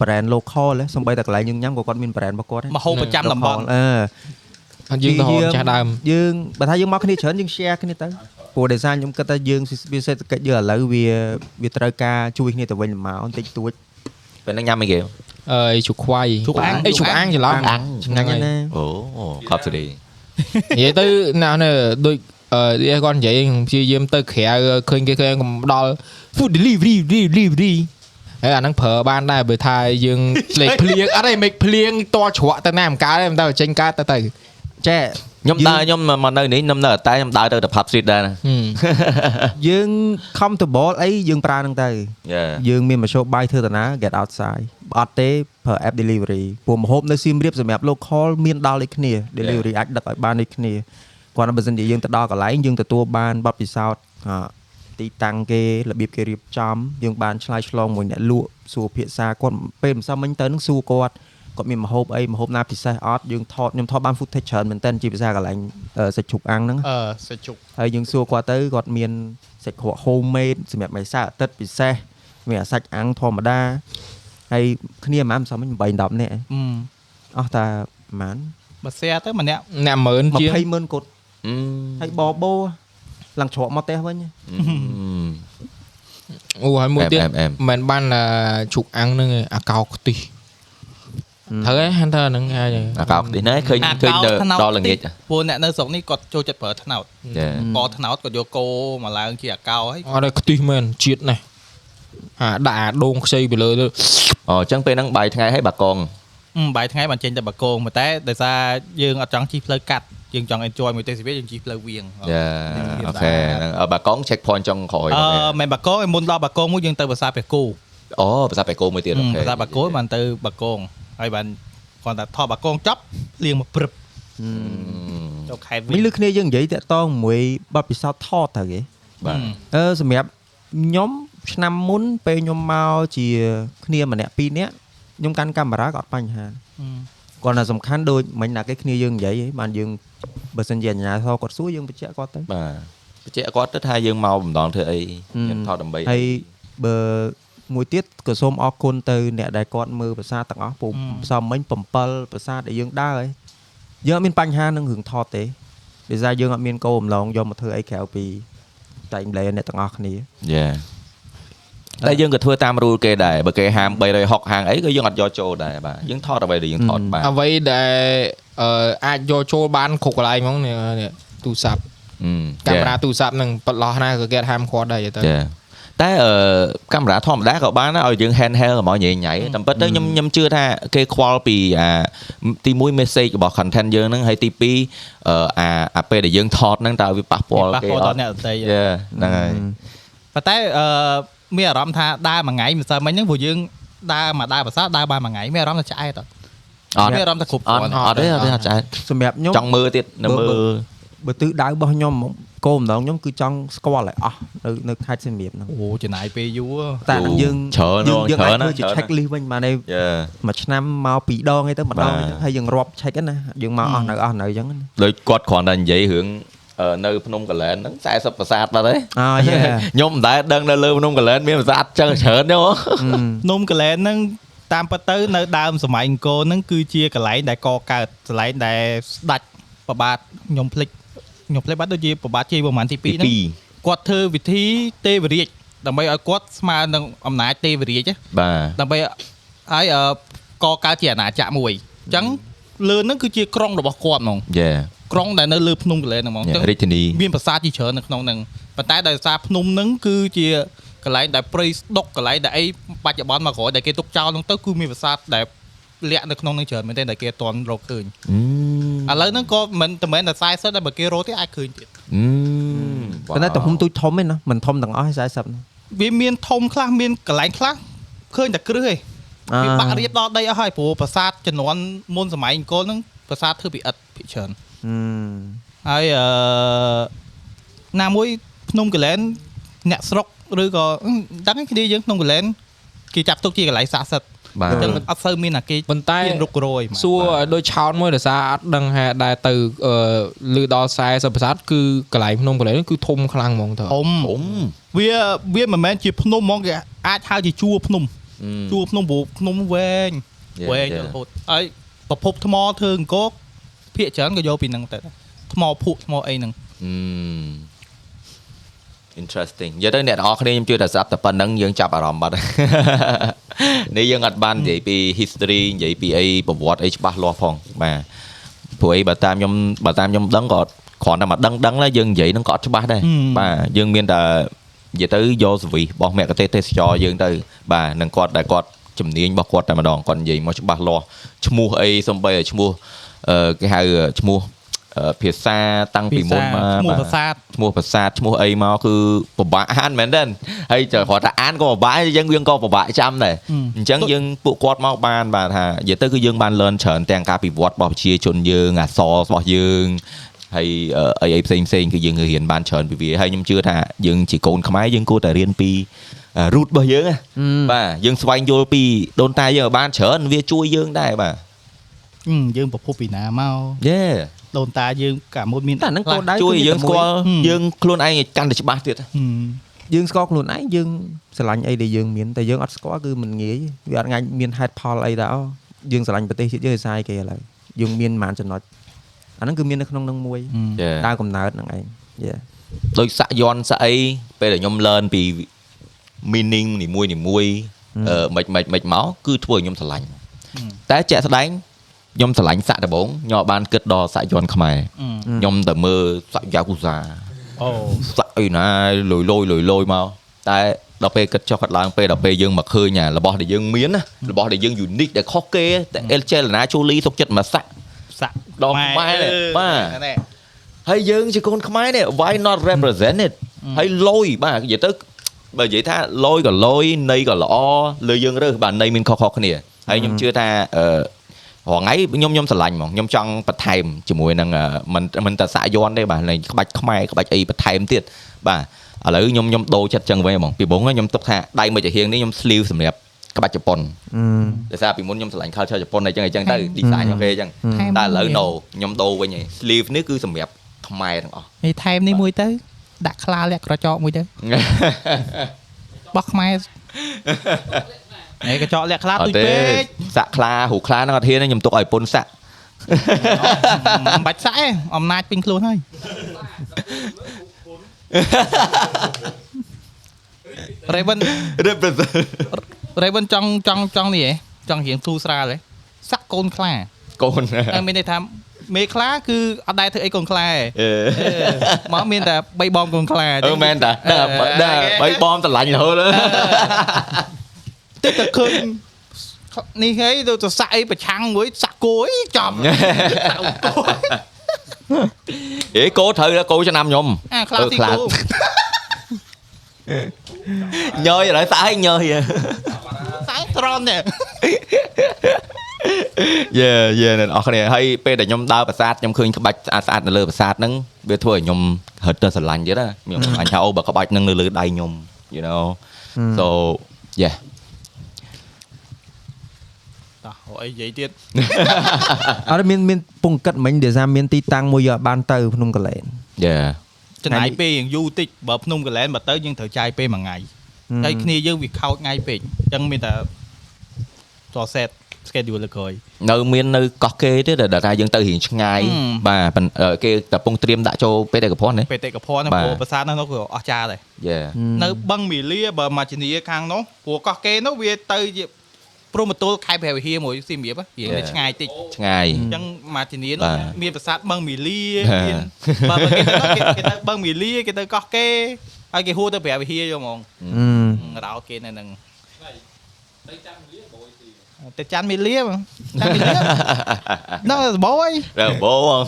brand local ហ៎សំបីតែកន្លែងយើងញ៉ាំក៏គាត់មាន brand របស់គាត់ដែរ
មកហូបប្រចាំតំបន់
local អឺ
អត់យើងទៅហោ
ពី
ចាស់ដើម
យើងបើថាយើងមកគ្នាច្រើនយើង share គ្នាទៅព្រោះដោយសារខ្ញុំគិតថាយើងវាសេដ្ឋកិច្ចយើងឥឡូវវាវាត្រូវការជួយគ្នាទៅវិញទៅមកបន្តិចតួច
ពេលហ្នឹងញ៉ាំអីគេ
អើយជូខ្វៃ
ជូអាំង
អីជូអាំងច្រឡំ
អាំង
ឆ្ងាញ់ណាស់ណា
អូខប់សេរី
និយាយទៅណាស់នេះដូចអឺគាត់និយាយខ្ញុំព្យាយាមទៅក្រៅឃើញគេគេកំដល់ food delivery delivery ហើយអាហ្នឹងប្រើបានដែរបើថាយើងភ្លេចភ្លៀងអត់ឯងមេកភ្លៀងតច្រកទៅណាមកកើតឯងមិនទៅចេញកើតទៅទៅ
ចែ
ខ្ញុំដើរខ្ញុំមកនៅនេះខ្ញុំនៅតែខ្ញុំដើរទៅទៅ pub street ដែរណា
ហឹម
យើង comfortable អីយើងប្រើហ្នឹងទៅ
យេ
យើងមានមធ្យោបាយធ្វើតាណា get outside បើអត់ទេប្រើ app delivery ព្រោះម្ហូបនៅសៀមរាបសម្រាប់ local មានដល់ដូចគ្នា delivery អាចដឹកឲ្យបានដូចគ្នាគាត់ថាបើសិនជាយើងទៅដល់កន្លែងយើងទទួលបានបទពិសោធន៍អ่าទីតាំងគេរបៀបគេរៀបចំយើងបានឆ្លើយឆ្លងមួយអ្នកលក់សួរភាសាគាត់ពេលម្សិលមិញទៅនឹងសួរគាត់គាត់មានម្ហូបអីម្ហូបណាពិសេសអត់យើងថតខ្ញុំថតបាន footage ច្រើនមែនទែនជាភាសាកន្លែងអឺសាច់ជ្រូកអាំងហ្នឹង
អឺសាច់ជុក
ហើយយើងសួរគាត់ទៅគាត់មានសាច់ក្រក homemade សម្រាប់មេសាអាទិត្យពិសេសមានអាសាច់អាំងធម្មតាហើយគ្នាប្រហែលមិនសមមិញ8 10នាក់ឯង
ហឹម
អស់តែប្រហែល
បើ share ទៅម្នាក់
អ្នកមើលជាង
20ម៉ឺនកូត
អឺ
ហើយបបោឡើងច្រកមកផ្ទះវិញ
អូហើយមួយទៀត
អែមអែម
មិនបានអាជូកអាំងហ្នឹងឯងអាកោខ្ទិះត្រូវហើយហ្នឹងថាហ្នឹងហើយ
អាកោខ្ទិះណាឃើញឃើញនៅដល់ល្ងាច
តិចព្រោះអ្នកនៅស្រុកនេះគាត់ចូលចិត្តប្រើថ្នោត
យេ
កថ្នោតគាត់យកគោមកឡើងជាអាកោហើយ
អត់ឲ្យខ្ទិះមែនជាតិណាស់អាដាក់អាដូងខ្ចីពីលើទៅ
អូអញ្ចឹងពេលហ្នឹងបាយថ្ងៃហើយបាកង
អឺបាយថ្ងៃបានចេញតែបកគងប៉ុន្តែដោយសារយើងអត់ចង់ជិះផ្លូវកាត់យើងចង់ enjoy មួយទេសភាពយើងជិះផ្លូវវៀង
យេអូខេហ្នឹងអឺបាកង check point ចុងក្រោយ
អឺមិនបកគងឯមុនដល់បកគងមួយយើងទៅប្រាសាទព្រះគោ
អូភាសាបែកោមួយទៀតអូខេ
ប្រាសាទបកគងបានទៅបកគងហើយបានគាត់តែថតបកគងចប់លៀងមកព្រឹបចូលខេត្ត
មិញលើ
វៀង
គ្នាយើងនិយាយតាក់តងមួយបទពិសោធន៍ថតទៅគេ
បាទ
អឺសម្រាប់ខ្ញុំឆ្នាំមុនពេលខ្ញុំមកជាគ្នាម្នាក់ពីរនាក់ខ្ញុំកាន់កាមេរ៉ាក៏អត់បញ្ហាគាត់ណាសំខាន់ដូចមិញណាគេគ្នាយើងនិយាយឯងបានយើងបើសិនជាអាជ្ញាធរគាត់សួរយើងបញ្ជាក់គាត់ទៅ
បាទបញ្ជាក់គាត់ទៅថាយើងមកបំដងធ្វើអីខ្ញុំថតដើម្បីអី
ហើយបើមួយទៀតក៏សូមអរគុណទៅអ្នកដែលគាត់មើលប្រាសាទទាំងអស់ពួកផ្សំមិញ7ប្រាសាទដែលយើងដើរហើយយើងអត់មានបញ្ហានឹងរឿងថតទេដោយសារយើងអត់មានកោអំឡងយកមកធ្វើអីក្រៅពីតែកម្លែអ្នកទាំងអស់គ្នា
យេតែយើងក៏ធ្វើតាម rule គេដែរបើគេហាម360ហាងអីក៏យើងអត់យកចូលដែរបាទយើងថតអ្វីដែលយើងថត
អឺ
បាន
អ្វីដែលអឺអាចយកចូលបានគ្រប់កន្លែងហ្មងនេះនេះទូរស័ព្ទកាមេរ៉ាទូរស័ព្ទហ្នឹងបិទឡោះណាក៏គេហាមឃាត់ដែរទៅ
ចាតែអឺកាមេរ៉ាធម្មតាក៏បានដែរឲ្យយើង handheld កុំឲ្យញ៉ៃញ៉ៃតែពិតទៅខ្ញុំខ្ញុំជឿថាគេខ្វល់ពីអាទី1 message របស់ content យើងហ្នឹងហើយទី2អឺអាអាពេលដែលយើងថតហ្នឹងតើវាប៉ះពាល់
ប៉ះ
គេ
ពាល់
អ
ដល់
ត់
អ្នកដទៃ
យេហ្នឹងហើយ
ប៉ុន្តែអឺមានអារម្មណ៍ថាដើរមួយថ្ងៃម្សិលមិញហ្នឹងព្រោះយើងដើរមកដើរប្រាសាទដើរបានមួយថ្ងៃមានអារម្មណ៍ថាឆ្អែតអត់
អត់
មានអារម្មណ៍ថាគ្រប់
អត់
គ្រាន់
អត់ទេអត់ទេអត់ឆ្អែត
សម្រាប់ខ្ញុំ
ចង់មើលទៀតនៅមើល
បើទិសដៅរបស់ខ្ញុំហ្មងកោអំឡងខ្ញុំគឺចង់ស្គាល់ឲ្យអស់នៅនៅខេត្តសៀមរាបហ្នឹង
អូចំណាយពេលយូរ
តែហ្នឹងយើង
ច្រើន
យើងយើង
ច្រើ
អា
ន
ចធ្វើជា check list វិញបានទេ
យេ
មួយឆ្នាំមកពីរដងឯទៅម្ដង
បាទ
ឯទៅហើយយើងរាប់ឆែកហ្នឹងណាយើងមកអស់នៅអស់នៅអញ្ចឹងណា
ដូចគាត់គ្រាន់តែនិយាយរឿងអឺនៅភ្នំកលែនហ្នឹង40ប្រាសាទបាត់ហើយ
អើយហេ
[LAUGHS]
[LAUGHS]
ខ្ញុំមិនដែលដឹងនៅលើភ្នំកលែនមានប្រាសាទចឹងច្រើនទេហ៎
នំកលែនហ្នឹងតាមពិតទៅនៅដើមសម័យអង្គរហ្នឹងគឺជាកន្លែងដែលកកើតកន្លែងដែលស្ដាច់ប្របាទខ្ញុំភ្លេចខ្ញុំភ្លេចបាត់ដូចជាប្របាទជ័យវរ្ម័នទី2ហ្នឹង
ពីរ
គាត់ធ្វើវិធីទេវរាជដើម្បីឲ្យគាត់ស្មើនឹងអំណាចទេវរាជណា
បាទ
ដើម្បីឲ្យអឺកកើតជាអាណាចក្រមួយអញ្ចឹងលឿនហ្នឹងគឺជាក្រុងរបស់គាត់ហ្មង
យេ
ក្រុងដែលនៅលើភ្នំកលែនហ្នឹងហ្មងអញ្ចឹង
រាជធានី
មានប្រាសាទជាច្រើននៅក្នុងហ្នឹងប៉ុន្តែដោយសារភ្នំហ្នឹងគឺជាកន្លែងដែលប្រៃស្ដុកកន្លែងដែលអីបច្ចុប្បន្នមកក្រោយដែលគេទុកចោលហ្នឹងទៅគឺមានប្រាសាទដែលលាក់នៅក្នុងហ្នឹងច្រើនមែនទេដែលគេអត់ទាន់រកឃើញឥឡូវហ្នឹងក៏មិនតែមែនតែ40ដែរបើគេរកទេអាចឃើញទៀត
ប៉ុន្តែទំហំទូចធំឯណាមិនធំទាំងអស់ឯ40ហ្នឹង
វាមានធំខ្លះមានកន្លែងខ្លះឃើញតែគ្រឹះឯងវាបាក់រៀបដល់ដីអស់ហើយព្រោះប្រាសាទចំនួនមុនសម័យអង្គរហ្នឹង ប្រសាទធ្វើពីឥដ្ឋពីច្រើនហើយអឺណាមួយភ្នំកលែនអ្នកស្រុកឬក៏ដឹងឯងគ្នាយើងភ្នំកលែនគេចាប់ទុកជាកន្លែងស័ក្តិសិទ្ធិ
បាទ
អញ្ចឹងអត់សូវមានអាគេ
ប៉ុន្តែ
មានរុករយ
សួរដូចឆោតមួយដោយសារអត់ដឹងហេតុដែរទៅអឺលឺដល់40ប្រាសាទគឺកន្លែងភ្នំកន្លែងហ្នឹងគឺធំខ្លាំងហ្មងតើ
អ៊ំ
អ៊ំ
វាវាមិនមែនជាភ្នំហ្មងគេអាចហៅជាជួរភ្នំជួរភ្នំព្រោះភ្នំវែងវែងរហូតហើយប្រភពថ្មធ្វើអង្គរភៀកច្រើនក៏យកពីហ្នឹងទៅដែរថ្មភក់ថ្មអីហ្នឹង
អឺ interesting និយាយទៅអ្នកទាំងអស់គ្នាខ្ញុំជឿថាស្ដាប់តែប៉ុណ្្នឹងយើងចាប់អារម្មណ៍បាត់ [LAUGHS] នេះយើងអត់បាននិយាយពី history និយាយពីអីប្រវត្តិអីច្បាស់លាស់ផងបាទព្រោះអីបើតាមខ្ញុំបើតាមខ្ញុំដឹងក៏គ្រាន់តែមកដឹងដឹងដែរយើងនិយាយហ្នឹងក៏អត់ច្បាស់ដែរ
ហឹម
បាទយើងមានតែនិយាយទៅយកសវិសរបស់មគ្គទេសទេសចរយើងទៅបាទនឹងគាត់ដែលគាត់ជំនាញរបស់គាត់តែម្ដងគាត់និយាយមកច្បាស់លាស់ឈ្មោះអីសំបីឲ្យឈ្មោះអឺគេហៅឈ្មោះអឺភាសាតាំងពីមុនមក
ឈ្មោះ
បាទ
ប្រាសាទ
ឈ្មោះប្រាសាទឈ្មោះអីមកគឺពិបាកអានមែនទេហើយចង់គាត់ថាអានក៏ពិបាកយើងយើងក៏ពិបាកចាំដែរ
អឺ
អញ្ចឹងយើងពួកគាត់មកបានបាទថានិយាយទៅគឺយើងបាន learn ច្រើនទាំងការពិវត្តរបស់ប្រជាជនយើងអក្សររបស់យើងហើយអឺអីអីផ្សេងផ្សេងគឺយើងរៀនបានច្រើនពីវាហើយខ្ញុំជឿថាយើងជាកូនខ្មែរយើងគួរតែរៀនពីអឺ root របស់យើងណាបាទយើងស្វែងយល់ពីដូនតាយើងឲ្យបានច្រើនវាជួយយើងដែរបាទ
ហឹមយើងប្រភពពីណាមក
Yeah
ដូនតាយើងកាលមុនមាន
តែហ្នឹង
ខ្លះ
គោលដៅ
ជួយឲ្យយើង
គឺតែ
ស្គាល់
ហឹម
យើងខ្លួនឯងឲ្យកាន់តែច្បាស់ទៀត
ហឹម
យើងស្គាល់ខ្លួនឯងយើងស្រឡាញ់អីដែលយើងមានតែយើងអត់ស្គាល់គឺមិនងាយវាអត់ងាយមានហេតុផលអីដែរអូយើងស្រឡាញ់ប្រទេសជាតិយើងឲ្យសាយគេឥឡូវយើងមានប៉ុន្មានចំណុចអាហ្នឹងគឺមាននៅក្នុងហ្នឹងមួយ
ហឹម
Yeah
ដើរកំណើតហ្នឹងឯងយេ
ដូចសាក់យន់សាក់អីពេលដែលខ្ញុំ learn ពី meaning នីមួយនីមួយ
ម
អឺមិនមិនមិនមកគឺធ្វើឲ្យខ្ញុំស្រឡាញ់តែជាក់ស្ដែងខ្ញុំស្រឡាញ់សាក់ដបងខ្ញុំអត់បានគិតដល់សាក់យន់ខ្មែរខ្ញុំតែមើលសាក់យ៉ាគូសា
អូ
សាក់អីណាលយលយលយលយមកតែដល់ពេលគិតចុះគិតឡើងពេលដល់ពេលយើងមកឃើញអារបស់ដែលយើងមានណារបស់ដែលយើង unique ដែលខុសគេតែ El Chelana Chuli សុកចិត្តមកសាក់
សាក់
ដល់ខ្មែរ
អឺ
បាទ
ហ្នឹងហើយ
ហើយយើងជាកូនខ្មែរនេះ why not represent it ហើយលយបាទនិយាយទៅបើនិយាយថាលយក៏លយន័យក៏ល្អលើយើងរើសបាទន័យមានខុសៗគ្នាហើយខ្ញុំជឿថាអឺរងៃខ្ញុំខ្ញុំស្រឡាញ់ហ្មងខ្ញុំចង់បន្ថែមជាមួយនឹងអឺមិនមិនតែសាក់យន់ទេបាទនៃក្បាច់ខ្មែរក្បាច់អីបន្ថែមទៀតបាទឥឡូវខ្ញុំខ្ញុំដូរចិត្តចឹងវិញហ្មងពីបងខ្ញុំទុកថាដៃមួយចាហៀងនេះខ្ញុំស្លីវសម្រាប់ក្បាច់ជប៉ុន ដោយសារពីមុនខ្ញុំស្រឡាញ់ culture ជប៉ុនអីចឹងអីចឹងទៅ design របស់គេអញ្ចឹង
ថែម
តែឥឡូវ no ខ្ញុំដូរវិញឯង sleeve នេះគឺសម្រាប់ខ្មែរទាំងអ
[LAUGHS]
ស់
នេះថែមនេះមួយទៅ ដាក់ខ្លាលាក់ក្រចកមួយទៅបោះខ្មែរឯក្រចកលាក់ខ្លា
អ
ទុ
ត់
យ
ទេ
ពេក
សាក់ខ្លាហូខ្លាហ្នឹងអត់ហ៊ានទេខ្ញុំទុកឲ្យពុនសាក់
មិនបាច់សាក់ឯងអំណាចពេញខ្លួនហើយរ៉េវិន
represent
រ៉េវិនចង់ចង់ចង់នេះឯងចង់រៀងទូស្រាលឯងសាក់កូនខ្លា
កូន
តែ
[LAUGHS]
មានន័យថាមេខ្លាគឺអត់ដែរធ្វើអីកូនខ្លាឯង
អឺ
អឺមកមានតែ3បងកូនខ្លា
អឺមែនតាដែរបីបំស្រឡាញ់រហូត
តិចតែឃើញនេះហីទៅទៅសាក់អីប្រឆាំងមួយសាក់គោអីចំ
អេកូត្រូវដល់កូឆ្នាំខ្ញុំ
អាខ្លា
អឺ
ទី
ខ្លា
គោ
[LAUGHS] ញយឥឡូវសាក់ឲ្យញយ
សាក់ត្រន់នេះ
យេយេអ្នកនរអស់គ្នាហើយពេលដែលខ្ញុំដើរប្រាសាទខ្ញុំឃើញក្បាច់ស្អាតស្អាតៗនៅលើប្រាសាទហ្នឹងវាធ្វើឲ្យខ្ញុំហិតទៅស្រឡាញ់ទៀតណាខ្ញុំស្រឡាញ់ថាអូបើក្បាច់ហ្នឹងនៅលើដៃខ្ញុំ you know so yeah
តោះអីនិយាយទៀត
អត់មានមានពងគិតមិញដែលថាមានទីតាំងមួយយកឲ្យបានទៅភ្នំកលែន
yeah
ចំណាយពេលរៀងយូរតិចបើភ្នំកលែនបើទៅយើងត្រូវចាយពេលមួយថ្ងៃហើយគ្នាយើងវាខោចថ្ងៃពេកអញ្ចឹងមានតែសរសេត schedule លើក្រោយ
នៅមាននៅកោះគេទៀតដែលថាយើងទៅរៀងឆ្ងាយ
អឺ
បាទប៉ុន្អឺគេកំពុងត្រៀមដាក់ចូលពេលដែលកភ័ណ្ឌណា
បេតិកភណ្ឌណា
បាទ
ព្រោះប្រាសាទនោះគឺអស្ចារ្យដែរ
យេ
នៅបឹងមីលាបើមកជំនាខាងនោះព្រោះកោះគេនោះវាទៅជាព្រមទល់ខេត្តព្រះវិហារមួយសៀមរាបហ៎រៀងនៅឆ្ងាយតិចអ
ឆ្ងាយ
ញ្ចឹងមកជំនានោះ
បាទ
មានប្រាសាទបឹងមីលា
ហា
មានបើបើគេទៅនោះគេគេទៅបឹងមីលាគេទៅកោះគេហើយគេហួរទៅព្រះវិហារយកហ្មងរោគេនៅនឹងទៅចាន់មីលាបងទៅចាន់មីលាបងចាន់មីលា ដល់សបយ
របង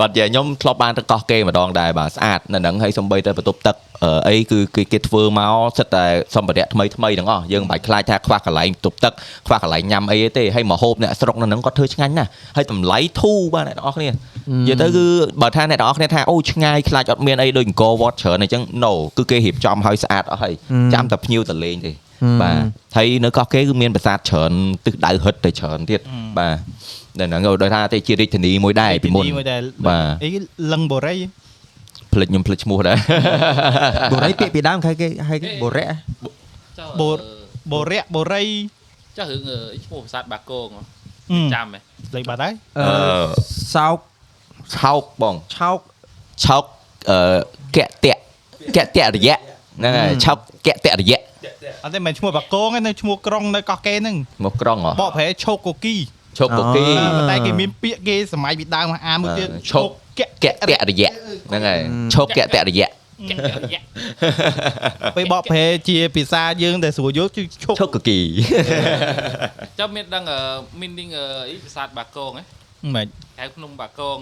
បាទនិយាយខ្ញុំធ្លាប់បានទៅកោះគេម្ដងដែរបាទស្អាតនៅហ្នឹងហើយសំបីទៅបន្ទប់ទឹកអីគឺគេគេធ្វើមកសិតតែសម្ភារៈថ្មីថ្មីទាំងអស់យើងមិនបាច់ខ្លាចថាខ្វះកន្លែងបន្ទប់ទឹកខ្វះកន្លែងញ៉ាំអីទេហើយមកហូបអ្នកស្រុកនៅហ្នឹងគាត់ធ្វើឆ្ងាញ់ណាស់ហើយតម្លៃធូរបាទអ្នកនរគ្នានិយាយទៅគឺបើថាអ្នកនរគ្នាថាអូឆ្ងាយខ្លាចអត់មានអីដូចអង្គរវត្តច្រើនអញ្ចឹង no គឺគេរៀបចំឲ្យស្អាតអស់ហើយចាំតែភ្ញៀវទៅលេងទេបាទហើយនៅកោះគេគឺមានប្រាសាទច្រើនទិសដៅហិតទៅច្រើនទៀតបាទដែលហ្នឹងដោយថាទេជារាជធានីមួយដែរពីមុន
បាទអីលឹងបូរី
ផ្លិចខ្ញុំផ្លិចឈ្មោះដែរ
បូរីពាក្យពីដើមគេគេហៅបូរិ
បូបូរិបូរី
ចាស់រឿងឈ្មោះប្រាសាទបាគងចាំហ៎
លេខបាត់ហើយ
អឺសោក
ឆោកបង
ឆោក
ឆោកអឺកតៈកតៈរយៈហ្នឹងហើយឆោកកតៈរយៈ
អត់ទេមិនឈ្មោះបាគងទេនៅឈ្មោះក្រុងនៅកោះគេហ្នឹង
ឈ្មោះក្រុងហ៎
បកប្រែឆោកកូគី
ឈុកកូគី
តែគេមានពាក្យគេសម័យពីដើមអាមួយទៀត
ឈុកកកតរយៈហ្នឹងហើយឈុកកតរយៈ
ពេលបកប្រែជាភាសាយើងដែលស្រួលយល់គឺឈុក
ឈុកកូគី
ចាំមានដឹង meaning អីភាសាបាកងហ៎
មិន
ហៅភ្នំបាកង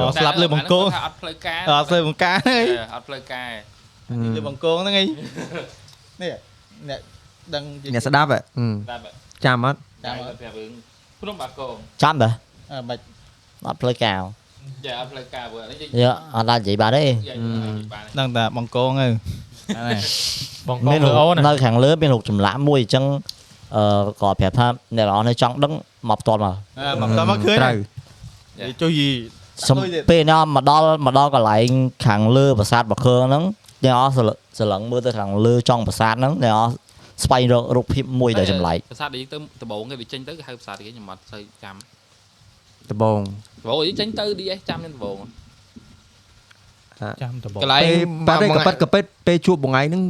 អូស្លាប់លើបង្គោល
អត់ផ្លូវការ
អត់ផ្លូវបង្គោលហ្នឹង
អត់ផ្លូវការ
លើបង្គោលហ្នឹងនេះអ្នកដឹង
អ្នកស្ដាប់ចាំអត់
ចាំប្រាប់រឿងព្រមបាកង
ចាំតើ
បាច់
អត់ផ្លូវការ
ចាអត់ផ្លូវការព្រោះនេះ
យកអត់ដាច់និយាយបាទទេ
ដឹងតែបង្គងទៅ
បងកងលើអូន
នៅខាងលើមានរូបចម្លាក់មួយអញ្ចឹងអឺក៏ប្រាប់ថាអ្នកល្អនៅចង់ដឹងមកផ្ទាល់ម
ម
ក
កផ្ទាល់មកឃើញត្រូវចុះយី
សំពេលញ៉ាំមកដល់មកដល់កន្លែងខាងលើប្រាសាទបាខើហ្នឹងអ្នកអស់ស្រលឹងមើលទៅខាងលើចុងប្រាសាទហ្នឹងអ្នកអស់ស្វែងរករូបភាពមួយដែលចម្លែក
ប្រាសាទនេះទៅដបងគេវាចេញទៅគេហៅប្រាសាទគេខ្ញុំអត់សូវចាំ
ដបង
ដបងចេញទៅ DS ចាំនឹងដបង
ចាំដបង
កន្លែងប៉ារេកប៉ិតកប៉ិតពេលជួបបងឯងហ្នឹង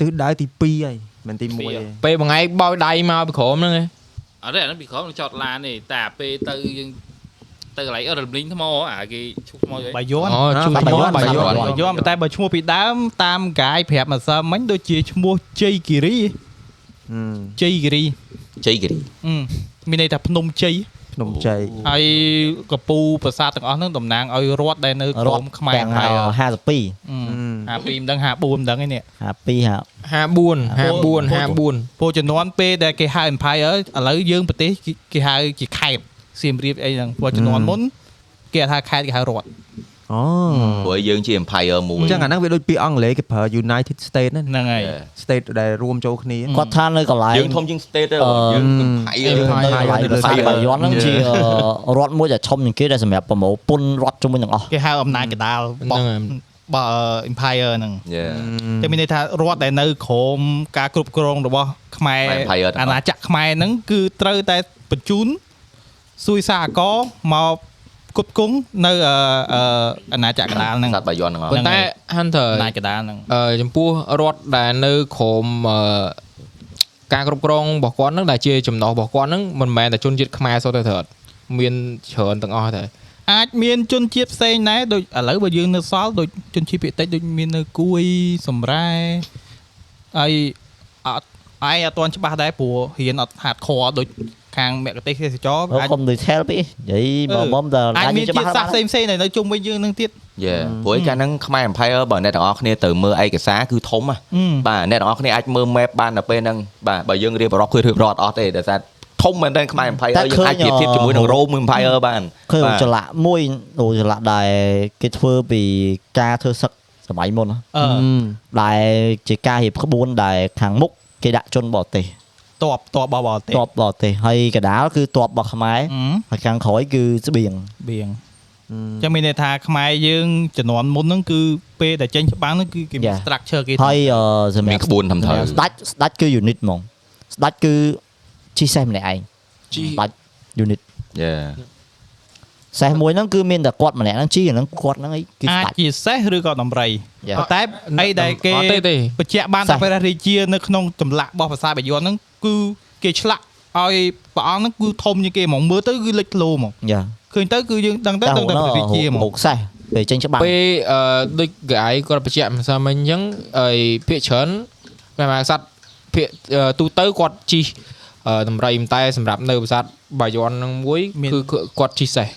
ទិសដៅទី2ហើយមិនទី1ទេ
ពេលបងឯងបោយដៃមកពីក្រមហ្នឹងឯង
អត់ទេអាហ្នឹងពីក្រមនឹងចតឡានទេតែពេលទៅយើងទៅកន្លែងអត់រំលីងថ្មអាគេឈុកថ្ម
បាយ័ន
អូឈុកថ្មបាយ័ន
បាយ័នតែបើឈ្មោះពីដើមតាមកាយប្រាប់មកសើមិញដូចជាឈ្មោះជ័យគិរីជ័យគិរី
ជ័យគិរី
មានន័យថាភ្នំជ័យ
ភ្នំជ័យ
ហើយកពូប្រាសាទទាំងអស់ហ្នឹងតំណាងឲ្យរដ្ឋដែលនៅក្រមខ្មែរ
ហើយ
52 52មិនដឹង54មិនដឹងឯនេះ
52
54 54
ពួកជំនាន់ពេលដែលគេហៅ Empire ឥឡូវយើងប្រទេសគេហៅជាខេត្តសៀមរាបអីហ្នឹងព្រោះជំនាន់មុនគេហៅថាខេត្តគេហៅរដ្ឋ
អូ
ព្រោះយើងជា empire មួយ
អញ្ចឹងអាហ្នឹងវាដូចពាក្យអង់គ្លេសគេប្រើ United State
ហ្នឹងហើយ
state ដែលរួមចូលគ្នា
គាត់ថានៅកន្លែង
យើងធំជាង state ទៅយើង empire
នៅកន្លែងបាយ័ន
[LAUGHS]
ហ្នឹងជារដ្ឋមួយដែលធំជាងគេដែលសម្រាប់ប្រមូលពុនរដ្ឋជាមួយទាំងអស់
គេហៅអំណាចកដាល
ហ្នឹងហើយ
បើ empire ហ្នឹងតែមានន័យថារដ្ឋដែលនៅក្រោមការគ្រប់គ្រងរបស់ខ្មែរអាណាចក្រខ្មែរហ្នឹងគឺត្រូវតែបញ្ជូនសួយសាកមកគប់គង់នៅអាណាចក្រកដាលហ្នឹង
សត្វបាយ័នហ្នឹង
ប៉ុន្តែ Hunter
អាណាចក្រកដាលហ្នឹង
ចំពោះរដ្ឋដែលនៅក្រោមការគ្រប់គ្រងរបស់គាត់ហ្នឹងដែលជាចំណោះរបស់គាត់ហ្នឹងមិនមែនតែជនជាតិខ្មែរសុទ្ធទេត្រូវមានច្រើនទាំងអស់ទេ
អាចមានជនជាតិផ្សេងដែរដូចឥឡូវបើយើងនៅសល់ដូចជនជាតិភាគតិចដូចមាននៅគួយសំរែហើយអត់ឯងអត់ទាន់ច្បាស់ដែរព្រោះរៀនអត់ហាត់ខដូចខាងមគ្គទេសទេសចរ
អាចកុំ detail ពេកនិយាយបងបងតើ
អាចមានជាសាសផ្សេងផ្សេងនៅជុំវិញយើងនឹងទៀត
យេព្រោះឯកាហ្នឹងខ្មែរ Empire បើអ្នកទាំងអស់គ្នាទៅមើលឯកសារគឺធំហ៎បាទអ្នកទាំងអស់គ្នាអាចមើល map បានដល់ពេលហ្នឹងបាទបើយើងរៀបរាប់គឺរៀបរាប់អត់ទេដោយសារធំមែនទែនខ្មែរ Empire យើងអាចប្រៀបធៀបជាមួយនឹង Rome Empire បាន
ឃើញចលៈមួយអូចលៈដែលគេធ្វើពីការធ្វើសឹកសម័យមុនដែលជាការរៀបក្បួនដែលខាងមុខគេដាក់ជនបរទេស
តបតបបរទេស
តបបរទេសហើយកដាលគឺតបរបស់ខ្មែរហើយខាងក្រោយគឺស្បៀង
បៀងចាំមានន័យថាខ្មែរយើងជំនាន់មុនហ្នឹងគឺពេលដែលចេញច្បាំងហ្នឹងគឺគេ structure គេ
ហើយ
សម្រាប់ក្បួនធំធៅ
ស្ដាច់ស្ដាច់គឺ unit ហ្មងស្ដាច់គឺជីសេះម្នាក់ឯង
ជី
ដាច់ unit
យេ
សេះមួយហ្នឹងគឺមានតែគាត់ម្នាក់ហ្នឹងជីហ្នឹងគាត់ហ្នឹង
គឺស្ដាច់អាចជាសេះឬក៏ដំរីប៉ុន្តែអីដែលគេបញ្ជាក់បានតែព្រះរាជានៅក្នុងចម្លាក់របស់ភាសាបាយ័នហ្នឹងគឺគេឆ្លាក់ឲ្យព្រះអង្គហ្នឹងគឺធំជាងគេហ្មងមើលទៅគឺលេចធ្លោហ្មង
ចា
ឃើញទៅគឺយើងដឹងទៅដឹងតែព្រះរាជាហ្មង
ហុកសេះពេលចេញច្បាប់
ពេលដូចគេឯងគាត់បញ្ជាក់ម្សិលមិញអញ្ចឹងហើយភាកច្រើនព្រះមហាក្សត្រភាកទូទៅគាត់ជីតម្រៃតែសម្រាប់នៅប្រាសាទបាយ័នហ្នឹងមួយគឺគាត់ជីសេះ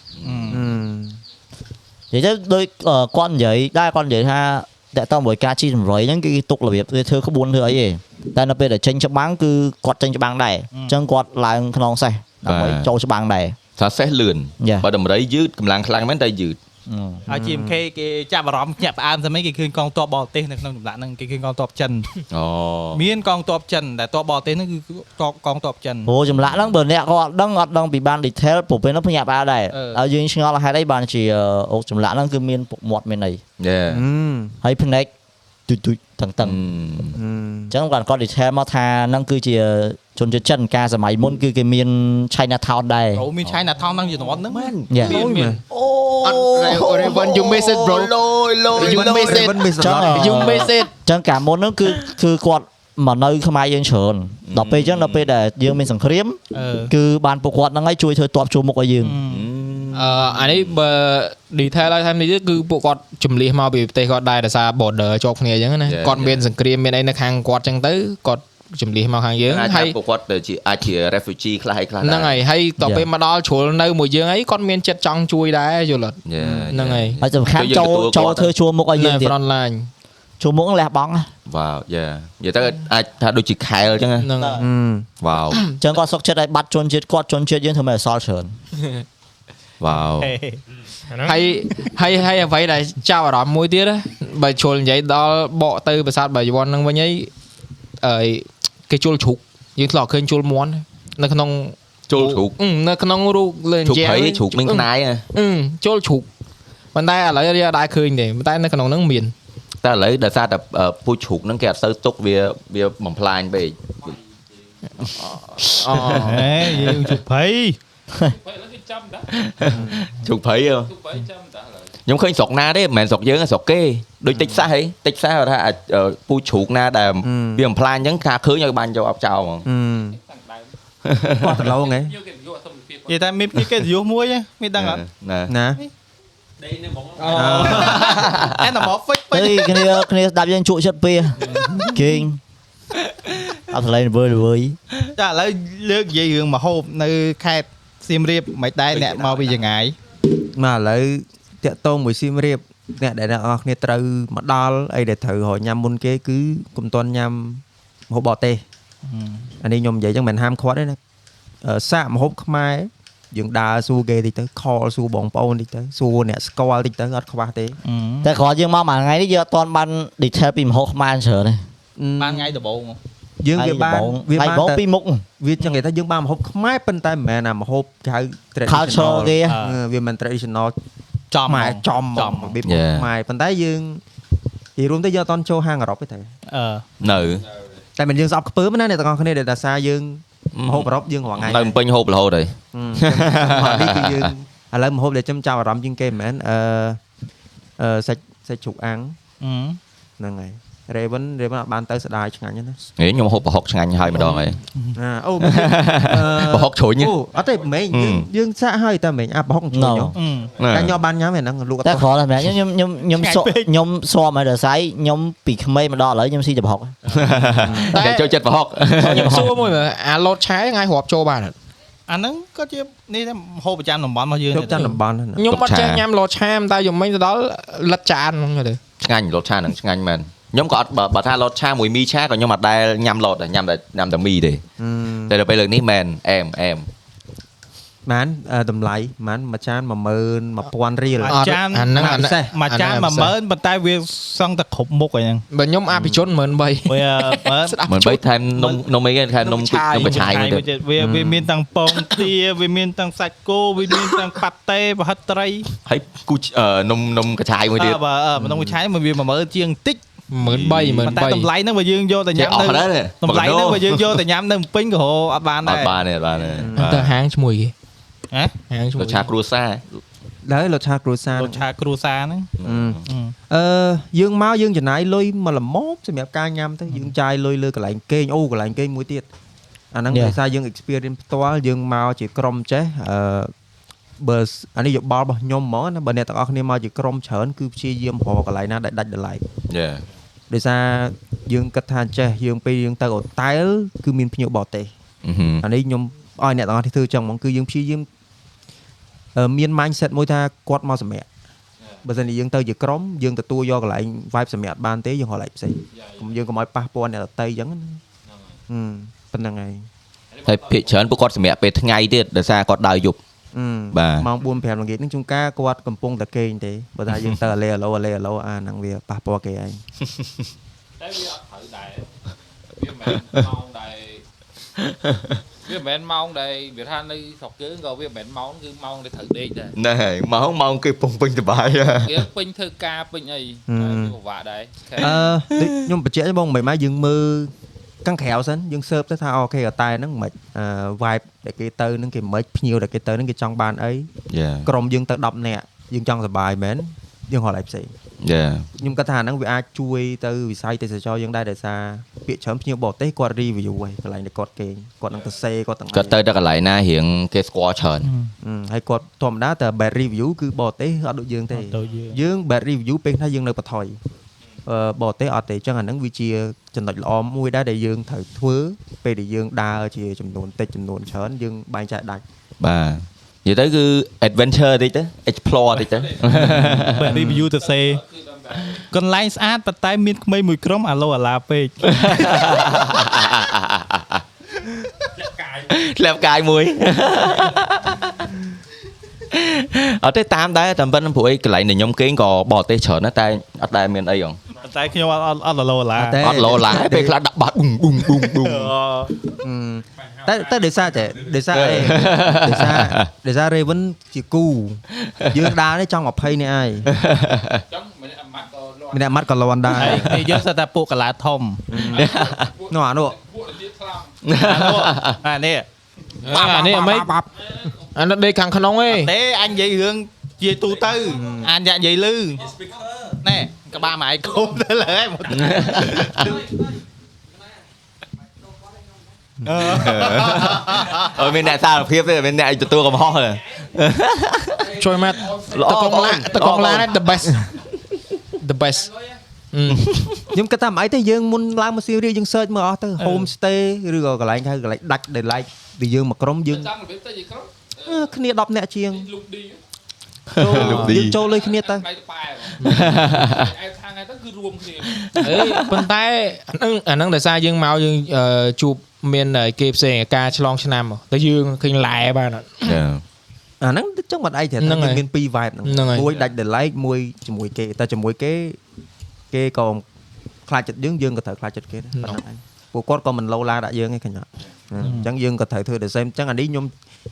និយាយទៅដូចអឺគាត់និយាយដែរគាត់និយាយថាតើតើមួយការជីចម្រុយហ្នឹងគឺគេទុករបៀបគេធ្វើក្បួនធ្វើអីទេតែនៅពេលដែលចេញច្បាំងគឺគាត់ចេញច្បាំងដែរអញ្ចឹងគាត់ឡើងខ្នងសេះដើម្បី
បាទ
ចូលច្បាំងដែរ
ថាសេះលឿន
Yeah.
បើតម្រៃយឺតកម្លាំងខ្លាំងមែនតែយឺត
ហើយ GMK គេចាប់អារម្មណ៍ញាក់ផ្អើមស្មីគេឃើញកងទ័ពបរទេសនៅក្នុងចម្លាក់ហ្នឹងគេឃើញកងទ័ពចិន
អូ
មានកងទ័ពចិនតែទ័ពបរទេសហ្នឹងគឺកងកងទ័ពចិន
ព្រោះចម្លាក់ហ្នឹងបើអ្នកគាត់អត់ដឹងអត់ដឹងពីបាន detail ព្រោះពេលហ្នឹងភញាក់ផ្អើលដែរ
អឺ
ហើយយើងឆ្ងល់ហេតុអីបានជាអឺអូចម្លាក់ហ្នឹងគឺមានពុកមាត់មានអី
យេ
ហើយភ្នែកទូចទូចតឹងតឹងអញ្ចឹងគាត់គាត់ detail មកថាហ្នឹងគឺជាជនជាតិចិនកាលសម័យមុនគឺគេមាន China Town ដែរ
អូមានឆៃណាថងហ្នឹងជំនាន់ហ្នឹងមែន
យ៉ា
មានមាន
អត់
Raven, you miss it, bro.
លយលយ
You miss it.
មិនមានស
ចឹង
ល់
យូមេសេតចឹងកាលមុនហ្នឹងគឺគឺគាត់មកនៅខ្មែរយើងច្រើនដល់ពេលចឹងដល់ពេលដែលយើងមានសង្គ្រាម
អឺ
គឺបានពួកគាត់ហ្នឹងឯងជួយធ្វើតបជួរមុខឲ្យយើង
អឺអានេះបើ detail ឲ្យតាមនេះទៀតគឺពួកគាត់ជំលះមកពីប្រទេសគាត់ដែរដោយសារ border ជាប់គ្នាអញ្ចឹងណា
Yeah,
គាត់
yeah.
មានសង្គ្រាមមានអីនៅខាងគាត់អញ្ចឹងទៅគាត់ជំលះមកខាងយើង
អាចថា
ហើយ
ពួកគាត់ទៅជាអាចជា refugee ខ្លះហើយខ្លះ
ហ្នឹងហើយហើយតទៅពេលមកដល់ជ្រុលនៅមួយយើងអីគាត់មានចិត្តចង់ជួយដែរយល់អត់
យេ
ហ្នឹងហើយ
ហើយសំខាន់ចូលចូលធ្វើជួរមុខឲ្យ
នៅ
យើងទៀត
front line
ជួរមុខហ្នឹងលះបង់ហ៎
វ៉ាវយេនិយាយទៅអាចថាដូចជាខែលអញ្ចឹងណា
ហ្នឹងហើយ
វ៉ាវ
ចឹងគាត់សុកចិត្តឲ្យបាត់ជនជាតិគាត់ជនជាតិយើងធ្វើមិនអសល់ច្រើន
វ៉ាវ
ហើយហើយហើយអ្វីដែលចាប់អារម្មណ៍មួយទៀតណាបើជ្រុលនិយាយដល់បកទៅប្រាសាទបាយ័នហ្នឹងវិញអីអីគេជុលជ្រុកយើងធ្លាប់ឃើញជុលមន់នៅក្នុង
ចូលជ្រូក
អឺនៅក្នុងរូបលេង
ជ្រូក
ជែ
ព្រៃជ្រូកមាន
អឺ
ខ្នាយណា
អឺចូលជ្រូកប៉ុន្តែឥឡូវវាអត់ដែរឃើញទេប៉ុន្តែនៅក្នុងហ្នឹងមាន
តែឥឡូវដោយសារតែអឺពូជ្រូកហ្នឹងគេអត់សូវទុកវាវាបំផ្លាញពេក
អូ
ហេយើងជុកភ័យ
បើឥឡូវគេចាំតា
[LAUGHS] ជ្រូកព្រៃហ៎
ទូបីចាំតាឥឡូវ
ខ្ញុំឃើញស្រុកណាទេមិនមែនស្រុកយើងទេស្រុកគេដូចតិចសាសហីតិចសាសគាត់ថាអាចអឺពូជ្រូកណាដែលវាបំផ្លាញអញ្ចឹងថាឃើញឲ្យបាញ់ចូលអបចោលហ្មង
គាត់ដលងហ៎
យកគេយកអត្ថនភាព
និយាយតែមានគេទយុះមួយហ៎មានដឹងអ [LAUGHS] ត់
ណា
ណា
ដេកនៅបង
អែនមកហ្វិចពេ
អេ
ញ
គ្នាគ្នាស្ដាប់យើងជក់ចិត្ត
[LAUGHS]
ពេលគេងអត់ឆ្លៃវើវើយ
ចាឥឡូវលើកនិយាយរឿងមហូបនៅខេត្តសៀមរាបមិនដែរអ្នកមកពីយ៉ាងណាយ
មកឥឡូវតាក់តងមួយស៊ីមរៀបអ្នកដែលអ្នកនរគ្នាត្រូវមកដល់អីដែលត្រូវរកញ៉ាំមុនគេគឺកុំតន់ញ៉ាំម្ហូបបរទេសអានេះខ្ញុំនិយាយចឹងមិនហាមឃាត់ទេណាអឺសាកម្ហូបខ្មែរយើងដើរសួរគេតិចទៅខលសួរបងប្អូនតិចទៅសួរអ្នកស្គាល់តិចទៅអត់ខ្វះទេ
តែគ្រាន់យើងមកមួយថ្ងៃនេះយើងអត់ទាន់បាន detail ពីមហោខ្មែរច្រើនទេ
បានថ្ងៃដំបូង
យើងវាបានវា
វា
បាន
បាន
តែ
ពីមុខ
វាចឹងគេថាយើងបានម្ហូបខ្មែរប៉ុន្តែមិនមែនអាម្ហូបគេហៅ
culture គេ
អឺវាមិន traditional
ចំ
ខ្មែរចំហ្ម
ចំ
ងរបៀបមកខ្មែរប៉ុន្តែយើងនិយាយរួមទៅយើងអត់តន់ចូលហាងអឺរ៉ុបទេតែ
អឺ
នៅ
តែមិនយើងស្អប់ខ្ពើមណាអ្នកទាំងអស់គ្នាដែលតាសាយើង
Ừ.
មហូបអឺរ៉ុបយើងរងថ្ងៃ
នៅពេញហូបរហូតហើយ
Ừ, ហឹមចឹងមកនេះគឺយើងឥឡូវមហូបដែលខ្ញុំចាប់អារម្មណ៍ជាងគេមិនមែនអឺអឺសាច់សាច់ជ្រូកអាំងហ្នឹងហើយ Raven Raven អត់បានទៅស្ដាយឆ្ងាញ់ទេណា
ហេខ្ញុំហូបប្រហុកឆ្ងាញ់ហើយម្ដងហើយ
ណាអូ Ờ,
ប្រហុកជ្រុញ
អូអត់ទេមែងយើង
ហឹម
យើងសាក់ហើយតែមែងអាប្រហុកជ្រុញ
No.
ហ៎តែ
[LAUGHS]
ខ្ញុំបានញ៉ាំឯហ្នឹងលក់អត់
តែ
ទៅ
គ្រាន់តែ
[LAUGHS]
ម្នាក់ខ្ញុំខ្ញុំខ្ញុំខ្ញុំសុខ្ញុំស្មឲ្យដល់ស្អីខ្ញុំពីក្មេងមកដល់ឥឡូវខ្ញុំស៊ីចំហុក
តែចូលចិត្តប្រហុក
ខ្ញុំសួរមួយមើលអាឡូតឆែថ្ងៃរាប់ចូលបានអត់
អាហ្នឹងក៏ជានេះដែរមហូបប្រចាំតំបន់របស់យើង
ជប់ចាំតំបន់ហ្នឹងណា
ខ្ញុំអត់ចេះញ៉ាំឡូតឆែតែយំមិញទៅដល់លិតចានហ្នឹងទៅ
ឆ្ងាញ់រសឆានឹងឆ្ងាញ់មែនខ្ញុំក៏អត់បើបើថារសឆាមួយមីឆាក៏ខ្ញុំអត់ដែលញ៉ាំរសដែរញ៉ាំតែញ៉ាំតែមីទេតែដល់ពេលលើកនេះមែនអែមអែម
ម៉ានអឺតម្លៃម៉ានមួយចាន10000 1000រៀល
មួយចាន
អាហ្នឹងអាហ្នឹង
មួយចាន10000ប៉ុន្តែវាសឹងតែគ្រប់មុខអី [LAUGHS] ហ្នឹង
បើខ្ញុំអភិជន13000
វាមើល
ស្ដាប់
មិនបីថែមនំនំអីគេថែមនំទឹកនំកញ្ឆាយមួយទៀត
វាវាមានទាំងពងទាវាមានទាំងសាច់គោវាមានទាំងប៉ាតេប្រហិតត្រី
ហើយគូចអឺនំនំកញ្ឆាយមួយទៀត
អើបើអើមនុស្សឆាយមកវាមកមើលជាងតិច
13000
ប៉ុន្តែតម្លៃហ្នឹងបើយើងយកទៅញ៉ាំ
ចេះអស់
នៅ
ដែរនេះ
តម្លៃ
មកកណ្ដូរ
ហ្នឹងបើយើងយកទៅញ៉ាំនៅភ្នំពេញក៏ហៅអត់បាន
អ
ដែរ
ត់បានទេអត់បានទេ
13000ទៅហាងឈ្មោះគេ
ហ៎
ហាងឈ្មោះ
រសឆាគ្រួសារ
ដែរលោកឆាគ្រួសារ
រសឆាគ្រួសារហ្នឹង
ហ្នឹងអឺយើងមកយើងចំណាយលុយមកលមមសម្រាប់ការញ៉ាំទៅយើងចាយលុយលើកន្លែងគេងអូកន្លែងគេងមួយទៀតអាហ្នឹង
Yeah.
ដោយសារយើង experience ផ្ទាល់យើងមកជាក្រុមចេះអឺបើសអានេះយោបល់របស់ខ្ញុំហ្មងណាបើអ្នកទាំងអស់គ្នាមកជាក្រុមច្រើនគឺព្យាយាមរកកន្លែងណាដែលដាច់តម្លៃ
យេ
ដោយសារយើងគិតថាចេះយើងពេលយើងទៅអូតែលគឺមានភ្ញៀវបរទេស អានេះខ្ញុំឲ្យអ្នកទាំងអស់ធ្វើចឹងហ្មងគឺយើងព្យាយាមអឺមាន mindset មួយថាគាត់មកសម្រាប់ បើសិនជាយើងទៅជាក្រុមយើងទទួលយកកន្លែង vibe សម្រាប់អត់បានទេយើងហៅកន្លែងផ្សេងកុំយើងកុំឲ្យប៉ះពាល់អ្នកដទៃអញ្ចឹងណាហឹមប៉ុណ្្នឹងហើយ
ហើយភាគច្រើនពួកគាត់សម្រាប់ពេលថ្ងៃទៀតដោយសារគាត់ដើរយប់
ហឹម
បាទ
ម៉ោង4 5ល្ងាចហ្នឹងជួនកាលគាត់កំពុងតែគេងទេបើថាយើងទៅអាឡេអាឡូអាឡេអាឡូអាហ្នឹងវាប៉ះពាល់គេឯ
តែ
ង
វាអត់ត្រូវដែរវាមិនមែនម៉ោងដែរវាមិនមែនម៉ោងដែរវាថានៅស្រុកយើងក៏វាមិនមែនម៉ោងគឺម៉ោងដែលត្រូវដេកដែរ
ហ្នឹងហើយម៉ោងម៉ោងគេពងពេញសុបាយហ่ะ
វាពេញធ្វើការពេញអី
ហឹម
តែវាពិបាកដែរខេ
អឺដូចខ្ញុំបញ្ជាក់ទេបងមិនម៉េចយើងមើលកាំងក្រៅសិនយើងសើបទៅថាអូខេកតែហ្នឹងមិនអឺ vibe ដែលគេទៅហ្នឹងគេមិនភ្ញៀវដែលគេទៅហ្នឹងគេចង់បានអី
Yeah
ក្រុមយើងទៅ10នាក់យើងចង់សុបាយមែនយើងហៅឲ្យផ្សេង
Yeah
ខ្ញុំគាត់ថាហ្នឹងវាអាចជួយទៅវិស័យទេសចរណ៍យើងដែរដោយសារពាក្យច្រើនភ្ញៀវបរទេសគាត់ review ហើយកន្លែងដែលគាត់គេងគាត់នឹងទៅសេគាត់ទាំងអី
គាត់ទៅដល់កន្លែងណារៀងគេស្គាល់ច្រើន
ហឹមហើយគាត់ធម្មតាតែ bad review គឺបរទេសអត់ដូចយើងទេយើង bad review ពេលខ្លះយើងនៅបន្ថយអឺបរទេសអត់ទេអញ្ចឹងអាហ្នឹងវាជាចំណុចល្អមួយដែរដែលយើងត្រូវធ្វើពេលដែលយើងដើរជាចំនួនតិចចំនួនច្រើនយើងបែងចែកដាច់
បាទនិយាយទៅគឺ adventure តិចទៅ explore តិចទៅ
បែប review ទៅសេកន្លែងស្អាតប៉ុន្តែមានក្មេងមួយក្រុមអាឡូអាឡាពេក
ធ្លាប់កាយមួយអត់ទេតាមដែរតាមប៉ុណ្្នឹងព្រោះអីកន្លែងដែលខ្ញុំគេងក៏បរទេសច្រើនណាស់តែអត់ដែរមានអីហង
ប៉ុន្តែខ្ញុំអត់អត់អត់អាឡូអាឡា
អត់ទេ
អត់លោឡាហើយពេលខ្លះដាក់បាត់ប៊ុងប៊ុងប៊ុងប៊ុង
អឺតែតែដោយសារតែដោយសារអីដោយសារដោយសារ Raven ជាគូយើងដើរនេះចង់20នាក់ហើយ
ចង់ម្នាក់អាម៉ាត់ក៏លាត់
ម្នាក់ម៉ាត់ក៏លន់ដែរ
ហើយគេយើងសតតែពួកកាឡាធំ
នោះអានោះ
ពួកលាតខ្លាំង
[LAUGHS]
អានោះអានេះ
បាប់អានេះអីអានេះដេកខាងក្នុងឯង
ទេអញនិយាយរឿងជា [LAUGHS] ទូទៅអញយ៉ាក់និយាយលឺណែក្បាលម៉ៃគុំទៅលើហ្មងអ
អត់មានអ្នកសារភាពទេមានអ្នកឯងទទួលកំហុសទេ
ជួយមក
ល្អ
តកងឡា
បង
តកងឡា
ល្អបង
នេះ the best the best អឺ
ខ្ញុំគិតថាមិនអីទេយើងមុនឡើងមកសៀមរាបយើង search មើលអស់ទៅ homestay ឬក៏កន្លែងហៅកន្លែងដាច់ដែល like ដែលយើងមកក្រុមយើង
ចង់របៀបទៅជាក្រុម
អឺគ្នា10នាក់ជាង
លុបឌី
ចូល
លុបឌី
យើងចូលលើគ្នាទៅ
ដៃទៅប៉ែឯខាងហ្នឹងទៅគឺរួមគ្នា
អេប៉ុន្តែអាហ្នឹងអាហ្នឹងដោយសារយើងមកយើងអឺជួបមានអីគេផ្សេងអាការឆ្លងឆ្នាំហ៎តែយើងឃើញឡែបានអត់
អាហ្នឹងចង់បាត់អីទេ
ហ្នឹងហើយ
មាន2 vibe
ហ្នឹងហើយ
មួយដាច់ដែល like មួយជាមួយគេតែជាមួយគេគេក៏ខ្លាចចិត្តយើងយើងក៏ត្រូវខ្លាចចិត្តគេដែរប៉ុណ្ណឹងឯងពួកគាត់ក៏មិនលោឡាដាក់យើងឯងកញ្ញា អញ្ចឹងយើងក៏ត្រូវធ្វើ the same អញ្ចឹងអានេះខ្ញុំ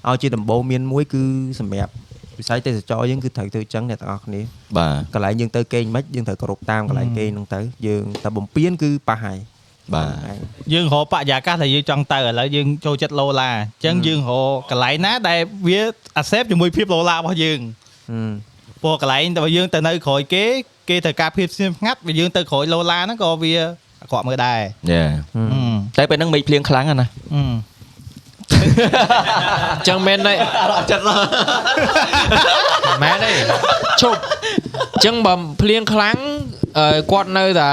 ឲ្យជាដំបូងមានមួយគឺសម្រាប់វិស័យទេសចរណ៍យើងគឺត្រូវធ្វើអញ្ចឹងអ្នកទាំងអស់គ្នា
បា
កន្លែងយើងទៅគេងមិនខ្មិចយើងត្រូវគោរពតាមកន្លែងគេងហ្នឹងទៅយើងតែបំពេញគឺប៉ះហើយ
ទបាទ
ហ្នឹងឯង
ឺយើងរកបរិយាកាសដែលយើងចង់ទៅឥឡូវយើងចូលចិត្តលោឡាអញ្ចឹងយើងរកកន្លែងណាដែលវាអាសេបជាមួយភាពលោឡារបស់យើង ព្រោះកន្លែងតែយើងទៅនៅក្រោយគេគេត្រូវការភាពស្ងៀមស្ងាត់វាយើងទៅក្រោយលោឡាហ្នឹងក៏វាអាក្រក់មើលដែរ
Yeah តែពេលហ្នឹងមេឃភ្លៀងខ្លាំងណាស់ណា
អញ្ចឹងមែនទេ
ចិត្តឡើយ
មែនទេឈប់អញ្ចឹងបើភ្លៀងខ្លាំងអឺគាត់នៅតែ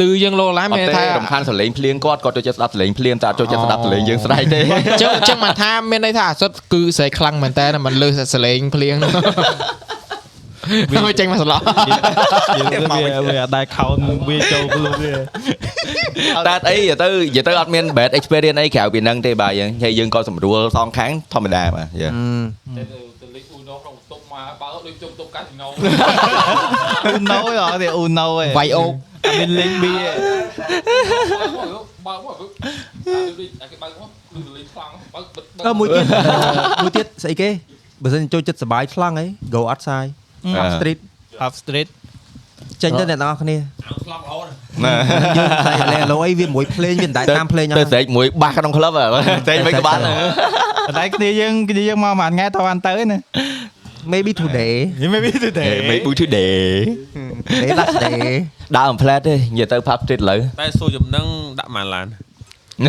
លឺយើងលោឡា
អ
មែន
ត់ទេ
ថា
រំខានសលេងភ្លៀងគាត់គាត់ចូលចិត្តស្ដាប់សលេងភ្លៀងតែអត់ចូលចិត្តស្ដាប់សលេងយើងស្រែកទេ
អញ្ចឹងអញ្ចឹងមិនថាមានន័យថាអាសត់គឺស្រែកខ្លាំងមែនតើមិនលឺសលេង [LAUGHS] ភ្លៀងវាចេញមកសឡោះ [LAUGHS]
យើងវាវាអត់ដែរខោនវាចូលខ្លួនវា
តែអីទៅនិយាយទៅអត់មាន bad experience អីក្រៅពីហ្នឹងទេបាទយើងហើយយើងក៏សម្រួលសងខាងធម្មតាបាទ Yeah
តែទៅទៅលេងអ៊ូណូក្នុងបន្ទប់មកបើដូចជុំបន្ទប់កាស៊ីណូ
អ៊ូណូអត់ទេអ៊ូណូឯង
វាយអូ
អ
ក
ត់មានលេងបៀ
បើមកអាគេបើមកដូចលេងខ្លាំងបើបិទ
អឺមួយទៀត [LAUGHS] មួយទៀតស្អីគេបើសិនចូលចិត្តសុបាយខ្លាំងអី go outside
អឺ
up street
half street
ចេញទៅអ្នកទាំងអ
[LAUGHS]
ស់គ្នា
ខ្លាំងល្អណាស់
ណា
យើងតែឥឡូវឥឡូវអីវាមួយភ្លេងវាមិនដែរតាមភ្លេងអ
ទៅ
ត់
ស្រែកមួយបាសក្នុងក្លឹបហ៎ [LAUGHS] តែមិនក្បាល
ប៉ុន្តែគ្នាយើងគ្នាយើងមកមួយថ្ងៃទៅបានទៅឯណា
maybe
[LAUGHS]
today
យើងមិនមានទេទេ
មេបុជទេ
today last day
ដើរអំផ្លែតទេនិយាយទៅ pub street លើ
តែសួរជំនឹងដាក់ម៉ានឡាន
ម្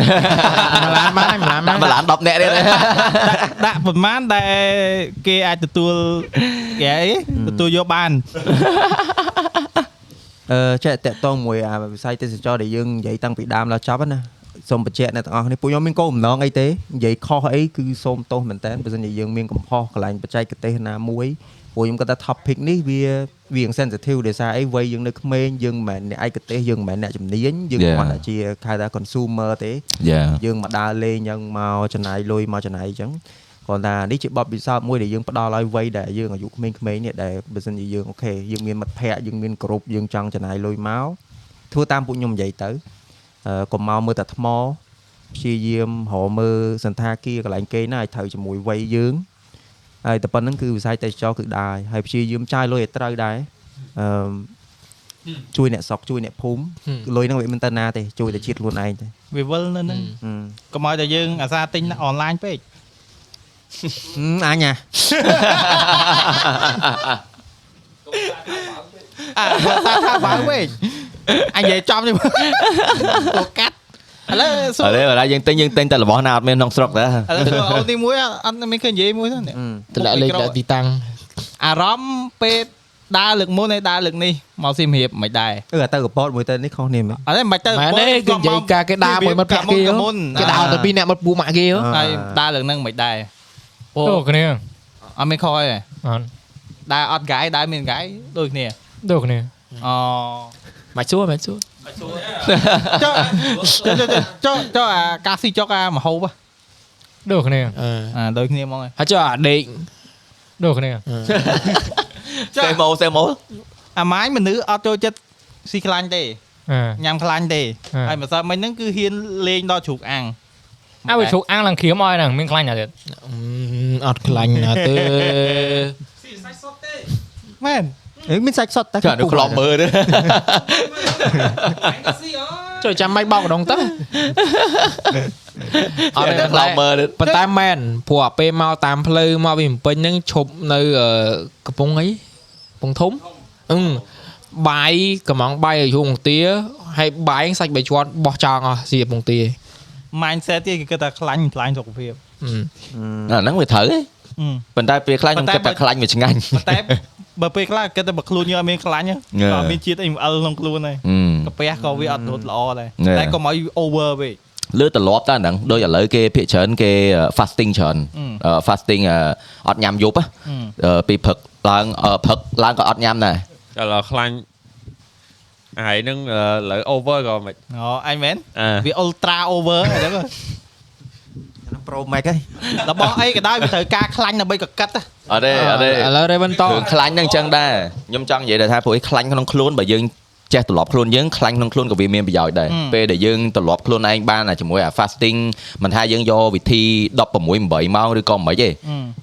លានបានម្លានបា
ដាក់
ន
បលាន10នាក់ទៀត
ដាក់ប្រមាណដែលគេអាចទទួលគេអីទទួលយកបាន
អឺចេះតាក់តងមួយអាវិស័យទេសចរណ៍ដែលយើងនិយាយតាំងពីដើមដល់ចប់ហ្នឹងណាសូមបញ្ជាក់អ្នកទាំងអស់គ្នាពួកខ្ញុំមានគោលបំណងអីទេនិយាយខុសអីគឺសូមទោសមែនតើបើមិនជាយើងមានកំហុសកន្លែងបច្ចេកទេសណាមួយ ព្រោះខ្ញុំគាត់ថា topic នេះវាវា sensitive ដោយសារអីវ័យយើងនៅក្មេងយើងមិនមែនអ្នកឯកទេសយើងមិនមែនអ្នកជំនាញយើង
Yeah.
មិនមែនជាគេហៅថា consumer ទេ
យ៉ា
[LAUGHS] យើងមកដើរលេងអញ្ចឹងមកចំណាយលុយមកចំណាយអញ្ចឹងគ្រាន់តែនេះជាបទពិសោធន៍មួយដែលយើងផ្ដល់ឲ្យវ័យដែលយើងអាយុក្មេងៗនេះដែលបើសិនជាយើងអូខេយើងមានមិត្តភ័ក្តិយើងមានក្រុមយើងចង់ចំណាយលុយមកធ្វើតាមពួកខ្ញុំនិយាយទៅអឺកុំមកមើលតែថ្មព្យាយាមរកមើលសន្តាគារកន្លែងគេងណាឲ្យត្រូវជាមួយវ័យយើងហើយតែប៉ុណ្្នឹងគឺវិស័យទេសចរណ៍គឺដែរហើយព្យាយាមចាយលុយឲ្យត្រូវដែរអឺជួយអ្នកសក់ជួយអ្នកភូមិលុយហ្នឹងវាមិនទៅណាទេជួយតែជាតិខ្លួនឯងទេ
វាវិលនៅហ្នឹង
ហឹម
កុំឲ្យតែយើងអាសាទិញអនឡាញពេក
Ừ, anh à
អាអាសាថាបើពេកអញនិយាយចំទេមើលអូកាត់ឥឡូវសួរ
ឥឡូវបើយើងទិញយើងទិញតែរបស់ណាអត់មានក្នុងស្រុកដែរ
ឥឡូវសួរអូនទីមួយអត់អត់មានឃើញនិយាយមួយហ្នឹង
ừ.
ទៅដាក់លេខដាក់ទីតាំង
អារម្មណ៍ពេលដើរលើកមុនហើយដើរលើកនេះមកស៊ីមរៀបមិនដែរ
ừ tao gặp bot mới tên nick không niềm
អត់ទេមិនបាច់ទៅ
ម៉ែនេះគឺនិយាយការគេដើរមួយមិត្តភ័ក្ដិគេ
មុន
គេដើរទៅពីរអ្នកមិត្តពូម៉ាក់គេហ៎
ហើយដើរលើកហ្នឹងមិនដែរអូ
ដូចគ្នា
អត់មានខុសទេ
អត់
ដើរអត់ហ្គាយដើរមានហ្គាយដូចគ្នា
ដូចគ្នា
អូ
មកជួមកជួ
ចុះចុះចុះចុះអាកាស៊ីចុកអាមហូប
ដូចគ្នា
អាដូចគ្នាហ្មង
ហើយចុះអាដេក
ដូចគ្នា
សេម៉ូសេម៉ូ
អាម៉ាញមនុស្សអត់ចូលចិត្តស៊ីខ្លាញ់ទេ
អឺ
ញ៉ាំខ្លាញ់ទេ
អ่า
ហើយម្សិលមិញហ្នឹងគឺហ៊ានលេងដល់ជ្រូកអាំង
អើវាជ្រូកអាំងឡើងគ្រាមអស់ហើយហ្នឹងមានខ្លាញ់ណាស់ទៀត
អត់ខ្លាញ់ណាទេ
មែន
ừ, mình sạch sọt tao
ចាំនៅក្លំមើលទៅ
ចូលចាំមិនបោកកណ្ដ
[LAUGHS]
ងទៅអ
អត់
ត់ទេ
ក្លំមើលទៅ
ប៉ុន្តែមែនព្រោះអាពេលមកតាមផ្លូវមកពីភ្នំពេញហ្នឹងឈប់នៅអឺកំពង់អីកំពង់ធំអឺបាយកំងបាយឲ្យយូរពងទាហើយបាយសាច់បីជាន់បោះចោលអស់ស៊ីពងទា
mindset ទៀតគេគិតថាខ្លាញ់ខ្លាញ់សុខភាព
អាហ្នឹងវាត្រូវឯង
អឺ
ប៉ុន្តែពេលខ្លាញ់ខ្ញុំគិតថាខ្លាញ់វាឆ្ងាញ់
ប៉ុន្តែ
[LAUGHS]
បើពេលខ្លះគិតតែបើខ្លួនយើងអត់មានខ្លាញ់ហ៎
ងើ
ក៏មានជាតិអីមកអិលក្នុងខ្លួនដែរកាពះក៏វាអត់រត់ល្អ
ងើ
ដែរតែកុំឲ្យ over ពេក
លើទម្លាប់តែអាហ្នឹងដូចឥឡូវគេភាកច្រើនគេ fasting ច្រើន
អឺ
fasting អឺអត់ញ៉ាំយប់ហ៎អឺពីព្រឹកឡើងអឺព្រឹកឡើងក៏អត់ញ៉ាំដែរ
ឥឡូវខ្លាញ់អាហើយនឹងឥឡូវ over ក៏មិន
អូអញមែន
អឺ
វា ultra over អញ្ចឹងហ៎
pro max ấy
របស់អីក៏ដោយវាត្រូវការខ្លាញ់ដើម្បីកកិតហ៎
អត់ទេអត់ទេ
ឥឡូវ Raven ត
រឿងខ្លាញ់ហ្នឹងអញ្ចឹងដែរខ្ញុំចង់និយាយដែរថាពួកឯងខ្លាញ់ក្នុងខ្លួនបើយើងចេះទម្លាប់ខ្លួនយើងខ្លាញ់ក្នុងខ្លួនក៏វាមានប្រយោជន៍ដែរពេលដែលយើងទម្លាប់ខ្លួនឯងបានអាជាមួយអា fasting មិនថាយើងយកវិធី16 8ម៉ោងឬក៏មិនទេ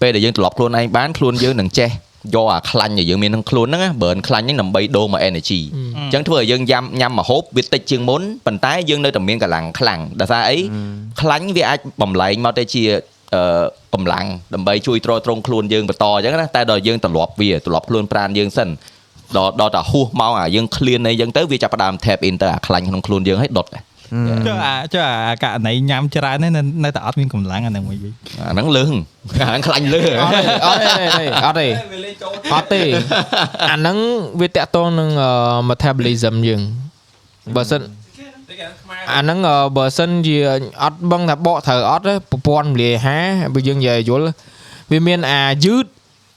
ពេលដែលយើងទម្លាប់ខ្លួនឯងបានខ្លួនយើងនឹងចេះយកអាខ្លាញ់ដែលយើងមានក្នុងខ្លួនហ្នឹងណា burn ខ្លាញ់ហ្នឹងដើម្បីដូរមក energy អញ្ចឹងធ្វើឲ្យយើងញ៉ាំញ៉ាំមកហូបវាតិចជាងមុនប៉ុន្តែយើងនៅតែមានកម្លាំងខ្លាំងដោយសារអីខ្លាញ់វាអាចបំលែងមកទៅជា អឺកម្លាំងដើម្បីជួយទ្រទ្រង់ខ្លួនយើងបន្តអញ្ចឹងណាតែដល់យើងត្រឡប់វាត្រឡប់ខ្លួនប្រាណយើងសិនដល់ដល់តែហួសមកអាយើងឃ្លានអីអញ្ចឹងទៅវាចាប់ផ្ដើម tap in ទៅអាខ្លាញ់ក្នុងខ្លួនយើងឲ្យដុតអា
ចុះអាចុះអាករណីញ៉ាំច្រើនហ្នឹងនៅនៅតែអត់មានកម្លាំងអាហ្នឹងមួយវិញ
ហ្នឹងលឹងអាហ្នឹងខ្លាញ់លឹង
អត់ទេអត់ទេអត់ទេអត់ទេអាហ្នឹងវាតាក់ទងនឹងអឺ metabolism យើងបើសិនអាហ្នឹងអឺបើសិនជាអត់បឹងថាបកត្រូវអត់ទេប្រព័ន្ធពលាយអាហារបើយើងនិយាយឲ្យយល់វាមានអាយឺត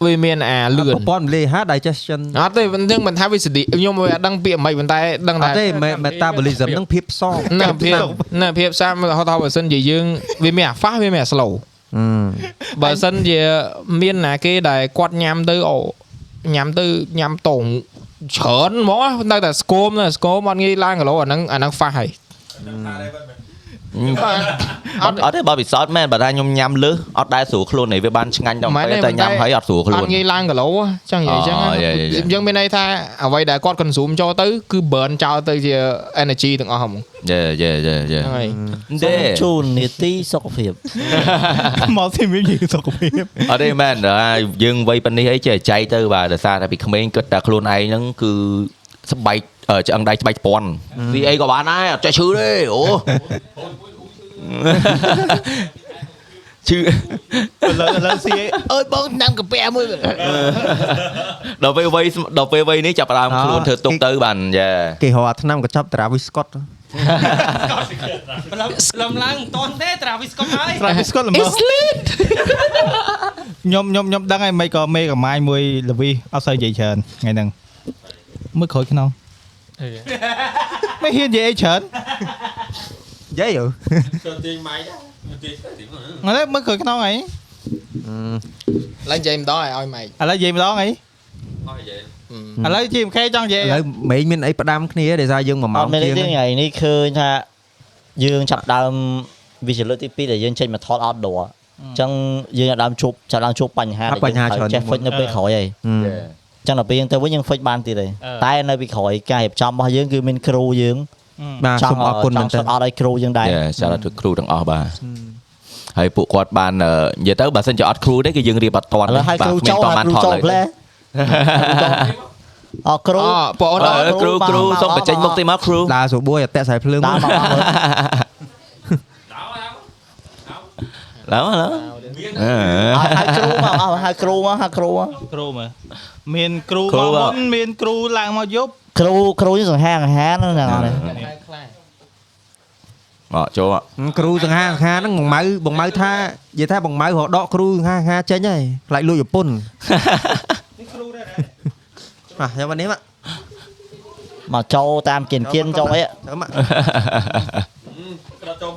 វាមានអាលឿន
ប្រព័ន្ធមលេហា digestion
អត់ទេមិនដឹងមិនថាវាសេរីខ្ញុំមិនដឹងពាក្យមិនប៉ុន្តែដឹង
អ
ថា
ត់ទេ me- metabolism នឹងភាពផ្សំ
ណាភាពណាភាពសាមហៅថាបើសិនជាយើងវាមានអា fast វាមានអា slow បើសិនជាមានណាគេដែលគាត់ញ៉ាំទៅអូញ៉ាំទៅញ៉ាំតងច្រើនហ្មងណានៅតែស្គមនៅតែស្គមអត់ងាយឡើងគីឡូអាហ្នឹងអាហ្នឹង fast ហើយ
អត់អត់ទេបើពិសោធន៍មែនបើថាខ្ញុំញ៉ាំលឹះអត់ដែលស្រួលខ្លួនឯងវាបានឆ្ងាញ់ដល់ពេលតែញ៉ាំហើយអត់ស្រួលខ្លួន
អត់ងាយឡើងគីឡូចឹងនិយាយចឹង
អូយេយេយេ
ចឹងមានន័យថាអ្វីដែលគាត់ consume ចូលទៅគឺ burn ចោលទៅជា energy ទាំងអស់ហ្មង
យេយេយេយេ
ហ្នឹងហើយ
ទេ
ជូននីតិសុខភាព
មកស៊ីមរៀបយើងសុខភាព
អត់ទេមែនដល់យើងវ័យប៉ុណ្នេះអីចេះចៃទៅបាទដោយសារតែពីក្មេងគិតតែខ្លួនឯងហ្នឹងគឺស្បែកអឺឆ្អឹងដៃស្បែកស្ពាន់ស៊ីអីក៏
[LAUGHS]
បានដែរអត់ចេះឈឺទេអូ ឈ ឈឺ
លើលើស៊ី
[LAUGHS]
អើយបងដាំកាពែ
[LAUGHS]
មួយ
ដល់ពេលវ័យដល់ពេលវ័យនេះចាប់ផ្ដើម
អ่า
ខ្លួនធ្វើទុកទៅបានយ៉ា
គេហៅអាឆ្នាំកញ្ចប់ Travis Scott
លំឡើងមិនតន់ទេ Travis Scott ហើយ
Travis Scott ល្មើ
It's
[LAUGHS]
lit
ខ្ញុំខ្ញុំខ្ញុំដឹងហើយមិនក៏មេកំាយមួយលវីអត់សូវនិយាយច្រើនថ្ងៃហ្នឹងមើលក្រោយខ្នងមិនហ៊ាននិយាយអីច្រើន
និយាយអូ
ចូលទាញម៉ៃដែរទាញទាញ
ឥឡូវមើលក្រោយខ្នងអី
ឡើយនិយាយម្ដងឲ្យឲ្យម៉ៃ
ឥឡូវនិយាយម្ដង
អ
អី
ស់និយាយ
ឥឡូវជីមខេចង់និយាយ
ឥឡូវមេញមានអីផ្ដាំគ្នាដោយសារយើងមួយម៉ោ
អ
ង
ត់មានអី
ជាង
ទេថ្ងៃនេះឃើញថាយើងចាប់ផ្ដើមវាជាលើកទី2ដែលយើងចេញមក thought outdoor អញ្ចឹងយើងចាប់ផ្ដើមជួបចាប់ផ្ដើមជួបបញ្ហា
បញ្ហាច្រើន
ចេះ fix នៅពេលក្រោយហើយ អញ្ចឹងដល់ពេលយើងទៅវិញយើងហ្វិចបានទៀតហើយតែនៅពីក្រោយការរៀបចំរបស់យើងគឺមានគ្រូយើង
បាទសូមអរគុណមែន
ច
ទែ
ង់
ន
អត់ឲ្យគ្រូយើងដែរ
Yeah, សារទៅគ្រូទាំងអស់បាទហើយពួកគាត់បានអឺនិយាយទៅបើសិនជាអត់គ្រូទេគឺយើងរៀបអត់តាន់
ឥឡូវឲ្យគ្រូចូលឲ្យគ្រូចូលផ្លែអគ្រូ [LAUGHS]
បង [LAUGHS] អូន
អរ
គ្រូគ្រូ
បាទ
សូមបញ្ចេញមុ
បាទ
ខទីមកគ្រូ
ដាសុបួយអតិស្រ័យភ្លើង
តាមមកមើល
ឡៅឡៅ
ឲ្យហៅគ្រូមកអស់ហៅគ្រូមកហៅគ្រូមក
គ្រូមើលមានគ្រូមកមុនមានគ្រូឡើងមកយប់
គ្រូគ្រូយើងសង្ហាសង្ហាហ្នឹងណានេះ
មកចូលមក
គ្រូសង្ហាសង្ហាហ្នឹងបងម៉ៅបងម៉ៅថានិយាយថាបងម៉ៅរកដកគ្រូសង្ហាសង្ហាចេញហើយខ្លាចលួចប្រពន្ធនេះគ្រូដែរបាទខ្ញុំមកនេះមក
មកចូលតាមគៀនគៀនចូលអី
ចាំមក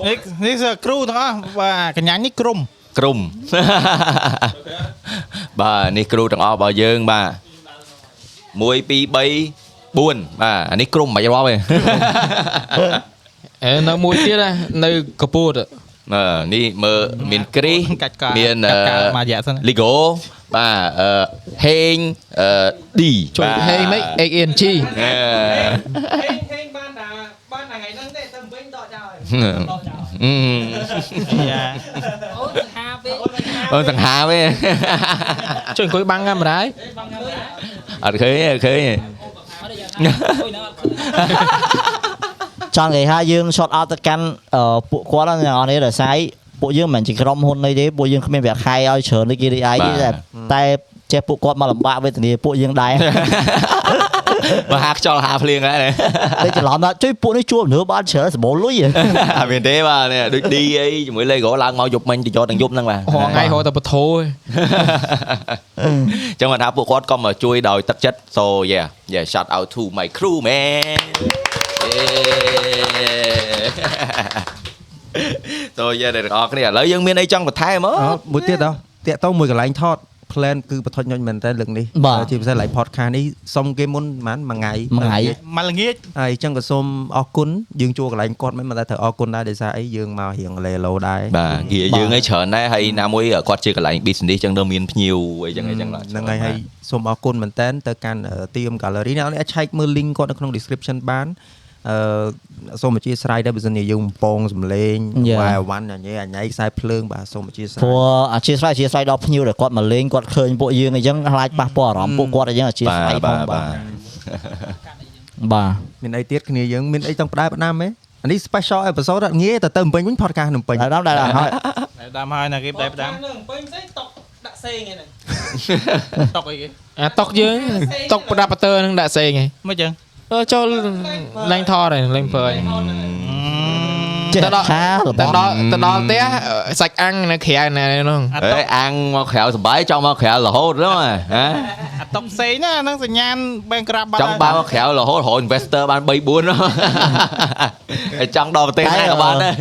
នេះនេះគឺគ្រូទាំងអស់បាទកញ្ញានេះក្រុម
ក្រុមបាទនេះគ្រូទាំងអស់របស់យើងបាទ1 2 3 4បាទអានេះក្រុមមិនរាប់ទេ
អេនៅមួយទៀតណានៅកពត
អឺនេះមើលមានគ្រីស
កាច់កា
មាន
កាច់កាមករយៈសិន
លីហ្គោបាទអឺហេងអឺឌី
ជួយហេមិន ANG
អឺ
ហេងហេងបានតែបានតែថ្ងៃហ្នឹងទេទៅវិញដកចោលហើយដកចោលហើយ
អឺ
យ៉ា
អូនសង្ហាពេកអូនសង្ហា
អូនសង្ហាវិញ
ជួយអង្គុយបាំងកាមេរ៉ាឯង
បងមើលអត់
អត់ឃើញទេអត់ឃើញទេ
ទេយ៉ាងណាអុយនៅអត់ឃើញ
ចង់និយាយថាយើង short out ទៅកាន់អឺពួកគាត់ហ្នឹងអ្នកនរនេះដោយសារពួកយើងមិនមែនជាក្រុមហ៊ុនអីទេពួកយើងគ្មានប្រាក់ខែឲ្យច្រើនដូចគេរីឯងទេតែចេះពួកគាត់មកលំបាកវេទនាពួកយើងដែរ [LAUGHS]
បើហាខ្យល់ហាភ្លៀងហើយណា
តែច្រឡំថាជួយពួកនេះជួបមនុស្សបានច្រើនសម្បូរលុយហ៎ [LAUGHS]
អត់មានទេបាទនេះដូចឌីអីជាមួយលេហ្គោឡើងមកយប់មិញទៅយកទាំងយប់ហ្នឹងបាទ
ហ
[LAUGHS]
ងៃហៅតែបធោឯង
ចឹងមកថាពួកគាត់ក៏មកជួយដោយទឹកចិត្ត so yeah yeah shout out to my crew man Yeah. [LAUGHS] តោះយ៉ាអ្នកទាំងអស់គ្នាឥឡូវយើងមានអីចង់បន្ថែមមក
អត់មួយទៀតដល់តាកតោមួយកន្លែងថត plan គឺបន្ថុចញុញមែនតើលើកនេះ
បាទ
ជាពិសេស live podcast នេះសុំគេមុនប្រហែលមួយថ្ងៃ
មួយថ្ងៃ
[LAUGHS] មកល្ងាច
ហើយអញ្ចឹងក៏សូមអរគុណយើងជួលកន្លែងគាត់មិនមែនតែត្រូវអរគុណដែរដោយសារអីយើងមករៀងលេឡូដែរ
បាទគៀយើងឯងច្រើនដែរហើយណាមួយគាត់ជាកន្លែង business ចឹងទៅមានភ្ញៀវអីចឹងអីចឹងឡើយ
ហ្នឹងហើយហើយសូមអរគុណមែនតើទៅកាន់អឺទីម gallery នេះអាចឆែកមើល link គាត់នៅក្នុង description បានអឺសូមអធិស្ឋានដែរបើសិនជាយើងបំពងសម្លេង
Yeah.
វ៉ៃវ៉ាន់អញ្ញេអញ្ញៃខ្សែភ្លើងបាទសូមអធិស្ឋា
ព្រោះ
ន
អធិស្ឋានអធិស្ឋានដល់ភ្ញៀវដែលគាត់មកលេងគាត់ឃើញពួកយើងអញ្ចឹងខ្លាចប៉ះពាល់អារម្មណ៍ពួកគាត់អញ្ចឹងអធិស្ឋានផងបាទបាទ
មានអីទៀតគ្នាយើងមានអីចង់ផ្ដែផ្ដាំទេអានេះ special episode អត់ងាយតែទៅបំពេញវិញ podcast នឹងពេញ
ហើយដល់ដែរហើយ
តែដាំហើយណាគេ
ដែ
ដែរ រ
ផ្ដាំ
ដាំ
នឹងពេញផ្សេងតុកដាក់សេងឯហ្នឹង
តុកអីគេ
អាតុកយើងតុកប្រដាប់ប្រទ័រនឹងដាក់សេងឯង
មកចឹង
អឺចូលលេងថតឯងលេងព្រើឯង
ចេះ
ទៅដល់
ថារប
ទៅ
ប
ដល់ទៅដល់ផ្ទះសាច់អាំងនៅក្រៅណែនោះ
អា
អេ
តុក
អាំងមកក្រៅសបាយចង់មកក្រៅរហូតហ្នឹងហ៎ហ៎
អាតុកផ្សេងណាហ្នឹងសញ្ញាណ bank grab បាន
ចង់បានមកក្រៅរហូតរក investor បាន3 4ហ្នឹងហើយចង់ដល់ប្រទេសណាក៏បានដែរ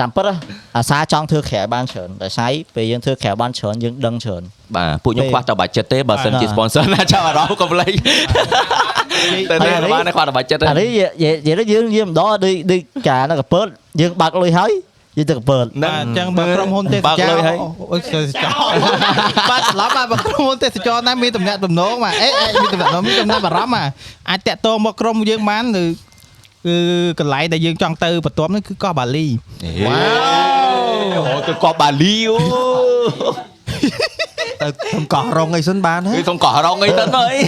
តាមពិតហ៎អាសាចង់ធ្វើក្រែបានច្រើនដោយសារពេលយើងធ្វើក្រែបានច្រើនយើងដឹងច្រើន
បាទពួកខ្ញុំខ្វះតបាច់ចិត្តទេបើសិនជា sponsor ណាចាប់អារម្មណ៍កុំភ្លេ [LAUGHS] ចតែនេះក៏បានដែរខ្វះតបាច់ចិត្តទេ
អានេះនិយាយនិយាយទៅយើងយើងម្ដងដូចដូចកាលនៅកពើតយើងបើកលុយហើយយើងទៅកពើត
បាទអញ្ចឹងបើក្រុមហ៊ុនទេស
បើក
ចរ
លុយ
ណ៍
ហើយ
អូយទេសចរណ៍បាទច្រឡំបាទបើក្រុមហ៊ុនទេសចរណ៍ណាមានតំណែងតំណងបាទអេអាចមានតំណែងមានចំណាប់អារម្មណ៍បាទអាចតាក់ទងមកក្រុមយើងបានឬគឺកន្លែងដែលយើងចង់ទៅបន្ទាប់នេះគឺកោះបាលី
វ៉ាវអូទៅកោះបាលីអូ
ទៅធ្វើកោះរងអីសិនបានហើ
គឺ
យ
សុំកោះរងអីទៅអី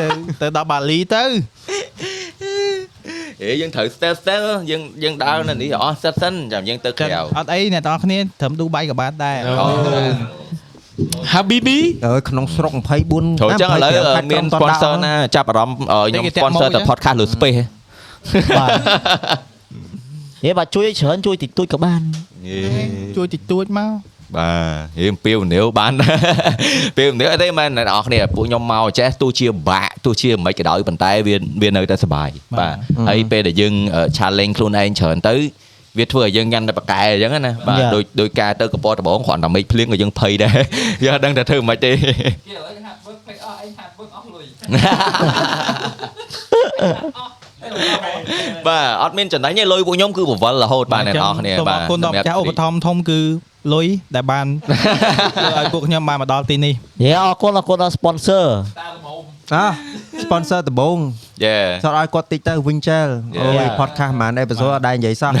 ទៅទៅដល់បាលីទៅ
ហេយើងត្រូវ step step យើងយើងដើរនៅនេះអស់ step សិនចាំយើងទៅក្រៅ
អត់អីអ្នកទាំងអស់គ្នាត្រឹមឌូបៃក៏បានដែរ
អូ
Habibi អើក្នុងស្រុក24
ចូលចឹងឥឡូវ
25
មាន
ខែ
sponsor
ក្រុងតដល់
ណាចាប់អារម្មណ៍ឲ្យខ្ញុំ
តិចគេតាក់
sponsor
មក
ទៅ
វិញ
podcast លើ space ហ៎
ហេបាទជួយឲ្យច្រើនជួយតិចតួចក៏បាន
ជួយតិចតួចមក
បាទរៀងពីវនាវបាន [LAUGHS] ពីវនាវអីទេមែនអ្នកនរអស់គ្នាពួកខ្ញុំមកចេះទោះជាបាក់ទោះជាមិនខ្មិចក៏ដោយប៉ុន្តែវាវានៅតែសប្បាយបាទហើយពេលដែលយើងអឺ challenge ខ្លួនឯងច្រើនទៅវាធ្វើឲ្យយើងញ៉ាំតែប៉ាកែអញ្ចឹងណាបាទ
Yeah.
ដូចដូចការទៅកពតដបងគ្រាន់តែមេឃភ្លៀងក៏យើងភ័យដែរ [LAUGHS] យើងអត់ដឹងថាធ្វើមិនខ្មិចទេ
គេឲ្យ
[LAUGHS]
ហាត់វឹកពេកអស់អីហាត់វឹកអស់លុយ
បាទអត់មានចំណាញ់ទេលុយពួកខ្ញុំគឺបវលរហូតបាទអ្នកនរអស់គ្នា
សូម
បាទ
អរគុណដល់ម្ចាស់ឧបត្ថម្ភធំគឺលុយដែល [LAUGHS] បាន ធ្វើឲ្យពួកខ្ញុំបានមកដល់ទីនេះ
យេអរគុណអរគុណដល់ sponsor
អា sponsor ដំបូង
យេ
សតឲ្យគាត់តិចទៅ Winchell អូយ
Yeah.
podcast ហ្មងអេពីសូតអត់ដែរនិយាយសោះ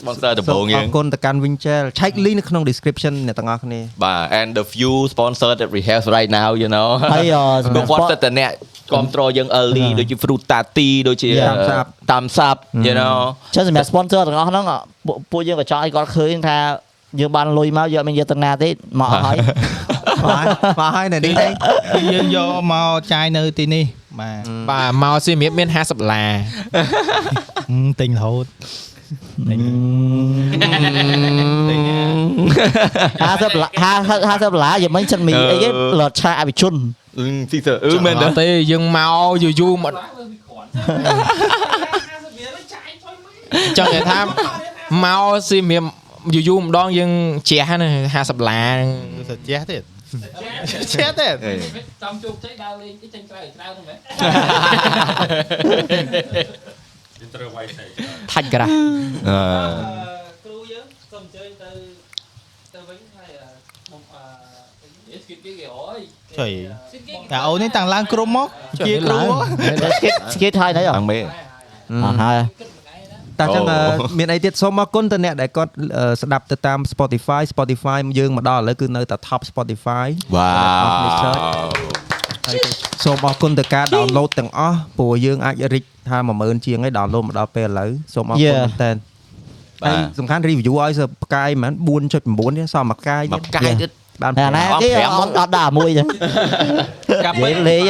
sponsor [LAUGHS] ដំបូងយើ
សូម
ង
អរគុណទៅកាន់ Winchell check link នៅក្នុង description អ្នកទាំងអស់គ្នា
បាទ and the few sponsor that we have right now you know [LAUGHS]
ហើយអ่าសម្រាប់
ពួកគាត់
spon-
សិតតែអ្នកគ្រប់គ្រងយើង early ដូចជា Frutati ដូចជា
Yeah.
តាមសាប់
តាមសាប់ you know
ចឹងសម្រាប់ sponsor ទាំងអស់ហ្នឹងអ่ะពួកពួកយើងក៏ចង់ឲ្យគាត់ឃើញថាយើងបានលុយមកយើងអត់មានយកទៅណាទេមកអស់ហើយ
បាទមកហើយនៅនេះឯង
គឺយើងយកមកចាយនៅទីនេះបាទ
បាទមកសៀមរាបមាន50ដុល្លារ
ហឹមទិញរហូត
50ដុល្លារ50 50ដុល្លារយើងមិនចិត្តមីអីគេលត់ឆាអភិជន
ស៊ីសើអឺមែន [LAUGHS]
អ
ទេ
ត់ទេយើងមកយូរយូរមកចង់និយាយថាមកសៀមរាបយូរយូរម្ដងយើងជះណា50ដុល្លារ
សាជះទៀតជះទៀត
ចាំជោគជ័យដើរលេងតិចចេញក្រៅក្រៅហ្នឹងមែន
យើងត្រូវវាយសេ
ថាច់ក្រាស់
គ្រូយើងសូមអញ្ជើញទៅទៅវិញហើយអឺមកអឺស្គីតគេគេអយ
ចុយតែអូននេះតាំងឡើងក្រុមមកជាគ្រូ
ស្គីតស្គីតហើយណៃអ
[LAUGHS] ខាងមេ
ត់ហើយ
តែចឹង
អូ
អឺមានអីទៀតសូមអរគុណទៅអ្នកដែលគាត់អឺស្ដាប់ទៅតាម Spotify Spotify យើងមកដល់ឥឡូវគឺនៅតែ top Spotify
វ៉ាវ
ហើយក៏សូមអរគុណទៅការ download ទាំងអស់ព្រោះយើងអាចរីកថា10000ជាងឯង download មកដល់ពេលឥឡូវសូមអរគុណ
Yeah.
មែនតើ
បាទ
ហើយសំខាន់ review ឲ្យសផ្កាយហ្មង4.9នេះសមមកផ្កាយ
មកកាយទៀត
បាន
តែណាគេ
ប្រាំ
អត់អត់ដាក់មួយទេកាប់លេង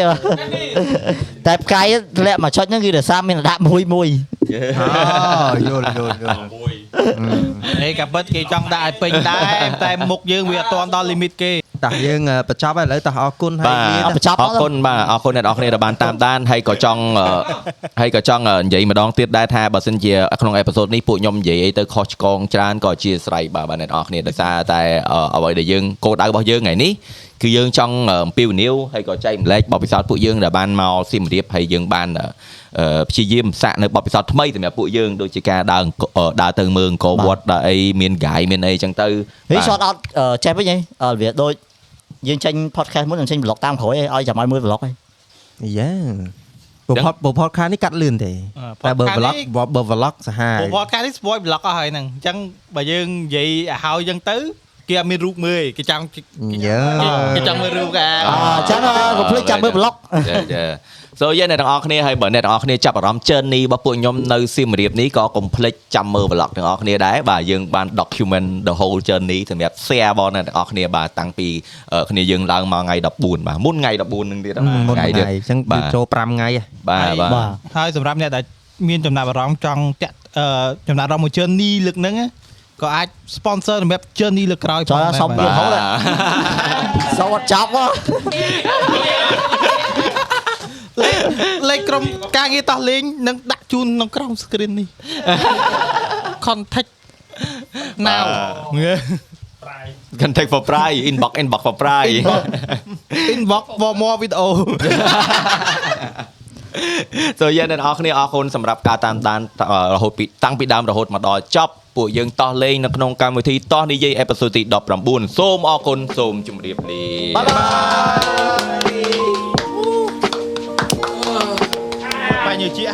តែផ្កាយធ្លាក់មកចុចហ្នឹងគឺដោយសារមានដាក់មួយមួយ
អូយល់យល់យល់
ហេកាពិតគេចង់ដាក់ឲ្យពេញដែរ [LAUGHS] តែមុខយើងវាអត់ទាន់ដល់ limit គេ
តាយើងអឺបញ្ចប់ហើយឥឡូវតោះអរគុណហើ
បាទ
យ
អរអរគុណបាទអរគុណអ្នកនរអស់គ្នាដែលបានតាមដានហើយក៏ចង់អឺហើយក៏ចង់អឺនិយាយម្ដងទៀតដែរថាបើសិនជាក្នុងអេពីសូតនេះពួកខ្ញុំនិយាយអីទៅខុសឆ្គងច្រើនក៏អធិស្ឋានបាទបាទអ្នកនរអស់គ្នាដោយសារតែអឺអ្វីដែលយើងគោលដៅរបស់យើងថ្ងៃនេះគឺយើងចង់អឺអំពាវនាវហើយក៏ចែកម្លែកបទពិសោធន៍ពួកយើងដែលបានមកសៀមរាបហើយយើងបានអឺ អឺព្យាយាមសាកនៅបទពិសោធន៍ថ្មីសម្រាប់ពួកយើងដូចជាការដើរអង្គអឺដើរទៅមើលអង្គរវត្តដើរអីមាន guide មានអីចឹងទៅ
ហី
បាទ
short out ờ, អឺចេះវិញហីអឺវាដូចយើងចេញ podcast មួយនឹងចេញ vlog តាមក្រោយហីឲ្យចាំឲ្យមើល vlog ហី
យ៉ាពពតពពតខានេះកាត់លឿនទេ
អឺ
តែបើ
podcast
vlog
នេះ
បើ vlog សាហាវ
ពួក podcast នេះ spoil block អស់ហើយហ្នឹងអញ្ចឹងបើយើងនិយាយឲ្យហើយអញ្ចឹងទៅគេអត់មានរូបមើលទេគេចង់គេ
យ៉ា
គេចង់មើលរូបគេ
អ่าចឹងអ่ากុំភ្លេចចាំមើល vlog
ចាចា So យើងអ្នកទាំងអស់គ្នាហើយបើអ្នកទាំងអស់គ្នាចាប់អារម្មណ៍ journey របស់ពួកខ្ញុំនៅសៀមរាបនេះក៏កុំភ្លេចចាំមើល vlog ទាំងអស់គ្នាដែរបាទយើងបាន document the whole journey សម្រាប់ share បងអ្នកទាំងអស់គ្នាបាទតាំងពីអឺគ្នាយើងឡើងមកថ្ងៃ14បាទមុនថ្ងៃ14ហ្នឹងទៀតហ៎
មុនថ្ងៃ
ទៀត
អញ្ចឹង
បាទ
ចូល5ថ្ងៃ
បាទបាទ
ហើយសម្រាប់អ្នកដែលមានចំណាប់អារម្មណ៍ចង់តាក់អឺចំណាប់អារម្មណ៍មួយ journey លើកហ្នឹងណាក៏អាច sponsor សម្រាប់ journey លើកក្រោយ
ចុះ
ផងដែរ
សុំ
បាទ
វាហូត
[LAUGHS]
[LAUGHS] សូមអត់ចាប់ហ៎
លេខលេខក្រុមការងារតោះលេងនឹងដាក់ជូនក្នុងក្រោម screen នេះ contact now
បាទ contact for price inbox inbox for price
inbox for more video
[LAUGHS] ចូលយើងអ្នកនរអស់គ្នាអរគុណសម្រាប់ការតាមដានអឺរហូតពីតាំងពីដើមរហូតមកដល់ចប់ពួកយើងតោះលេងនៅក្នុងកម្មវិធីតោះនិយាយអេពីសូតទី19សូមអរគុណសូមជម្រាបលា
បញ្ញជា